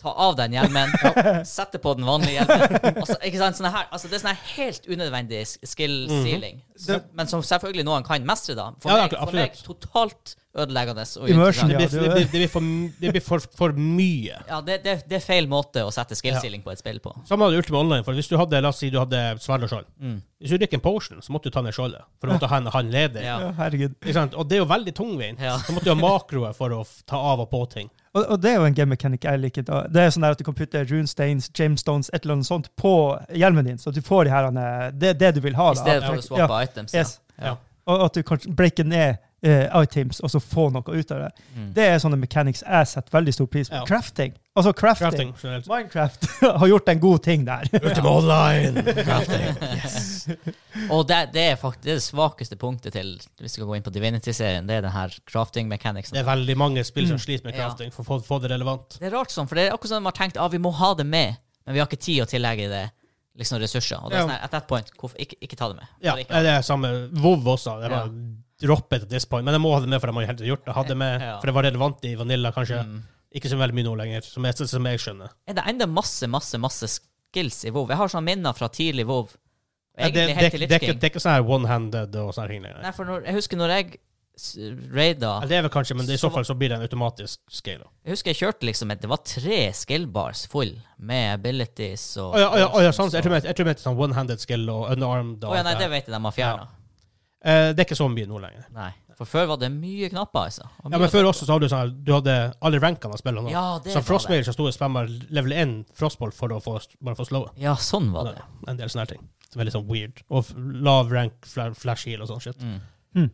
[SPEAKER 2] ta av den hjelmen, ja, sette på den vanlige hjelmen. Altså, ikke sant? Sånne her, altså, det er sånn her helt unødvendig s- skill
[SPEAKER 3] Mhm.
[SPEAKER 2] ceiling, Så- men som selvfølgelig noen kan mestre, da. For,
[SPEAKER 1] Ja,
[SPEAKER 2] meg,
[SPEAKER 1] ja,
[SPEAKER 2] for meg
[SPEAKER 1] absolutt.
[SPEAKER 2] totalt ødeleggende. og
[SPEAKER 3] Immersion,
[SPEAKER 1] Det
[SPEAKER 2] uinteressant.
[SPEAKER 3] Ja,
[SPEAKER 1] blir, det,
[SPEAKER 3] du-
[SPEAKER 1] blir, det blir, for, det blir for, for mye.
[SPEAKER 2] Ja, det, det, det er feil måte å sette skill ceiling på et spill på.
[SPEAKER 1] Samme hadde Ultimate Online. for Hvis du hadde la oss si du hadde sverd og skjold
[SPEAKER 2] Mm.
[SPEAKER 1] Hvis du gikk en potion, så måtte du ta ned skjoldet. For du måtte ha en han ledig.
[SPEAKER 2] Ja.
[SPEAKER 3] Ja, herregud.
[SPEAKER 1] Ikke sant? Og det er jo veldig tungvint.
[SPEAKER 2] Ja.
[SPEAKER 1] Så måtte du ha makroer for å f- ta av og på ting.
[SPEAKER 3] Og, og det er jo en game mechanic jeg liker. Da. Det er sånn der at du kan putte runesteins, gemstones, et eller annet sånt på hjelmen din, så at du får de her, eh, det, det du vil ha.
[SPEAKER 2] I
[SPEAKER 3] da.
[SPEAKER 2] stedet for
[SPEAKER 3] Ja,
[SPEAKER 2] å swappe items. Ja.
[SPEAKER 3] Yes.
[SPEAKER 1] Ja.
[SPEAKER 3] Og at du kan breake ned eh, items og så få noe ut av det.
[SPEAKER 2] Mm.
[SPEAKER 3] Det er sånne mechanics jeg setter veldig stor pris på.
[SPEAKER 1] Ja.
[SPEAKER 3] Crafting. Altså crafting.
[SPEAKER 1] Crafting generelt.
[SPEAKER 3] Minecraft har gjort en god ting der.
[SPEAKER 1] Ultima Online! Crafting.
[SPEAKER 2] Og det, det er faktisk det, er det svakeste punktet til Hvis vi skal gå inn på Divinity-serien, det er den her crafting mechanicsen.
[SPEAKER 1] Det
[SPEAKER 2] Det,
[SPEAKER 1] er veldig mange spill
[SPEAKER 2] Mm.
[SPEAKER 1] som sliter med crafting for å få, få det relevant.
[SPEAKER 2] er rart sånn, for det er akkurat som de har tenkt ah, vi må ha det med, men vi har ikke tid å tillegge det liksom ressurser. Og det er
[SPEAKER 1] Ja.
[SPEAKER 2] sånn her, at that point, hvorfor, ikke, ikke ta det med.
[SPEAKER 1] Ja,
[SPEAKER 2] Bare ikke ha
[SPEAKER 1] det er samme WoW også. Det er bare
[SPEAKER 2] Ja.
[SPEAKER 1] droppet at this point. Men jeg må ha det med, for jeg må helt gjort det. Jeg Hadde med,
[SPEAKER 2] Ja.
[SPEAKER 1] For det var relevant i Vanilla, kanskje.
[SPEAKER 2] Mm.
[SPEAKER 1] Ikke så veldig mye nå lenger, som jeg, som jeg skjønner.
[SPEAKER 2] Er det enda masse, masse, masse skills i WoW? Jeg har sånne minner fra tidlig WoW.
[SPEAKER 1] Ja, det, det,
[SPEAKER 2] Egentlig
[SPEAKER 1] det,
[SPEAKER 2] helt
[SPEAKER 1] det,
[SPEAKER 2] til
[SPEAKER 1] er
[SPEAKER 2] Lich
[SPEAKER 1] ikke-
[SPEAKER 2] King.
[SPEAKER 1] det er ikke sånn her one-handed og sånne ting. Nei.
[SPEAKER 2] Nei, for når, jeg husker når jeg s- raida
[SPEAKER 1] Ja, Det er vel kanskje, men det, i så
[SPEAKER 2] Så-
[SPEAKER 1] fall så blir det en automatisk scale.
[SPEAKER 2] Jeg husker jeg kjørte liksom et- Det var tre skill bars full med abilities og
[SPEAKER 1] Å ja, å ja, å ja, sånn, så jeg tror jeg, jeg tror jeg mente sånn one-handed skill og unarmed. Og
[SPEAKER 2] Å ja,
[SPEAKER 1] alt
[SPEAKER 2] nei,
[SPEAKER 1] det
[SPEAKER 2] det
[SPEAKER 1] her.
[SPEAKER 2] vet jeg de har fjerna.
[SPEAKER 1] Eh, det er ikke så mye nå lenger.
[SPEAKER 2] Nei. For før var det mye knapper, altså. Og
[SPEAKER 1] Ja,
[SPEAKER 2] mye-
[SPEAKER 1] men Før også så hadde du sånn her, du hadde alle rankene av spillene. nå.
[SPEAKER 2] Ja, det
[SPEAKER 1] så
[SPEAKER 2] var
[SPEAKER 1] Frostmail som sto og spamma level 1 Frostball for å få, bare få slowe.
[SPEAKER 2] Ja, sånn var det.
[SPEAKER 1] En del sånne her ting. Som er litt sånn weird. Og f- lav rank, fla- flash heal og sånn shit.
[SPEAKER 2] Mm.
[SPEAKER 3] Mm.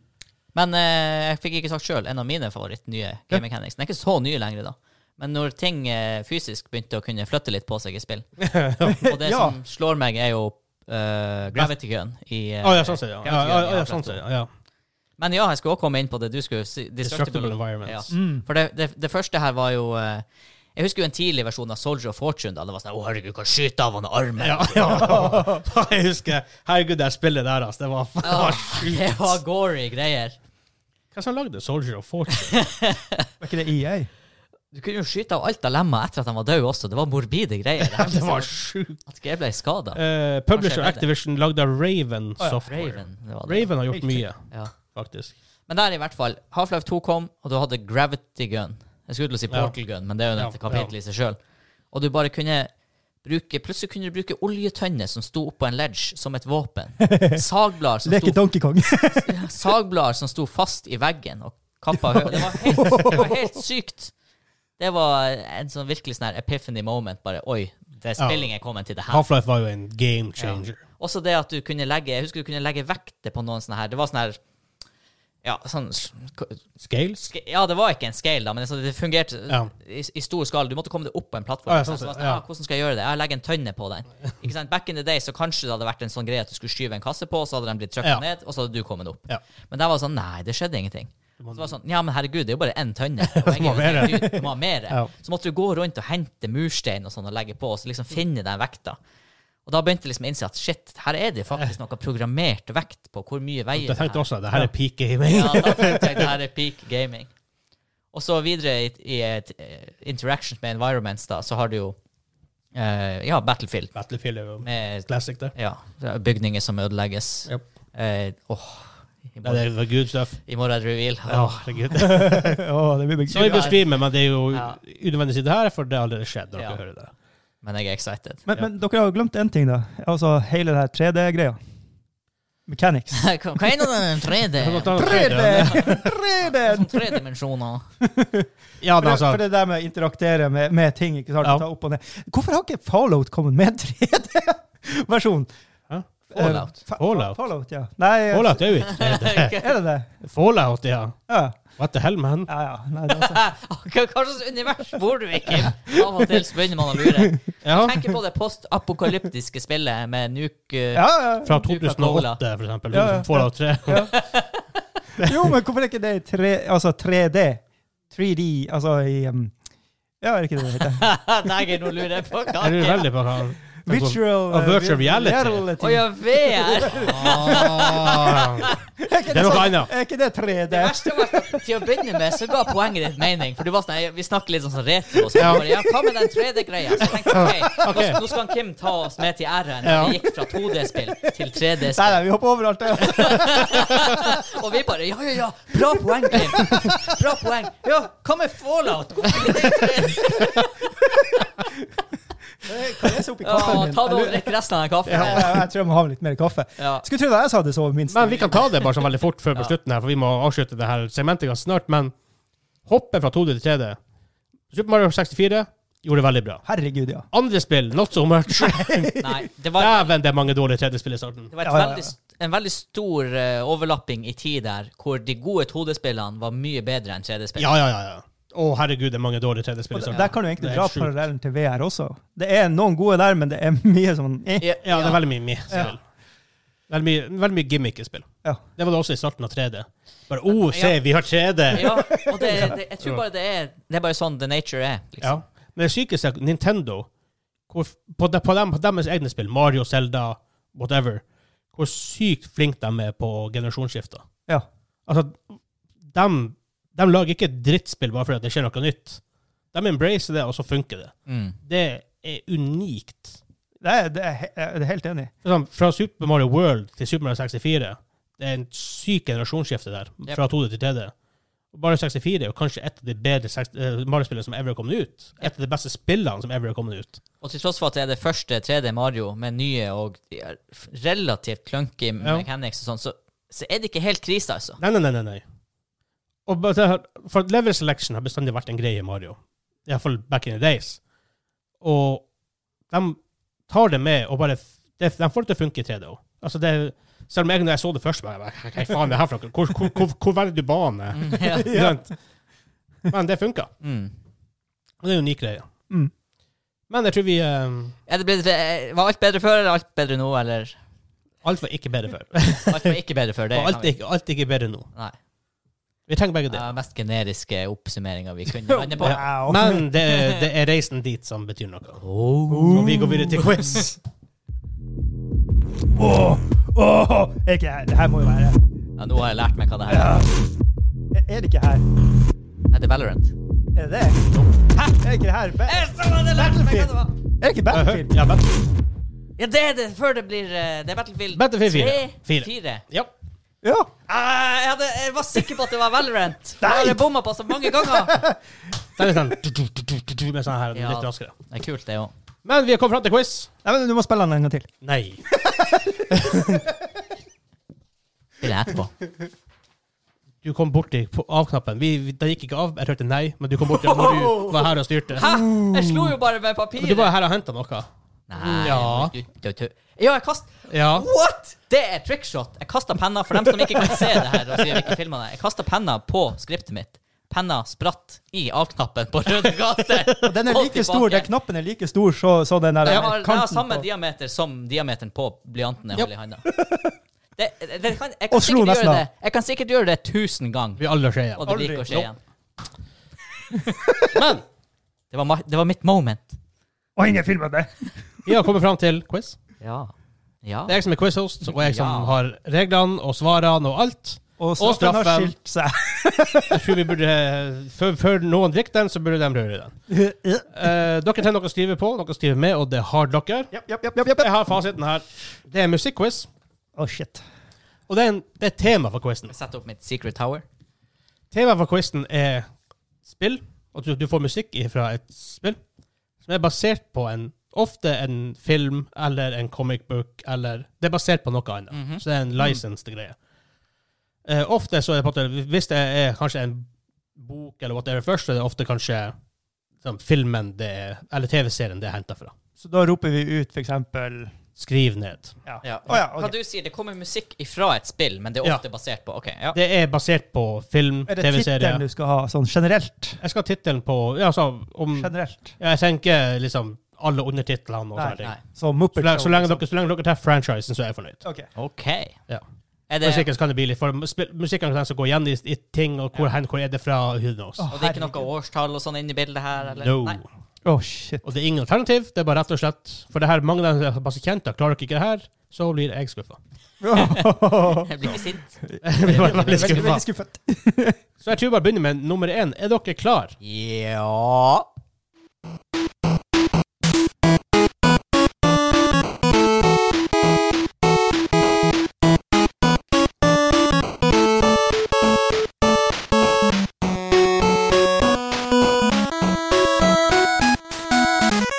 [SPEAKER 2] Men eh, jeg fikk ikke sagt sjøl, en av mine favorittnye game mechanics. Den er ikke så ny lenger, da. Men når ting eh, fysisk begynte å kunne flytte litt på seg i spill Og det
[SPEAKER 3] Ja.
[SPEAKER 2] som slår meg, er jo eh, gravity gun i eh,
[SPEAKER 1] Å ja, sånn ser jeg. Ja,
[SPEAKER 2] Gravity
[SPEAKER 1] ja,
[SPEAKER 2] Gun i
[SPEAKER 1] ja, ja,
[SPEAKER 2] Half-Life
[SPEAKER 1] sånn
[SPEAKER 2] 2.
[SPEAKER 1] ser jeg. Ja.
[SPEAKER 2] Men ja, jeg skulle også komme inn på det du skulle si.
[SPEAKER 1] Destructible
[SPEAKER 2] Ja.
[SPEAKER 1] environments.
[SPEAKER 3] Mm.
[SPEAKER 2] For det, det, det første her var jo eh, Jeg husker jo en tidlig versjon av Soldier of Fortune. da det var sånn, Å, herregud, kan skyte av han armen.
[SPEAKER 1] Ja, ja. Jeg husker Herregud, det spillet der, altså. Det var faen
[SPEAKER 2] Ja,
[SPEAKER 1] sjukt.
[SPEAKER 2] det var gory greier.
[SPEAKER 1] Hva som lagde Soldier of Fortune?
[SPEAKER 3] Var ikke det EA?
[SPEAKER 2] Du kunne jo skyte av alt av lemma etter at han var død også. Det var morbide greier. her,
[SPEAKER 1] Det var
[SPEAKER 2] liksom.
[SPEAKER 1] sjukt.
[SPEAKER 2] At jeg ble skada.
[SPEAKER 1] Eh, publisher
[SPEAKER 2] Kanskje jeg vet det.
[SPEAKER 1] Activision lagde Raven
[SPEAKER 3] ja,
[SPEAKER 1] Software. Raven.
[SPEAKER 2] Raven. Det var det.
[SPEAKER 1] Raven har gjort mye,
[SPEAKER 2] Ja.
[SPEAKER 1] faktisk.
[SPEAKER 2] Men der, i hvert fall. Half-Life 2 kom, og du hadde Gravity Gun. Jeg skulle til å si
[SPEAKER 1] Ja.
[SPEAKER 2] Portal Gun, men det er jo
[SPEAKER 1] Ja,
[SPEAKER 2] et kapittel i seg sjøl. Og du bare kunne bruke Plutselig kunne du bruke oljetønner som sto oppå en ledge, som et våpen. Sagblader som
[SPEAKER 3] Leke
[SPEAKER 2] sto
[SPEAKER 3] Donkey Kong.
[SPEAKER 2] sagblader som sto fast i veggen og kappa høyre. Det, var helt- det var helt sykt. Det var en sånn virkelig sånn her epiphany moment. Bare oi, det er
[SPEAKER 1] Ja.
[SPEAKER 2] spilling er kommet til det her.
[SPEAKER 1] Half-Life var jo en game changer.
[SPEAKER 2] Også det at du kunne legge Jeg husker du kunne legge vekter på noen sånne her. Det var sånn her ja, sånn,
[SPEAKER 1] Scales?
[SPEAKER 2] sk- ja, det var ikke en scale, da, men altså, det fungerte
[SPEAKER 1] Ja.
[SPEAKER 2] i, i stor skala. Du måtte komme deg opp på en plattform.
[SPEAKER 1] Ah, ja,
[SPEAKER 2] Så
[SPEAKER 1] sånn
[SPEAKER 2] det var
[SPEAKER 1] sett,
[SPEAKER 2] sånn,
[SPEAKER 1] ja.
[SPEAKER 2] ah, hvordan skal jeg gjøre det? Jeg legger en tønne på den. Ikke sant? Back in the day så kanskje det hadde vært en sånn greie at du skulle skyve en kasse på, så hadde den blitt trykket
[SPEAKER 1] Ja.
[SPEAKER 2] ned, og så hadde du kommet opp.
[SPEAKER 1] Ja.
[SPEAKER 2] Men der var det sånn Nei, det skjedde ingenting. Så det var sånn, Ja, men herregud, det er jo bare én tønne.
[SPEAKER 1] Du må ha mer.
[SPEAKER 2] Du må ha mer.
[SPEAKER 1] Ja.
[SPEAKER 2] Så måtte du gå rundt og hente murstein og sånn og legge på, og så liksom finne den vekta. Og da begynte jeg liksom å innse at shit, her er det faktisk noe programmert vekt på hvor mye veier
[SPEAKER 1] Jeg
[SPEAKER 2] det her.
[SPEAKER 1] tenkte også at det her er peak gaming.
[SPEAKER 2] Ja, da tenkte jeg det her er peak gaming. Og så videre i, i et, eh, interactions med environments, da, så har du jo eh, ja, Battlefield.
[SPEAKER 1] Battlefield er jo
[SPEAKER 2] Med
[SPEAKER 1] classic, det.
[SPEAKER 2] ja, det er bygninger som ødelegges.
[SPEAKER 1] Yep.
[SPEAKER 2] Eh, åh, i,
[SPEAKER 1] Ja, det
[SPEAKER 2] morgen,
[SPEAKER 1] er jo good stuff.
[SPEAKER 2] I morgen er det reveal.
[SPEAKER 1] Ja,
[SPEAKER 2] Åh.
[SPEAKER 1] herregud.
[SPEAKER 3] Å, det blir
[SPEAKER 1] Så vi
[SPEAKER 3] begynner.
[SPEAKER 1] bør streame, men det er jo
[SPEAKER 2] Ja.
[SPEAKER 1] unødvendig å si det her, for det har allerede skjedd. når dere
[SPEAKER 2] Ja.
[SPEAKER 1] hører det.
[SPEAKER 2] Men jeg er excited.
[SPEAKER 3] Men, men dere har jo glemt én ting, da. Altså hele det her 3D-greia. Mechanics.
[SPEAKER 2] Hva hva er nå den tredje?
[SPEAKER 1] Kan godt ta-
[SPEAKER 3] 3D!
[SPEAKER 1] Ja,
[SPEAKER 3] 3D!
[SPEAKER 2] Sånn tre dimensjoner.
[SPEAKER 1] Ja,
[SPEAKER 3] For
[SPEAKER 1] men
[SPEAKER 3] det,
[SPEAKER 1] altså,
[SPEAKER 3] for det der med å interaktere med, med ting ikke sant?
[SPEAKER 1] Ja.
[SPEAKER 3] Ta opp og ned. Hvorfor har ikke Fallout kommet med 3D-versjon?
[SPEAKER 1] Hæ?
[SPEAKER 2] Fallout?
[SPEAKER 1] Fallout?
[SPEAKER 3] Eh, Fallout, ja. Nei, eh,
[SPEAKER 1] Fallout er jo ikke det.
[SPEAKER 3] er det det?
[SPEAKER 1] Fallout, ja.
[SPEAKER 3] Ja,
[SPEAKER 1] What the hell, man?
[SPEAKER 3] ja. ja. Nei, det er så-
[SPEAKER 2] Hva hva slags univers bor du i, Kim? Av og til så begynner man å lure.
[SPEAKER 1] Ja.
[SPEAKER 2] Tenk på det postapokalyptiske spillet med Nuke eh,
[SPEAKER 3] ja, ja.
[SPEAKER 1] Fra
[SPEAKER 2] Nuka Cola.
[SPEAKER 1] 2008, for eksempel. liksom,
[SPEAKER 3] Ja, ja.
[SPEAKER 1] Fallout 3.
[SPEAKER 3] Jo, men hvorfor er ikke det i tre, altså 3D? 3D, altså i um, Ja, er det ikke det det heter?
[SPEAKER 2] Nei, jeg- nå lurer jeg på hva
[SPEAKER 1] Jeg lurer
[SPEAKER 2] det er.
[SPEAKER 1] veldig på hva han
[SPEAKER 3] Virtual,
[SPEAKER 1] Ja, sånn virtual
[SPEAKER 3] vir-
[SPEAKER 1] reality.
[SPEAKER 2] Å ja, VR!
[SPEAKER 1] Ah.
[SPEAKER 3] Er
[SPEAKER 1] Det er
[SPEAKER 3] ikke
[SPEAKER 1] noe
[SPEAKER 3] sånn-
[SPEAKER 1] annet.
[SPEAKER 3] Er ikke det
[SPEAKER 2] Det
[SPEAKER 3] 3D?
[SPEAKER 2] verste var at til å begynne med så ga poenget ditt mening. For du var sånn, jeg- vi snakker litt sånn som retro. Og så
[SPEAKER 1] Ja.
[SPEAKER 2] bare, ja, hva med den 3D-greia? Så tenkte jeg, ok,
[SPEAKER 1] Ok.
[SPEAKER 2] nå skal- nå skal han Kim ta oss med til æren.
[SPEAKER 1] Ja.
[SPEAKER 2] Vi gikk fra 2D-spill til
[SPEAKER 3] Nei,
[SPEAKER 2] 3D-spill.
[SPEAKER 3] nei, vi hopper over alt det.
[SPEAKER 2] Og vi bare, ja, ja, ja, bra poeng, Kim. Bra poeng. Ja, hva med Fallout? Hvorfor ikke det?
[SPEAKER 3] Kan jeg se opp i
[SPEAKER 2] Ja,
[SPEAKER 3] kaffen min?
[SPEAKER 2] ta det og drikk resten av den kaffen.
[SPEAKER 3] Ja,
[SPEAKER 2] her.
[SPEAKER 3] jeg tror jeg må ha litt mer kaffe.
[SPEAKER 2] Ja.
[SPEAKER 3] Skulle tro det jeg sa det så minst.
[SPEAKER 1] Men vi kan ta det bare sånn veldig fort før på
[SPEAKER 2] Ja.
[SPEAKER 1] slutten her, for vi må avslutte det her segmentet ganske snart. Men hoppe fra 2D til 3D. Super Mario 64 gjorde det veldig bra.
[SPEAKER 3] Herregud, ja.
[SPEAKER 1] Andre spill, not so much.
[SPEAKER 2] Nei, det var
[SPEAKER 1] Dæven, det er mange dårlige 3D-spill i starten.
[SPEAKER 2] Det var et
[SPEAKER 3] Ja, ja, ja.
[SPEAKER 2] Veldig, st- en veldig stor eh, overlapping i tid der, hvor de gode 2D-spillene var mye bedre enn 3D-spill.
[SPEAKER 1] Ja, ja, ja. ja. Å, herregud, det er mange dårlige 3D-spill i starten.
[SPEAKER 3] Der kan du egentlig
[SPEAKER 1] Det er
[SPEAKER 3] dra
[SPEAKER 1] helt sjukt.
[SPEAKER 3] parallellen til VR også. Det er noen gode der, men det er mye sånn eh.
[SPEAKER 1] Ja, det er veldig mye mye spill. Veldig mye, veldig mye gimmick i spill.
[SPEAKER 3] Ja.
[SPEAKER 1] Det var det også i starten av 3D. Bare oh, se, vi har 3D!
[SPEAKER 2] Ja, og det, det, jeg tror bare det er Det er bare sånn the nature er.
[SPEAKER 1] Ja.
[SPEAKER 2] Liksom.
[SPEAKER 1] Men det sykeste er Nintendo, hvor, på, de, på, dem, på deres egne spill, Mario, Zelda, whatever, hvor sykt flinke de er på generasjonsskifter.
[SPEAKER 3] Ja.
[SPEAKER 1] Altså, de, de lager ikke et drittspill bare fordi det skjer noe nytt. De embracer det, og så funker det.
[SPEAKER 2] Mm.
[SPEAKER 1] Det er unikt.
[SPEAKER 3] Det er, det er, he- jeg er helt enig i.
[SPEAKER 1] For sånn, Fra Super Mario World til Super Mario 64 Det er en syk generasjonsskifte der.
[SPEAKER 2] Yep.
[SPEAKER 1] Fra 2D til 3D. Og Mario 64 er jo kanskje et av de bedre seks- eh, Mario-spillene som ever har kommet ut. Et av de beste spillene som ever har kommet ut.
[SPEAKER 2] Og til tross for at det er det første 3D Mario med nye og de er f- relativt clunky mechanics og sånn, så, så er det ikke helt krise, altså.
[SPEAKER 1] Nei, nei, nei. nei, nei. Og bare det her, for at Level selection har bestandig vært en greie i Mario. Iallfall back in the days. Og de tar det med og bare f- det, De får det til å funke i 3D òg. Altså det, selv om jeg, når jeg så det først, bare bare, Hva faen er det her for noe? Hvor, hvor, hvor, hvor velger du bane?
[SPEAKER 2] Mm, ja.
[SPEAKER 1] Ikke sant? Men det funka.
[SPEAKER 2] Mm.
[SPEAKER 1] Og det er en unik greie.
[SPEAKER 3] Mm.
[SPEAKER 1] Men jeg tror vi eh,
[SPEAKER 2] Er det blitt, eh, var alt bedre før, eller alt bedre nå, eller
[SPEAKER 1] Alt var ikke bedre før.
[SPEAKER 2] Alt var ikke bedre før, det
[SPEAKER 1] Og alt er, ikke- alt er ikke bedre nå.
[SPEAKER 2] Nei.
[SPEAKER 1] Vi trenger begge
[SPEAKER 2] Det
[SPEAKER 1] det.
[SPEAKER 2] er den mest generiske oppsummeringa vi kunne lande på.
[SPEAKER 3] Wow.
[SPEAKER 1] Men det, er- det er reisen dit som betyr noe.
[SPEAKER 2] Oh.
[SPEAKER 1] Og vi går videre til quiz.
[SPEAKER 3] Åh, åh, er ikke her. Det her må jo være
[SPEAKER 2] Ja, nå har jeg lært meg hva det her er.
[SPEAKER 3] Er det ikke her?
[SPEAKER 2] Er det Valorant?
[SPEAKER 3] Er det det? Hæ? Er ikke det her ba
[SPEAKER 2] Jeg så det, jeg lærte meg hva det var.
[SPEAKER 3] Er det ikke Battlefield?
[SPEAKER 1] Ja, Battlefield.
[SPEAKER 2] Ja, det er det før det blir eh, Det er Battlefield
[SPEAKER 1] Battlefield fire.
[SPEAKER 2] tre,
[SPEAKER 1] Fire.
[SPEAKER 2] fire.
[SPEAKER 1] Ja.
[SPEAKER 3] Ja.
[SPEAKER 2] Ah, jeg, hadde, jeg var sikker på at det var Valorant.
[SPEAKER 3] Nei.
[SPEAKER 2] Jeg hadde bomma på så mange ganger.
[SPEAKER 1] Det er litt sånn du, du, du, du, du, med sånn her,
[SPEAKER 2] Ja.
[SPEAKER 1] litt raskere.
[SPEAKER 2] Det er kult, det òg.
[SPEAKER 1] Men vi har kommet fram til quiz.
[SPEAKER 3] Nei, men du må spille den en gang til.
[SPEAKER 1] Nei.
[SPEAKER 2] Spiller jeg etterpå.
[SPEAKER 1] Du kom borti på av-knappen. Vi, vi- den gikk ikke av. Jeg hørte nei, men du kom borti når du var her og styrte.
[SPEAKER 2] Hæ? Jeg slo jo bare med
[SPEAKER 1] Men du var
[SPEAKER 2] papiret.
[SPEAKER 1] her og henta noe.
[SPEAKER 2] Nei,
[SPEAKER 1] Ja.
[SPEAKER 2] du, du, du. Ja, jeg kast...
[SPEAKER 1] Ja.
[SPEAKER 2] What?! Det er trickshot. Jeg kasta penna, for dem som ikke kan se det her. og sier vi ikke filmer det. Jeg kasta penna på skriptet mitt. Penna spratt i av-knappen på røde gater.
[SPEAKER 3] Og den er
[SPEAKER 2] Og
[SPEAKER 3] like
[SPEAKER 2] tilbake.
[SPEAKER 3] stor, den knappen er like stor så, så den der
[SPEAKER 2] Den har, den har
[SPEAKER 3] kanten
[SPEAKER 2] samme
[SPEAKER 3] på.
[SPEAKER 2] diameter som diameteren på blyanten jeg
[SPEAKER 1] Yep.
[SPEAKER 2] holder i handa. Det, det, det kan, jeg,
[SPEAKER 3] Og
[SPEAKER 2] kan
[SPEAKER 3] slo
[SPEAKER 2] sikkert
[SPEAKER 3] nesten
[SPEAKER 2] gjøre
[SPEAKER 3] av.
[SPEAKER 2] det, jeg kan sikkert gjøre det tusen ganger,
[SPEAKER 1] Vi aldri skjer
[SPEAKER 2] og
[SPEAKER 1] igjen.
[SPEAKER 2] det
[SPEAKER 3] Aldri.
[SPEAKER 2] blir ikke å skje
[SPEAKER 1] Nope.
[SPEAKER 2] igjen.
[SPEAKER 1] Men
[SPEAKER 2] Det var, ma- det var mitt moment.
[SPEAKER 3] Og ingen filmer det.
[SPEAKER 1] vi har kommet fram til quiz.
[SPEAKER 2] Ja. ja.
[SPEAKER 1] Det er jeg som er quiz-host, og jeg som
[SPEAKER 2] Ja.
[SPEAKER 1] har reglene og svarene og alt.
[SPEAKER 3] Og
[SPEAKER 1] Og
[SPEAKER 3] straffen har
[SPEAKER 1] straffen.
[SPEAKER 3] skilt seg.
[SPEAKER 1] Jeg tror vi burde, før, før noen drikker den, så burde de røre den. Eh, dere trenger noe å skrive på, noe å skrive med, og det har dere.
[SPEAKER 3] Japp, japp, japp, japp, japp.
[SPEAKER 1] Jeg har fasiten her. Det er musikkquiz,
[SPEAKER 3] Å, shit.
[SPEAKER 1] og det er, en, det er et tema for quizen.
[SPEAKER 2] Jeg setter opp mitt secret tower.
[SPEAKER 1] Temaet for quizen er spill, og du, du får musikk fra et spill som er basert på en ofte en film eller en comic book eller Det er basert på noe annet.
[SPEAKER 2] Mhm.
[SPEAKER 1] Så det er en licensed greie. Eh, ofte så er det på en måte Hvis det er kanskje en bok eller whatever først, så er det ofte kanskje sånn, filmen det er, eller TV-serien det er henta fra.
[SPEAKER 3] Så da roper vi ut for eksempel
[SPEAKER 1] Skriv ned.
[SPEAKER 3] Ja.
[SPEAKER 2] Ja.
[SPEAKER 3] Å, ja,
[SPEAKER 2] Hva
[SPEAKER 3] ok.
[SPEAKER 2] du sier, det kommer musikk ifra et spill, men det er
[SPEAKER 1] Ja.
[SPEAKER 2] ofte basert på OK, ja.
[SPEAKER 1] Det er basert på film,
[SPEAKER 3] Er det tittelen
[SPEAKER 1] TV-serie
[SPEAKER 3] du skal ha, sånn generelt?
[SPEAKER 1] Jeg skal ha tittelen på Ja, altså om
[SPEAKER 3] Generelt.
[SPEAKER 1] Ja, jeg tenker liksom alle undertitlene og
[SPEAKER 3] Nei,
[SPEAKER 1] sånne ting.
[SPEAKER 2] Nei.
[SPEAKER 3] Så
[SPEAKER 1] Så
[SPEAKER 3] Muppet
[SPEAKER 1] lenge, så,
[SPEAKER 3] Show,
[SPEAKER 1] lenge
[SPEAKER 3] liksom.
[SPEAKER 1] dere, så lenge dere tar franchisen, så er jeg fornøyd.
[SPEAKER 3] Ok.
[SPEAKER 2] OK.
[SPEAKER 1] Ja.
[SPEAKER 2] Er det,
[SPEAKER 1] Musikken så kan det bli litt For sp- musikken kan så gå igjen i, i ting, og hvor, hen, hvor er det fra? Who knows?
[SPEAKER 3] Åh.
[SPEAKER 2] og det er ikke noe årstall og sånn inni bildet her? Eller?
[SPEAKER 1] No.
[SPEAKER 2] Nei.
[SPEAKER 3] Å, shit.
[SPEAKER 1] Og det er ingen alternativ. Det er bare rett og slett For det her mange av dem er såpass kjente. Klarer dere ikke det her, så blir jeg skuffa.
[SPEAKER 2] Jeg blir ikke sint.
[SPEAKER 1] Jeg blir bare veldig
[SPEAKER 3] Veldig,
[SPEAKER 1] skuffa.
[SPEAKER 3] veldig skuffet.
[SPEAKER 1] Så jeg tror vi bare begynner med nummer én. Er dere klar?
[SPEAKER 2] Ja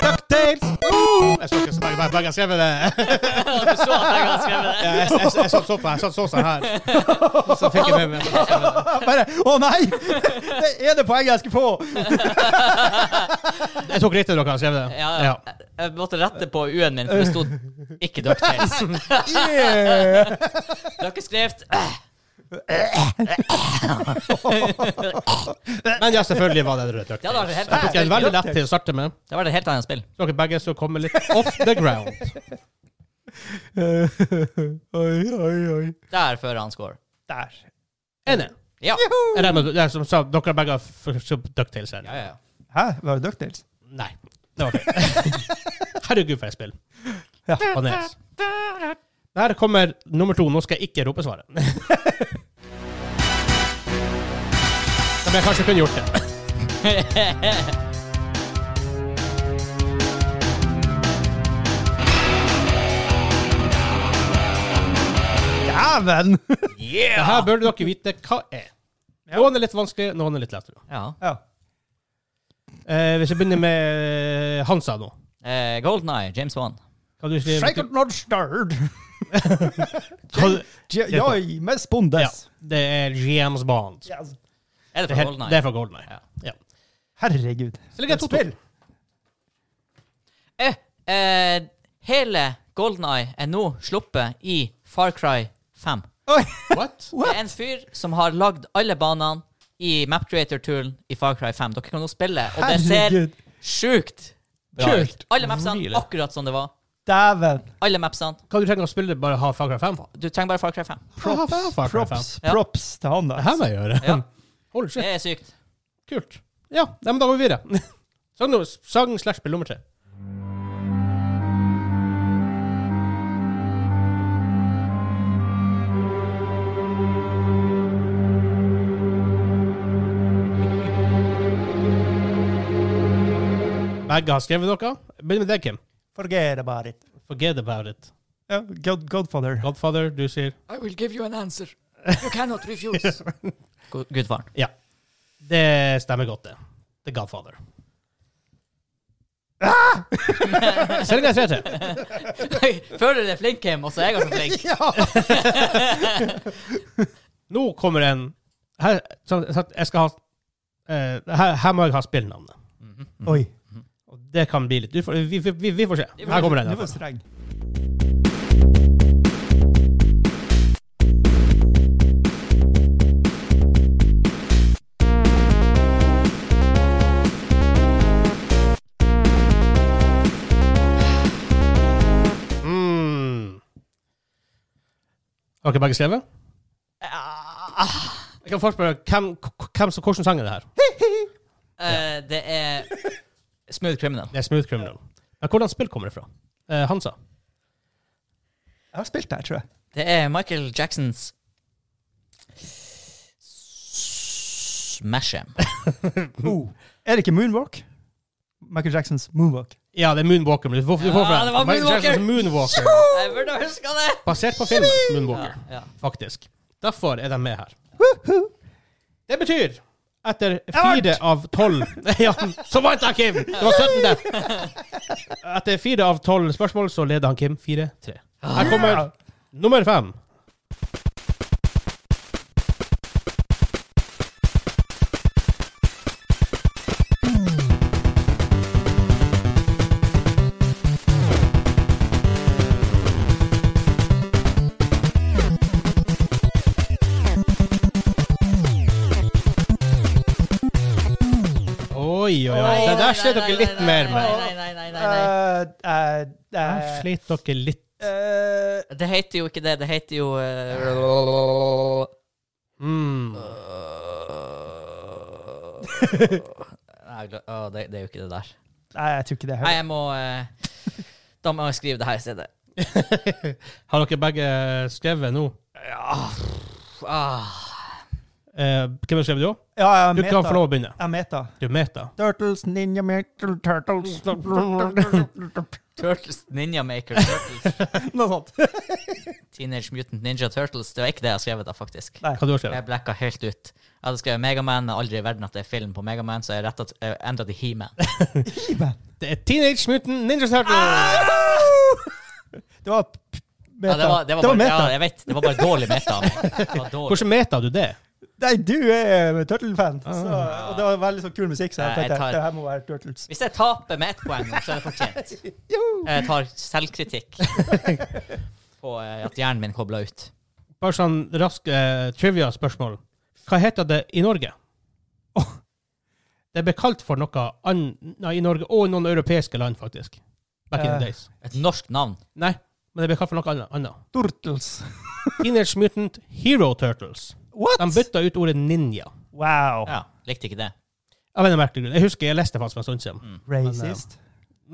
[SPEAKER 1] Ducktails! Uh! Jeg så ikke så mange, bare jeg skrev det.
[SPEAKER 2] Du så at jeg hadde skrevet det?
[SPEAKER 1] Jeg, jeg, jeg, jeg satt så på, jeg satt sånn her. Så fikk jeg med meg
[SPEAKER 3] Bare Å, nei! Det er det poenget jeg skal få!
[SPEAKER 1] Jeg tok riktig dere har skrevet det.
[SPEAKER 2] Ja, ja. Jeg- Jeg måtte rette på U-en min, for det stod ikke ducktails.
[SPEAKER 3] Yeah.
[SPEAKER 2] Dere
[SPEAKER 1] Men ja, selvfølgelig var det rød
[SPEAKER 2] Ja, det var det helt
[SPEAKER 1] ducktails. Jeg tok en veldig lett til å starte med.
[SPEAKER 2] Det var det helt annet spill.
[SPEAKER 1] Så dere begge så kommer litt off the ground.
[SPEAKER 3] oi, oi, oi.
[SPEAKER 2] Der fører han score.
[SPEAKER 3] Der.
[SPEAKER 1] Enig.
[SPEAKER 2] Ja.
[SPEAKER 1] Jeg regner med- det er som sa, dere begge har f- så ducktails her.
[SPEAKER 2] Ja, ja, ja.
[SPEAKER 3] Hæ? Var det Ducktails?
[SPEAKER 1] Nei. Det var feil. Herregud, for et spill.
[SPEAKER 3] Ja.
[SPEAKER 1] Panes. Der kommer nummer to. Nå skal jeg ikke rope svaret. Som jeg kanskje kunne gjort det.
[SPEAKER 3] Dæven!
[SPEAKER 1] Det her burde dere vite hva er. Noen er litt vanskelig, noen er litt lettere.
[SPEAKER 2] Ja.
[SPEAKER 3] Ja.
[SPEAKER 1] Eh, hvis jeg begynner med Hansa nå.
[SPEAKER 2] Eh, Golden Eye, James Wan.
[SPEAKER 1] Kan du skrive
[SPEAKER 3] Shaken not stirred.
[SPEAKER 1] Hva-
[SPEAKER 3] Joi, med spondes.
[SPEAKER 1] Ja, det er James Bond.
[SPEAKER 3] Yes.
[SPEAKER 2] Er det
[SPEAKER 1] Det er,
[SPEAKER 2] fra
[SPEAKER 1] helt,
[SPEAKER 2] Golden
[SPEAKER 1] det er
[SPEAKER 2] Eye?
[SPEAKER 1] fra GoldenEye.
[SPEAKER 2] Ja.
[SPEAKER 1] Ja.
[SPEAKER 3] Herregud.
[SPEAKER 1] Så ligger jeg
[SPEAKER 3] Et
[SPEAKER 1] 2-2.
[SPEAKER 3] spill.
[SPEAKER 2] Eh, eh, hele Golden Eye er nå sluppet i Far Cry 5.
[SPEAKER 3] Oi.
[SPEAKER 1] What?
[SPEAKER 2] Det er en fyr som har lagd alle banene i Map Creator-turen i Far Cry 5. Dere kan nå spille, og det ser
[SPEAKER 3] Herregud.
[SPEAKER 2] sjukt bra
[SPEAKER 1] Kult.
[SPEAKER 2] ut. Alle mapsene
[SPEAKER 1] Really?
[SPEAKER 2] akkurat som det var.
[SPEAKER 3] Dæven.
[SPEAKER 2] Alle mapsene.
[SPEAKER 1] Hva du trenger å spille, bare ha Far Cry 5?
[SPEAKER 2] Du trenger bare Far Cry 5.
[SPEAKER 1] Props. Far Cry 5.
[SPEAKER 3] Props,
[SPEAKER 2] Ja.
[SPEAKER 3] props til han,
[SPEAKER 1] Det her
[SPEAKER 3] da.
[SPEAKER 1] må jeg gjøre.
[SPEAKER 2] Ja,
[SPEAKER 1] Holy
[SPEAKER 2] det
[SPEAKER 1] shit.
[SPEAKER 2] er sykt.
[SPEAKER 1] Kult. Ja, nei, men da går vi videre. Sang, nummer- sang slash spill nummer tre. Begge har skrevet noe. Begynn med deg, Kim.
[SPEAKER 3] Forget about it.
[SPEAKER 1] Forget about it.
[SPEAKER 3] Ja, God, Godfather.
[SPEAKER 1] Godfather, du sier
[SPEAKER 2] I will give you an answer. You cannot refuse. Gudfaren.
[SPEAKER 1] Det stemmer godt, det. The Godfather. Selv om jeg ser til.
[SPEAKER 2] Føler du deg flink, Kim? Også jeg er ganske flink.
[SPEAKER 1] Nå kommer en her, så, så at jeg skal ha eh, her, her må jeg ha spillnavnet.
[SPEAKER 2] Mhm.
[SPEAKER 3] Oi.
[SPEAKER 1] Og det kan bli litt du får, vi, vi, vi, vi får se. Her kommer den.
[SPEAKER 3] Du
[SPEAKER 1] i hvert
[SPEAKER 3] var
[SPEAKER 1] fall.
[SPEAKER 3] streng.
[SPEAKER 1] Mm. Har dere begge skrevet?
[SPEAKER 2] Ah,
[SPEAKER 1] Jeg kan først spørre hvem, hvem, som- hvordan sang er det her?
[SPEAKER 2] eh, det er Smooth Criminal.
[SPEAKER 1] Det er Smooth Criminal. Men hvordan spill kommer det fra? Eh, Hansa?
[SPEAKER 3] Jeg har spilt der, tror jeg.
[SPEAKER 2] Det er Michael Jacksons Mashem.
[SPEAKER 1] Mm.
[SPEAKER 3] Oh. Er det ikke Moonwalk? Michael Jacksons Moonwalk.
[SPEAKER 1] Ja, det er Moonwalker. Men du får, du får
[SPEAKER 2] Ja,
[SPEAKER 1] fra-
[SPEAKER 2] det var
[SPEAKER 1] Michael
[SPEAKER 2] Moonwalker.
[SPEAKER 1] Jacksons Moonwalker.
[SPEAKER 2] Jeg burde ha huska det!
[SPEAKER 1] Basert på filmen Moonwalker,
[SPEAKER 2] Ja, ja.
[SPEAKER 1] faktisk. Derfor er de med her. Det betyr etter fire av tolv Ja, så vant jeg, Kim! Det var 17 der. Etter fire av tolv spørsmål så leder han Kim 4-3. Her kommer nummer fem. Oi, oi, oi. Det der slet dere litt mer
[SPEAKER 2] Nei,
[SPEAKER 1] med.
[SPEAKER 2] nei, nei, nei, nei, nei.
[SPEAKER 3] Eh, eh,
[SPEAKER 1] Der
[SPEAKER 3] eh,
[SPEAKER 1] slet dere litt
[SPEAKER 3] eh,
[SPEAKER 2] Det heter jo ikke det. Det heter jo eh,
[SPEAKER 1] mm.
[SPEAKER 2] Nei, jeg glem- Å, det, det er jo ikke det der.
[SPEAKER 3] Nei, jeg tror ikke det.
[SPEAKER 2] Nei,
[SPEAKER 3] er
[SPEAKER 2] jeg må eh, Da må jeg skrive det her i stedet.
[SPEAKER 1] Har dere begge skrevet nå?
[SPEAKER 2] Ah,
[SPEAKER 1] Eh, hvem har skrevet du òg?
[SPEAKER 3] Ja, jeg
[SPEAKER 1] Du kan få lov å begynne.
[SPEAKER 3] Jeg er meta.
[SPEAKER 1] Du er meta.
[SPEAKER 3] Turtles, Ninja Metal, Turtles
[SPEAKER 2] Turtles, Ninja Maker, Turtles,
[SPEAKER 3] Noe sånt.
[SPEAKER 2] Teenage Mutant Ninja Turtles. Det var ikke det jeg skrev da, faktisk.
[SPEAKER 1] Hva har du skrevet?
[SPEAKER 2] Jeg blacka helt ut. Jeg hadde skrevet Megaman, men aldri i verden at det er film på Megaman, så jeg rettet- jeg endra til He-Man.
[SPEAKER 1] Det er Teenage Mutant Ninja Turtles!
[SPEAKER 3] Ah! Det var p- meta.
[SPEAKER 2] Ja, det var, det var, bare,
[SPEAKER 3] meta.
[SPEAKER 2] Ja, jeg vet, det var bare dårlig meta. av meg. Det var dårlig.
[SPEAKER 1] Hvordan meta du det?
[SPEAKER 3] Nei, du er Turtle-fan. så- Og det var veldig sånn kul musikk, så
[SPEAKER 2] Ah.
[SPEAKER 3] jeg
[SPEAKER 2] Nei, jeg
[SPEAKER 3] tenkte
[SPEAKER 2] tar-
[SPEAKER 3] det her må være Turtles.
[SPEAKER 2] Hvis jeg taper med ett poeng, nå, så er det fortjent. Jeg tar selvkritikk på eh, at hjernen min kobla ut.
[SPEAKER 1] Bare sånn rask eh, trivia-spørsmål. Hva heter det i Norge? Åh. Det ble kalt for noe ann- nei, i Norge og i noen europeiske land, faktisk. Back in
[SPEAKER 3] Eh.
[SPEAKER 1] the days.
[SPEAKER 2] Et norsk navn.
[SPEAKER 1] Nei, men det ble kalt for noe annet- annet.
[SPEAKER 3] Turtles.
[SPEAKER 1] Teenage Mutant Hero Turtles.
[SPEAKER 3] What?
[SPEAKER 1] De bytta ut ordet ninja.
[SPEAKER 3] Wow.
[SPEAKER 2] Ja, Likte ikke det.
[SPEAKER 1] Av en merkelig grunn. Jeg husker jeg leste det faktisk for en stund siden.
[SPEAKER 3] Mm. Racist.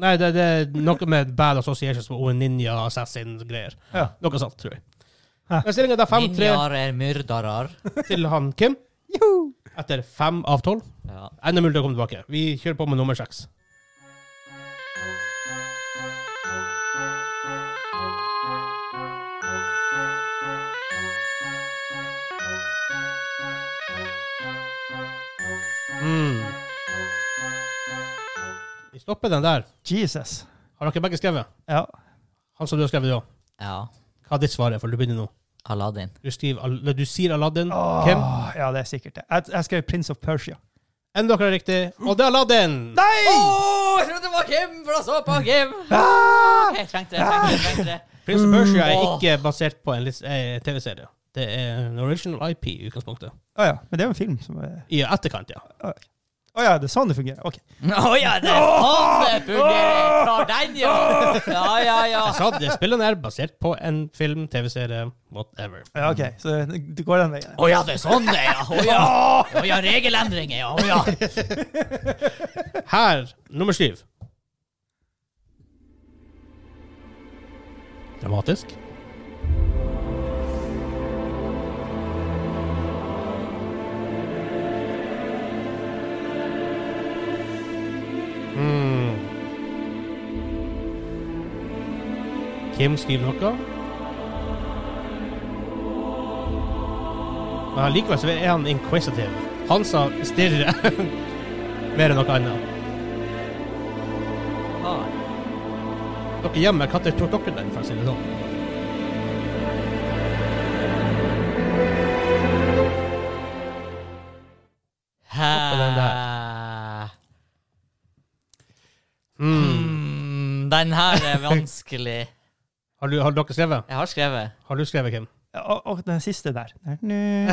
[SPEAKER 1] Nei, det, det er noe med bad associations med ordet ninja, assassin-greier.
[SPEAKER 3] Ja.
[SPEAKER 1] Noe sånt, tror jeg.
[SPEAKER 3] Hæ.
[SPEAKER 1] Men stillinga er 5-3
[SPEAKER 2] Ninjaer er myrdarar.
[SPEAKER 1] til han Kim
[SPEAKER 3] Joho!
[SPEAKER 1] etter fem av tolv.
[SPEAKER 2] Ja.
[SPEAKER 1] Enda mulig å komme tilbake. Vi kjører på med nummer seks. Mm. Vi stopper den der.
[SPEAKER 3] Jesus.
[SPEAKER 1] Har dere begge skrevet?
[SPEAKER 3] Ja.
[SPEAKER 1] Han som du har skrevet, ja.
[SPEAKER 2] ja.
[SPEAKER 1] Hva er ditt svar? er, For du begynner nå.
[SPEAKER 2] Aladdin.
[SPEAKER 1] Du, skriver, Al- eller du sier Aladdin.
[SPEAKER 3] Åh,
[SPEAKER 1] Kim?
[SPEAKER 3] Ja, det er sikkert det. Jeg, jeg skrev Prince of Persia.
[SPEAKER 1] Enn dere er riktig. Og det er Aladdin!
[SPEAKER 3] Nei!
[SPEAKER 2] Oh, jeg trodde det var Kim, for jeg så på Kim!
[SPEAKER 3] Ah!
[SPEAKER 2] Jeg trengte det. jeg trengte det, jeg trengte det.
[SPEAKER 1] Prince of Persia er
[SPEAKER 2] Åh.
[SPEAKER 1] ikke basert på en lis- eh, TV-serie. Det er en original IP i utgangspunktet.
[SPEAKER 3] Å ja, men det er jo en film som er
[SPEAKER 1] I etterkant, ja.
[SPEAKER 3] Å ja, det er sånn det fungerer. Ok.
[SPEAKER 2] Å ja, det er sånn det fungerer! Fra den, ja! Ja, ja, ja.
[SPEAKER 1] Jeg sa det, spillene er basert på en film, TV-serie, whatever.
[SPEAKER 3] Ja, ok, Så det går den veien.
[SPEAKER 2] Å ja, det er sånn det er, ja. Å ja. Å ja, regelendringer, ja. Å ja.
[SPEAKER 1] Her, nummer syv. Dramatisk. Hmm. Mm. Kim skriver noe. Men likevel så er han inquisitive. Han sa stirre mer enn noe annet.
[SPEAKER 2] Ah.
[SPEAKER 1] Dere hjemme, når tok dere den, for å si det sånn? Oppå den
[SPEAKER 2] Hæ?
[SPEAKER 1] Mm.
[SPEAKER 2] Mm, den her er vanskelig.
[SPEAKER 1] Har, du, har dere skrevet?
[SPEAKER 2] Jeg har skrevet.
[SPEAKER 1] Har du skrevet, Kim?
[SPEAKER 3] Og, og den siste der.
[SPEAKER 1] Det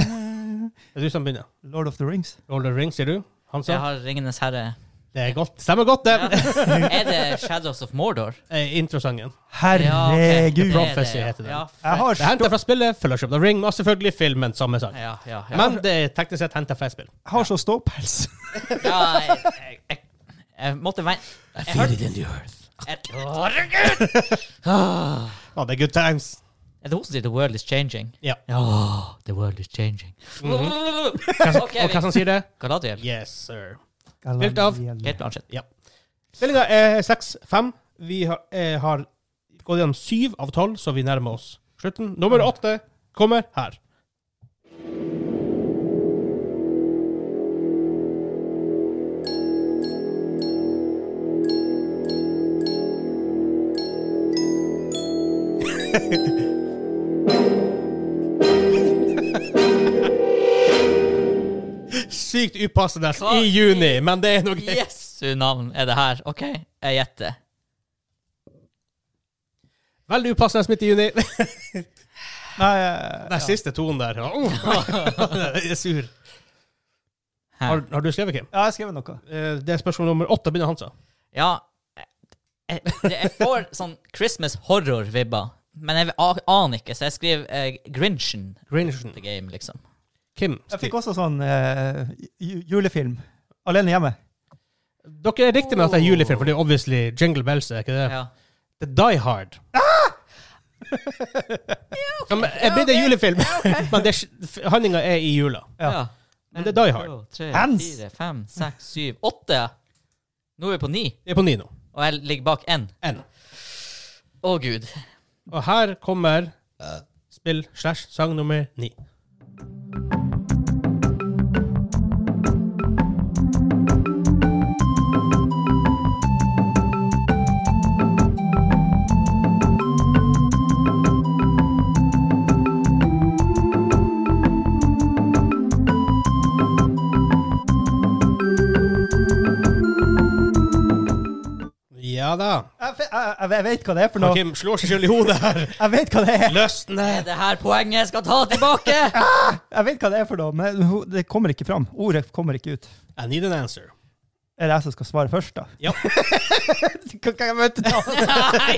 [SPEAKER 1] er du som begynner.
[SPEAKER 3] Lord of the Rings.
[SPEAKER 1] Lord of the Rings, sier du? Han
[SPEAKER 2] Jeg
[SPEAKER 1] sa?
[SPEAKER 2] har Ringenes herre.
[SPEAKER 1] Det er godt. Stemmer godt, det!
[SPEAKER 2] Ja. Er det Shadows of Mordor?
[SPEAKER 1] Eh, Introsangen.
[SPEAKER 2] Ja, ok. Det er
[SPEAKER 3] Herregud!
[SPEAKER 2] det,
[SPEAKER 1] Prophecy
[SPEAKER 2] ja.
[SPEAKER 1] heter den.
[SPEAKER 2] Ja,
[SPEAKER 3] Jeg har
[SPEAKER 1] Det er henta
[SPEAKER 3] stå-
[SPEAKER 1] fra spillet Fellowship of the Ring, og selvfølgelig filmen samme sang.
[SPEAKER 2] ja, ja, ja.
[SPEAKER 1] Men det er teknisk sett henta fra et spill.
[SPEAKER 3] Jeg har så ståpels.
[SPEAKER 2] ja, jeg, jeg, jeg, jeg måtte vente Jeg hørte- jeg- Herregud! Ah.
[SPEAKER 1] Ja, det er good times.
[SPEAKER 2] Er det hun som sier 'The world is changing'?
[SPEAKER 1] Ja.
[SPEAKER 2] Ja, the world is changing. Ok,
[SPEAKER 1] Og hva
[SPEAKER 2] vi-
[SPEAKER 1] som sier det?
[SPEAKER 2] Galadriel.
[SPEAKER 1] Yes, sir. Spilt av-
[SPEAKER 2] Kate Blanchett.
[SPEAKER 1] Stillinga er 6-5. Vi har, eh, har gått gjennom 7 av 12, så vi nærmer oss slutten. Nummer 8 kommer her. Sykt upassende
[SPEAKER 2] Hva
[SPEAKER 1] i
[SPEAKER 2] i-
[SPEAKER 1] juni, men det er noe greit.
[SPEAKER 2] Jesu navn, er det her? OK, jeg gjetter.
[SPEAKER 1] Veldig upassende midt i juni. Den
[SPEAKER 3] Nei, eh,
[SPEAKER 1] siste tonen der. ja, Uh, jeg er sur.
[SPEAKER 2] Hæ?
[SPEAKER 1] Har, har du skrevet, Kim?
[SPEAKER 3] ja, jeg skrev noe.
[SPEAKER 1] Eh, Det er spørsmål nummer åtte. Begynner Hansa.
[SPEAKER 2] Ja, jeg, jeg, jeg får sånn Christmas horror-vibber, men jeg a- aner ikke, så jeg skriver eh, Grinchen
[SPEAKER 1] Grinchen.
[SPEAKER 2] the game, liksom.
[SPEAKER 1] Kim.
[SPEAKER 3] Jeg fikk
[SPEAKER 1] skriv.
[SPEAKER 3] også sånn eh, ju- julefilm. Alene hjemme.
[SPEAKER 1] Dere er riktig med at det er julefilm, for det er obviously Jingle Bells. er ikke det?
[SPEAKER 2] Ja.
[SPEAKER 1] Det er Die Hard. Som er blitt en julefilm, men det er- handlinga er i jula.
[SPEAKER 3] Ja.
[SPEAKER 2] Ja.
[SPEAKER 1] Men det er Die Hard.
[SPEAKER 2] En, to, tre,
[SPEAKER 3] Hans!
[SPEAKER 2] fire, fem, seks, syv, åtte. ja. Nå er vi på ni,
[SPEAKER 1] Det er på Nino.
[SPEAKER 2] og jeg ligger bak én.
[SPEAKER 1] N.
[SPEAKER 2] Å, gud.
[SPEAKER 1] Og her kommer spill slash sang nummer ni. Ja da.
[SPEAKER 3] Jeg, fe- jeg, jeg, jeg vet hva det er for
[SPEAKER 1] Og
[SPEAKER 3] noe.
[SPEAKER 1] Kim slår seg selv i hodet her.
[SPEAKER 3] Jeg vet hva det er.
[SPEAKER 1] Løsne!
[SPEAKER 2] Er det her poenget jeg skal ta tilbake?
[SPEAKER 3] Jeg vet hva det er for noe, men ho- det kommer ikke fram. Ordet kommer ikke ut.
[SPEAKER 1] I need an answer.
[SPEAKER 3] Er det jeg som skal svare først, da?
[SPEAKER 1] Ja.
[SPEAKER 3] Kan- kan jeg vente da?
[SPEAKER 2] Nei!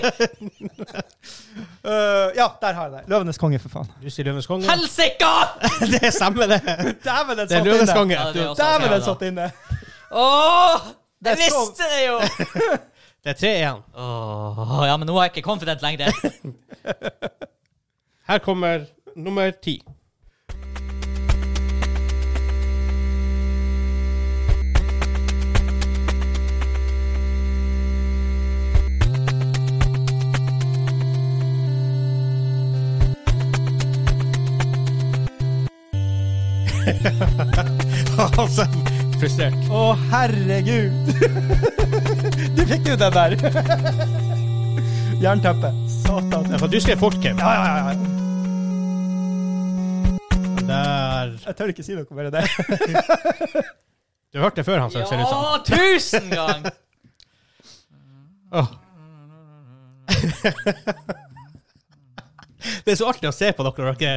[SPEAKER 3] Øh, ja, der har jeg det. Løvenes konge, for faen.
[SPEAKER 1] Du sier Løvenes konge.
[SPEAKER 2] Helsika!
[SPEAKER 1] det er samme, det.
[SPEAKER 3] Dæven, den
[SPEAKER 1] Det er
[SPEAKER 3] satt
[SPEAKER 1] Løvenes
[SPEAKER 3] inne!
[SPEAKER 1] konge.
[SPEAKER 2] Ja, det er
[SPEAKER 1] Du-
[SPEAKER 2] også-
[SPEAKER 3] Dæven,
[SPEAKER 2] Ja,
[SPEAKER 3] den
[SPEAKER 2] da.
[SPEAKER 3] satt inne!
[SPEAKER 2] Åh! Jeg
[SPEAKER 3] Det er så-
[SPEAKER 2] visste det jo!
[SPEAKER 1] Det er tre igjen.
[SPEAKER 2] Åh, ja, men nå er jeg ikke confident lenger.
[SPEAKER 1] Her kommer nummer ti. altså, frustrert.
[SPEAKER 3] Å, herregud! du fikk jo den der. Jernteppe. Satan.
[SPEAKER 1] Ja, for du skrev fort, Kim.
[SPEAKER 3] Ja, ja, ja, ja.
[SPEAKER 1] Der.
[SPEAKER 3] Jeg tør ikke si noe mer enn det.
[SPEAKER 1] Du hørte det før, liksom. han ser ut som.
[SPEAKER 2] Ja, tusen gang!
[SPEAKER 1] Åh. Det er så artig å se på dere. dere.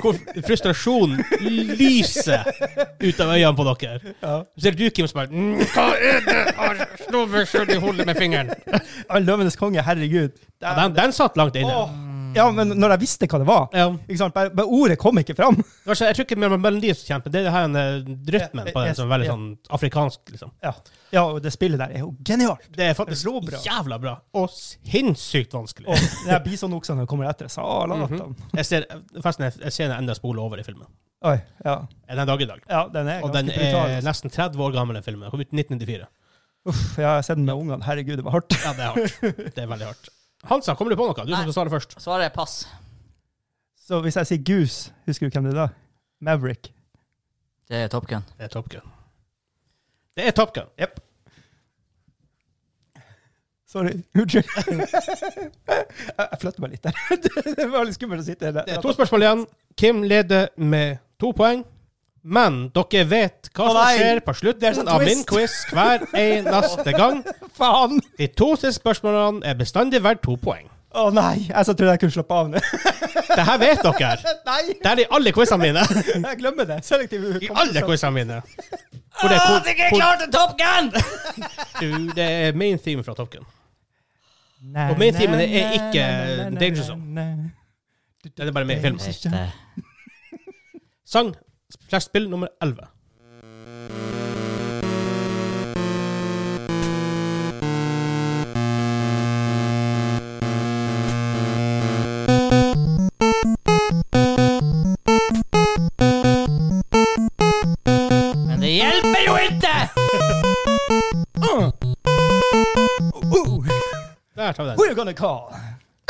[SPEAKER 1] Hvor frustrasjonen lyser ut av øynene på dere.
[SPEAKER 3] Ja.
[SPEAKER 1] Så Ser du Kim som bare mm, Hva er det? Har slå meg selv i hodet med fingeren.
[SPEAKER 3] Ja, Løvenes konge, herregud.
[SPEAKER 1] Ja, den, den satt langt inne.
[SPEAKER 3] Åh. Ja, men når jeg visste hva det var
[SPEAKER 1] Ja.
[SPEAKER 3] ikke sant? Bare, bare ordet kom ikke fram.
[SPEAKER 1] Det var så- Jeg tror ikke det er melodien som kjemper, det er det her eh, rytmen på den som er veldig sånn afrikansk. liksom.
[SPEAKER 3] Ja. ja, og det spillet der er jo genialt.
[SPEAKER 1] Det er faktisk
[SPEAKER 3] Robra.
[SPEAKER 1] jævla bra. Og sinnssykt vanskelig.
[SPEAKER 3] Og jeg blir sånn okse når jeg kommer etter. Salatan.
[SPEAKER 1] Jeg ser, forresten, jeg- jeg ser den enda spole over i filmen.
[SPEAKER 3] Oi, ja.
[SPEAKER 1] Den dag i dag.
[SPEAKER 3] ja, den er
[SPEAKER 1] Og
[SPEAKER 3] ganske
[SPEAKER 1] den
[SPEAKER 3] brutal.
[SPEAKER 1] er nesten 30 år gammel, den filmen. Den kom ut i 1994.
[SPEAKER 3] Uff, jeg har sett den med ungene. Herregud, det var hardt.
[SPEAKER 1] Ja, det er hardt. Det er veldig hardt. Hansa, kommer du på noe? Du som
[SPEAKER 2] Nei.
[SPEAKER 1] skal svare først.
[SPEAKER 2] Svaret er pass.
[SPEAKER 3] Så hvis jeg sier Goose, husker du hvem det er da? Maverick.
[SPEAKER 2] Det er Top Gun.
[SPEAKER 1] Det er Top Gun. Det er Top Gun.
[SPEAKER 3] Jepp. Sorry. Unnskyld. jeg jeg flytter meg litt der. det var litt skummelt å sitte
[SPEAKER 1] Det
[SPEAKER 3] her.
[SPEAKER 1] er to spørsmål igjen. Kim leder med to poeng. Men dere vet hva
[SPEAKER 3] Å,
[SPEAKER 1] som
[SPEAKER 3] nei!
[SPEAKER 1] skjer på
[SPEAKER 3] There's
[SPEAKER 1] slutten
[SPEAKER 3] a
[SPEAKER 1] av
[SPEAKER 3] twist.
[SPEAKER 1] min quiz hver eneste gang.
[SPEAKER 3] Faen!
[SPEAKER 1] De to siste spørsmålene er bestandig verdt to poeng.
[SPEAKER 3] Å nei! Jeg så trodde jeg kunne slappe av nå.
[SPEAKER 1] Dette vet dere.
[SPEAKER 3] nei!
[SPEAKER 1] Det er i alle quizene mine.
[SPEAKER 3] Jeg glemmer det. Selektiv
[SPEAKER 1] I
[SPEAKER 3] hukommelse.
[SPEAKER 1] alle quizene mine. Hvor det,
[SPEAKER 2] Å,
[SPEAKER 1] hvor,
[SPEAKER 2] Ah, det er ikke
[SPEAKER 1] hvor,
[SPEAKER 2] klart til Top Gun!
[SPEAKER 1] du, det er main theme fra Top Gun.
[SPEAKER 3] Nei,
[SPEAKER 1] Og main
[SPEAKER 3] nei,
[SPEAKER 1] themen er
[SPEAKER 3] nei,
[SPEAKER 1] ikke
[SPEAKER 3] nei, nei, nei,
[SPEAKER 1] Danger
[SPEAKER 3] nei,
[SPEAKER 1] Zone.
[SPEAKER 3] nei.
[SPEAKER 1] Det er bare med i filmen.
[SPEAKER 2] Helt, eh,
[SPEAKER 1] Sang slash spill nummer 11.
[SPEAKER 2] Men det hjelper jo ikke!
[SPEAKER 3] Ooh,
[SPEAKER 1] Der tar vi den.
[SPEAKER 3] We're gonna call.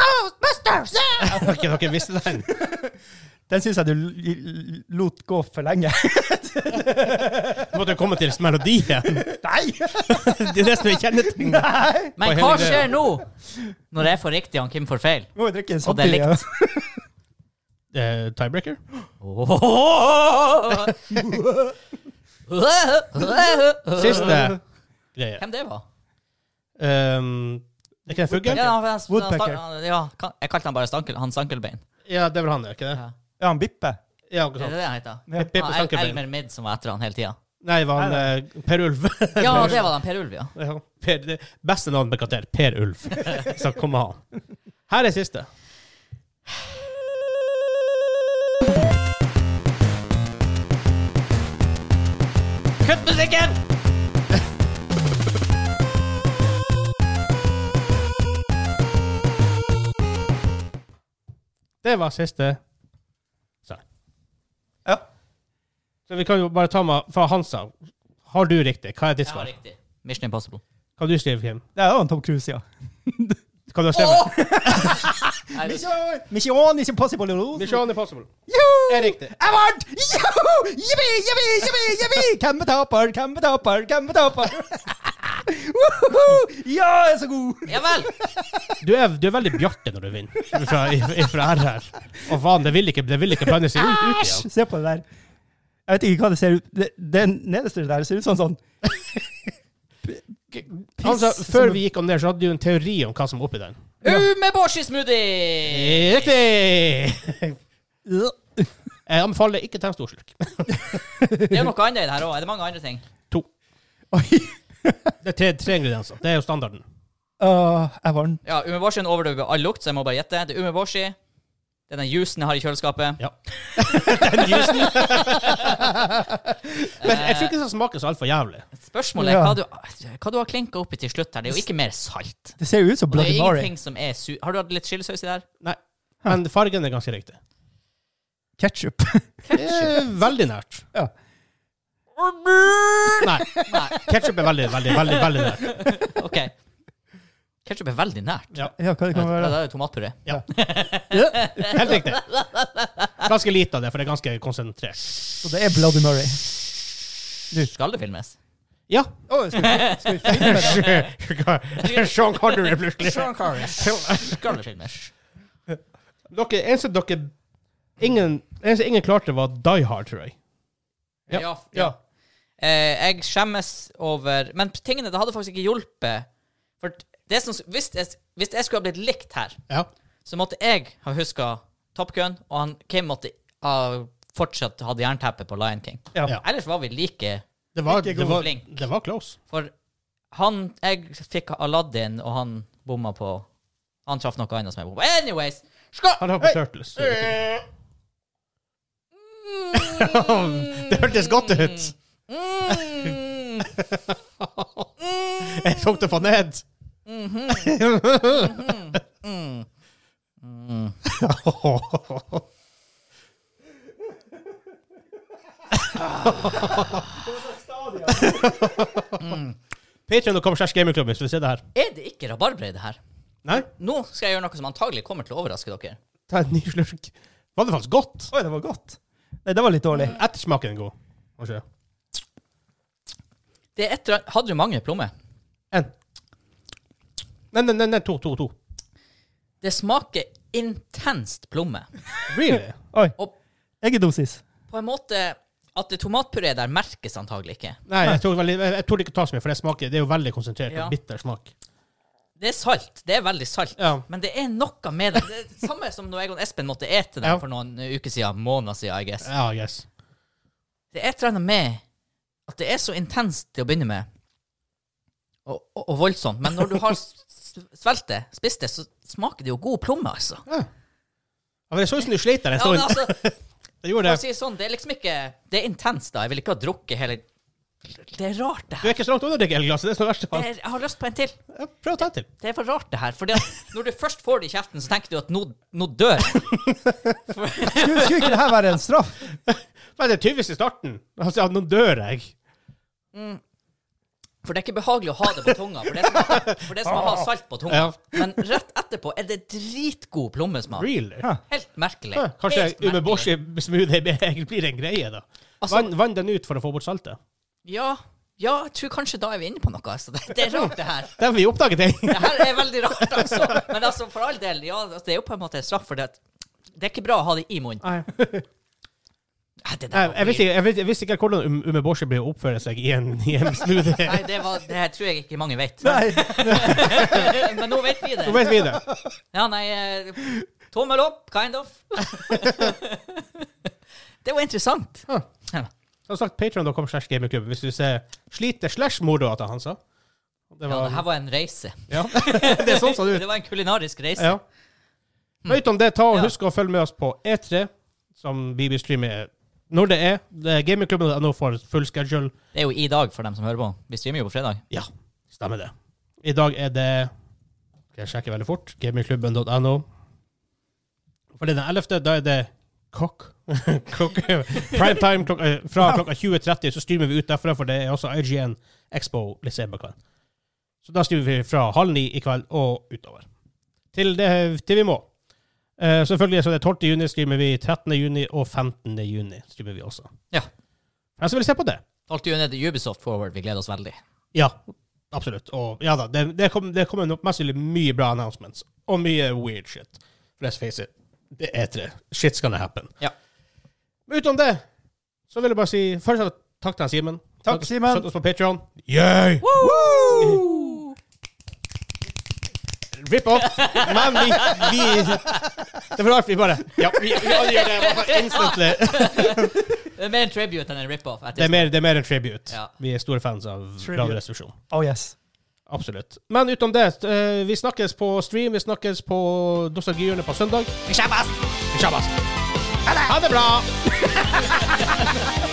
[SPEAKER 2] Ghostbusters! yeah!
[SPEAKER 1] Jeg tror ikke dere visste den.
[SPEAKER 3] Den syns jeg du l- l- lot gå for lenge.
[SPEAKER 1] Du måtte jo komme til melodien.
[SPEAKER 3] Nei!
[SPEAKER 1] Det er det som er kjennetegnet.
[SPEAKER 3] Nei!
[SPEAKER 1] På
[SPEAKER 2] Men
[SPEAKER 1] hele
[SPEAKER 2] hva
[SPEAKER 1] greia.
[SPEAKER 2] skjer nå? Når jeg får riktig og Kim får feil?
[SPEAKER 3] Må jo drikke en
[SPEAKER 2] Og det er
[SPEAKER 3] samtidig.
[SPEAKER 2] likt.
[SPEAKER 1] Eh, tiebreaker? Siste greie.
[SPEAKER 2] Hvem det var?
[SPEAKER 1] Um, er ikke det en fugl?
[SPEAKER 2] Ja, han, han,
[SPEAKER 3] Woodpecker.
[SPEAKER 2] han, ja, kan- jeg kalte han bare stankel, han Stankelbein.
[SPEAKER 1] Ja, det er vel han, er ikke det?
[SPEAKER 2] Ja.
[SPEAKER 3] Ja, han Bippe.
[SPEAKER 1] Ja, ikke
[SPEAKER 2] Er det
[SPEAKER 1] sant.
[SPEAKER 2] det han heter?
[SPEAKER 3] Ja.
[SPEAKER 1] Pippi på
[SPEAKER 2] Han, El-
[SPEAKER 1] stankebein.
[SPEAKER 2] Elmer Midd som var etter han hele tida.
[SPEAKER 1] Nei, det var han eh, Per Ulv.
[SPEAKER 2] Ja, det var den Per Ulv, ja.
[SPEAKER 1] Ja, per, det beste navn på karakter. Per Ulv. Så kom han. Her er siste.
[SPEAKER 2] Kutt musikken!
[SPEAKER 1] Det var siste. sang.
[SPEAKER 3] Ja.
[SPEAKER 1] Så vi kan jo bare ta med fra Hansa. Har du riktig? Hva er ditt
[SPEAKER 2] Jeg var
[SPEAKER 1] svar?
[SPEAKER 2] riktig. Mission Impossible.
[SPEAKER 1] Hva du skriver, Kim?
[SPEAKER 3] Det er jo han Tom Cruise, ja.
[SPEAKER 1] Hva du har skrevet?
[SPEAKER 2] Nei, det-
[SPEAKER 3] Mission is impossible to lose.
[SPEAKER 1] Mission Impossible.
[SPEAKER 3] Joho!
[SPEAKER 1] Er riktig.
[SPEAKER 3] Jeg vant! Joho! Jippi, jippi, jippi, jippi! Hvem er taper? Hvem er taper? Hvem er taper? Woho! Ja, jeg er så god!
[SPEAKER 2] Ja vel!
[SPEAKER 1] Du er, du er veldig Bjarte når du vinner fra, fra RR. Og faen, det vil ikke, det vil ikke blande seg ut, ut
[SPEAKER 3] Æsj!
[SPEAKER 1] igjen.
[SPEAKER 3] Se på det der. Jeg vet ikke hva det ser ut Det, det nederste der ser ut som sånn Piss.
[SPEAKER 1] Hansa, Altså, før vi gikk om det, så hadde du en teori om hva som var oppi den.
[SPEAKER 2] Umeboshi-smoothie!
[SPEAKER 1] Riktig!
[SPEAKER 3] sånn
[SPEAKER 1] Jeg anbefaler ikke ta en stor slurk.
[SPEAKER 2] Det er jo noe annet i det her òg. Er det mange andre ting?
[SPEAKER 1] To.
[SPEAKER 3] Oi!
[SPEAKER 1] Det er tre, tre ingredienser. Det er jo standarden.
[SPEAKER 3] Åh, jeg vant.
[SPEAKER 2] Ja, Umeboshien overdøver all lukt, så jeg må bare gjette. Det er umeboshi. Det er den juicen jeg har i kjøleskapet.
[SPEAKER 1] Ja. Den jusen. Men jeg tror ikke den smaker så altfor jævlig.
[SPEAKER 2] Spørsmålet er
[SPEAKER 3] Ja.
[SPEAKER 2] hva du, hva du har klinka oppi til slutt her. Det er jo ikke mer salt.
[SPEAKER 3] Det ser jo ut som
[SPEAKER 2] Og det er
[SPEAKER 3] Bloody Mary.
[SPEAKER 2] ingenting som er su... Har du hatt litt chilisaus i der?
[SPEAKER 1] Nei. Men fargen er ganske riktig.
[SPEAKER 3] Ketchup.
[SPEAKER 1] Det er veldig nært.
[SPEAKER 3] ja.
[SPEAKER 1] Nei.
[SPEAKER 2] Nei.
[SPEAKER 1] Ketchup er veldig, veldig, veldig veldig nært.
[SPEAKER 2] OK. Ketchup er veldig nært.
[SPEAKER 1] Ja.
[SPEAKER 3] ja, hva det kan
[SPEAKER 2] Ja,
[SPEAKER 3] være?
[SPEAKER 2] det er jo tomatpuré.
[SPEAKER 1] Helt riktig. Ganske lite av det, for det er ganske konsentrert.
[SPEAKER 3] Så det er Bloody Murray.
[SPEAKER 2] Skal det filmes?
[SPEAKER 1] Ja.
[SPEAKER 3] Oh, skal vi, skal vi filme det?
[SPEAKER 1] Sean Connery plutselig.
[SPEAKER 2] Skal det filmes?
[SPEAKER 1] Dere, eneste dere ingen, eneste ingen klarte, var Die Hard, tror jeg. Ja. Ja.
[SPEAKER 2] Eh, jeg skjemmes over Men tingene, det hadde faktisk ikke hjulpet. For det som, hvis, jeg, hvis jeg skulle ha blitt likt her,
[SPEAKER 1] Ja.
[SPEAKER 2] så måtte jeg ha huska Top Gun, og han Kim måtte ha fortsatt hatt jernteppe på Lion King.
[SPEAKER 3] Ja.
[SPEAKER 1] Ja.
[SPEAKER 2] Ellers var vi like.
[SPEAKER 1] Det var,
[SPEAKER 3] Ikke
[SPEAKER 1] det
[SPEAKER 3] god
[SPEAKER 1] var,
[SPEAKER 2] blink.
[SPEAKER 1] det var close.
[SPEAKER 2] For han Jeg fikk Aladdin, og han bomma på Han traff noe annet som jeg bomma på. Anyways! Skål!
[SPEAKER 1] Han har på Turtles. det hørtes godt ut.
[SPEAKER 2] Mm.
[SPEAKER 1] Jeg tok det for ned. Patreon.com slash gamingklubben, hvis du vil se det her.
[SPEAKER 2] Er det ikke rabarbra i det her?
[SPEAKER 1] Nei?
[SPEAKER 2] Nå skal jeg gjøre noe som antagelig kommer til å overraske dere.
[SPEAKER 1] Ta en ny slurk. Var det faktisk godt?
[SPEAKER 3] Oi, det var godt. Nei, det var litt dårlig.
[SPEAKER 1] Ettersmaken er god. Kanskje.
[SPEAKER 2] Det er et, eller annet- hadde du mange plommer?
[SPEAKER 1] En. Nei, nei, nei, nei, to, to, to.
[SPEAKER 2] Det smaker intenst plomme.
[SPEAKER 1] Really?
[SPEAKER 3] Oi.
[SPEAKER 2] Og-
[SPEAKER 3] Eggedosis.
[SPEAKER 2] På en måte at det tomatpuré der merkes antagelig ikke.
[SPEAKER 1] Nei, jeg tror, veldig, jeg jeg tror det ikke tar så mye, for det smaker, det er jo veldig konsentrert
[SPEAKER 2] Ja.
[SPEAKER 1] og bitter smak.
[SPEAKER 2] Det er salt. Det er veldig salt.
[SPEAKER 1] Ja.
[SPEAKER 2] Men det er noe med det. det er samme som når jeg og Espen måtte ete den
[SPEAKER 1] Ja.
[SPEAKER 2] for noen uker siden. Måneder siden, I guess.
[SPEAKER 1] Ja, I guess.
[SPEAKER 2] Det er et eller annet med at det er så intenst til å begynne med, og, og, og voldsomt. Men når du har s- s- svelget det, spist det, så smaker det jo god plomme, altså.
[SPEAKER 1] Ja, men det så ut som du sleit der en
[SPEAKER 2] Ja, men
[SPEAKER 1] stund.
[SPEAKER 2] altså
[SPEAKER 1] Det gjorde
[SPEAKER 2] for å
[SPEAKER 1] det.
[SPEAKER 2] si det sånn, det er liksom ikke Det er intenst, da. Jeg vil ikke ha drukket hele Det er rart,
[SPEAKER 1] Du
[SPEAKER 2] det her.
[SPEAKER 1] er ikke så langt unna å drikke hele glasset. Det er det verste.
[SPEAKER 2] Det
[SPEAKER 1] faen.
[SPEAKER 2] er, jeg har lyst på en til.
[SPEAKER 1] Ja, Prøv å ta en til.
[SPEAKER 2] Det er for rart, det her. For når du først får det i kjeften, så tenker du at nå, nå dør jeg.
[SPEAKER 3] Skulle, skulle ikke det her være en straff?
[SPEAKER 1] Nei, det er tydeligvis i starten. Altså, ja, nå dør jeg.
[SPEAKER 2] For det er ikke behagelig å ha det på tunga. For det er som, å- for det er som å ha salt på tunga.
[SPEAKER 1] Ja.
[SPEAKER 2] Men rett etterpå er det dritgod plommesmak.
[SPEAKER 1] Really?
[SPEAKER 3] Ja.
[SPEAKER 2] Helt merkelig.
[SPEAKER 1] Ja, Kanskje
[SPEAKER 2] Helt merkelig.
[SPEAKER 1] umeboshi-smoothie blir en greie, da.
[SPEAKER 2] Altså-
[SPEAKER 1] Vann, vann den ut for å få bort saltet.
[SPEAKER 2] Ja, ja, jeg tror kanskje da er vi inne på noe. Altså. Det, det er rart, det her.
[SPEAKER 1] Der vi oppdaget det.
[SPEAKER 2] Det her er veldig rart, altså. Men altså, for all del, ja, altså, det er jo på en måte en straff for det. at Det er ikke bra å ha det i munnen.
[SPEAKER 1] Nei.
[SPEAKER 2] Nei, det der
[SPEAKER 1] Nei,
[SPEAKER 2] var
[SPEAKER 1] jeg, visste, ikke- jeg, visste, jeg visste ikke hvordan um- umeboshi blir å oppføre seg i en, i en smoothie.
[SPEAKER 2] weird. Nei, det, var, det her tror jeg ikke mange vet.
[SPEAKER 3] Nei.
[SPEAKER 2] Men nå vet vi
[SPEAKER 1] Nå
[SPEAKER 2] det.
[SPEAKER 1] vet vi det.
[SPEAKER 2] Ja, nei eh, Tommel opp, kind of. Det var interessant.
[SPEAKER 1] Ja. Som sagt, patreon.com slash gamingklubben hvis du ser sliter slash moroa til Hansa. Det
[SPEAKER 2] Ja, det her
[SPEAKER 1] var,
[SPEAKER 2] var en reise.
[SPEAKER 1] ja, det er sånn som du
[SPEAKER 2] Det var en kulinarisk reise.
[SPEAKER 1] ja. Høyt om det, ta og
[SPEAKER 2] Ja.
[SPEAKER 1] husk å følge med oss på E3, som vi streamer når det er. Det er Gamingklubben er nå for full schedule.
[SPEAKER 2] Det er jo i dag for dem som hører på. Vi streamer jo på fredag.
[SPEAKER 1] Ja, stemmer det. I dag er det Skal jeg sjekke veldig fort. Gamingklubben.no. For det er den 11., da er det kokk. kokk. Primetime klokka, eh, fra klokka 20.30, så streamer vi ut derfra, for det er også IGN Expo litt senere på kvelden. Så da streamer vi fra halv ni i kveld og utover. Til, det, til vi må. Eh, selvfølgelig så er det 12. juni streamer vi, 13. juni og 15. juni streamer vi også.
[SPEAKER 2] Ja.
[SPEAKER 1] For den som vil se på det.
[SPEAKER 2] 12. juni er det Ubisoft Forward. Vi gleder oss veldig.
[SPEAKER 1] Ja, absolutt. Og ja da, det, det, kom, det kommer nok mest sannsynlig mye bra announcements. Og mye weird shit. For let's face it, det er tre. Shit's gonna happen.
[SPEAKER 2] Ja.
[SPEAKER 1] Men utenom det, så vil jeg bare si først og fremst takk til han Simen.
[SPEAKER 3] Takk, Simen.
[SPEAKER 1] Støtt oss på Patreon. Yay! Rip off. Men vi, vi Det var rart vi bare Ja, vi, vi alle gjør det bare instantly.
[SPEAKER 2] Det er mer en tribute enn en rip-off.
[SPEAKER 1] Det er mer, det er mer en tribute.
[SPEAKER 2] Ja.
[SPEAKER 1] Vi er store fans av
[SPEAKER 3] Tribute.
[SPEAKER 1] radiorestriksjon.
[SPEAKER 3] Oh yes.
[SPEAKER 1] Absolutt. Men utenom det, eh, vi snakkes på stream, vi snakkes på Nostalgihjørnet på søndag.
[SPEAKER 2] Shabbat!
[SPEAKER 1] Vi kjabas! Ha det bra!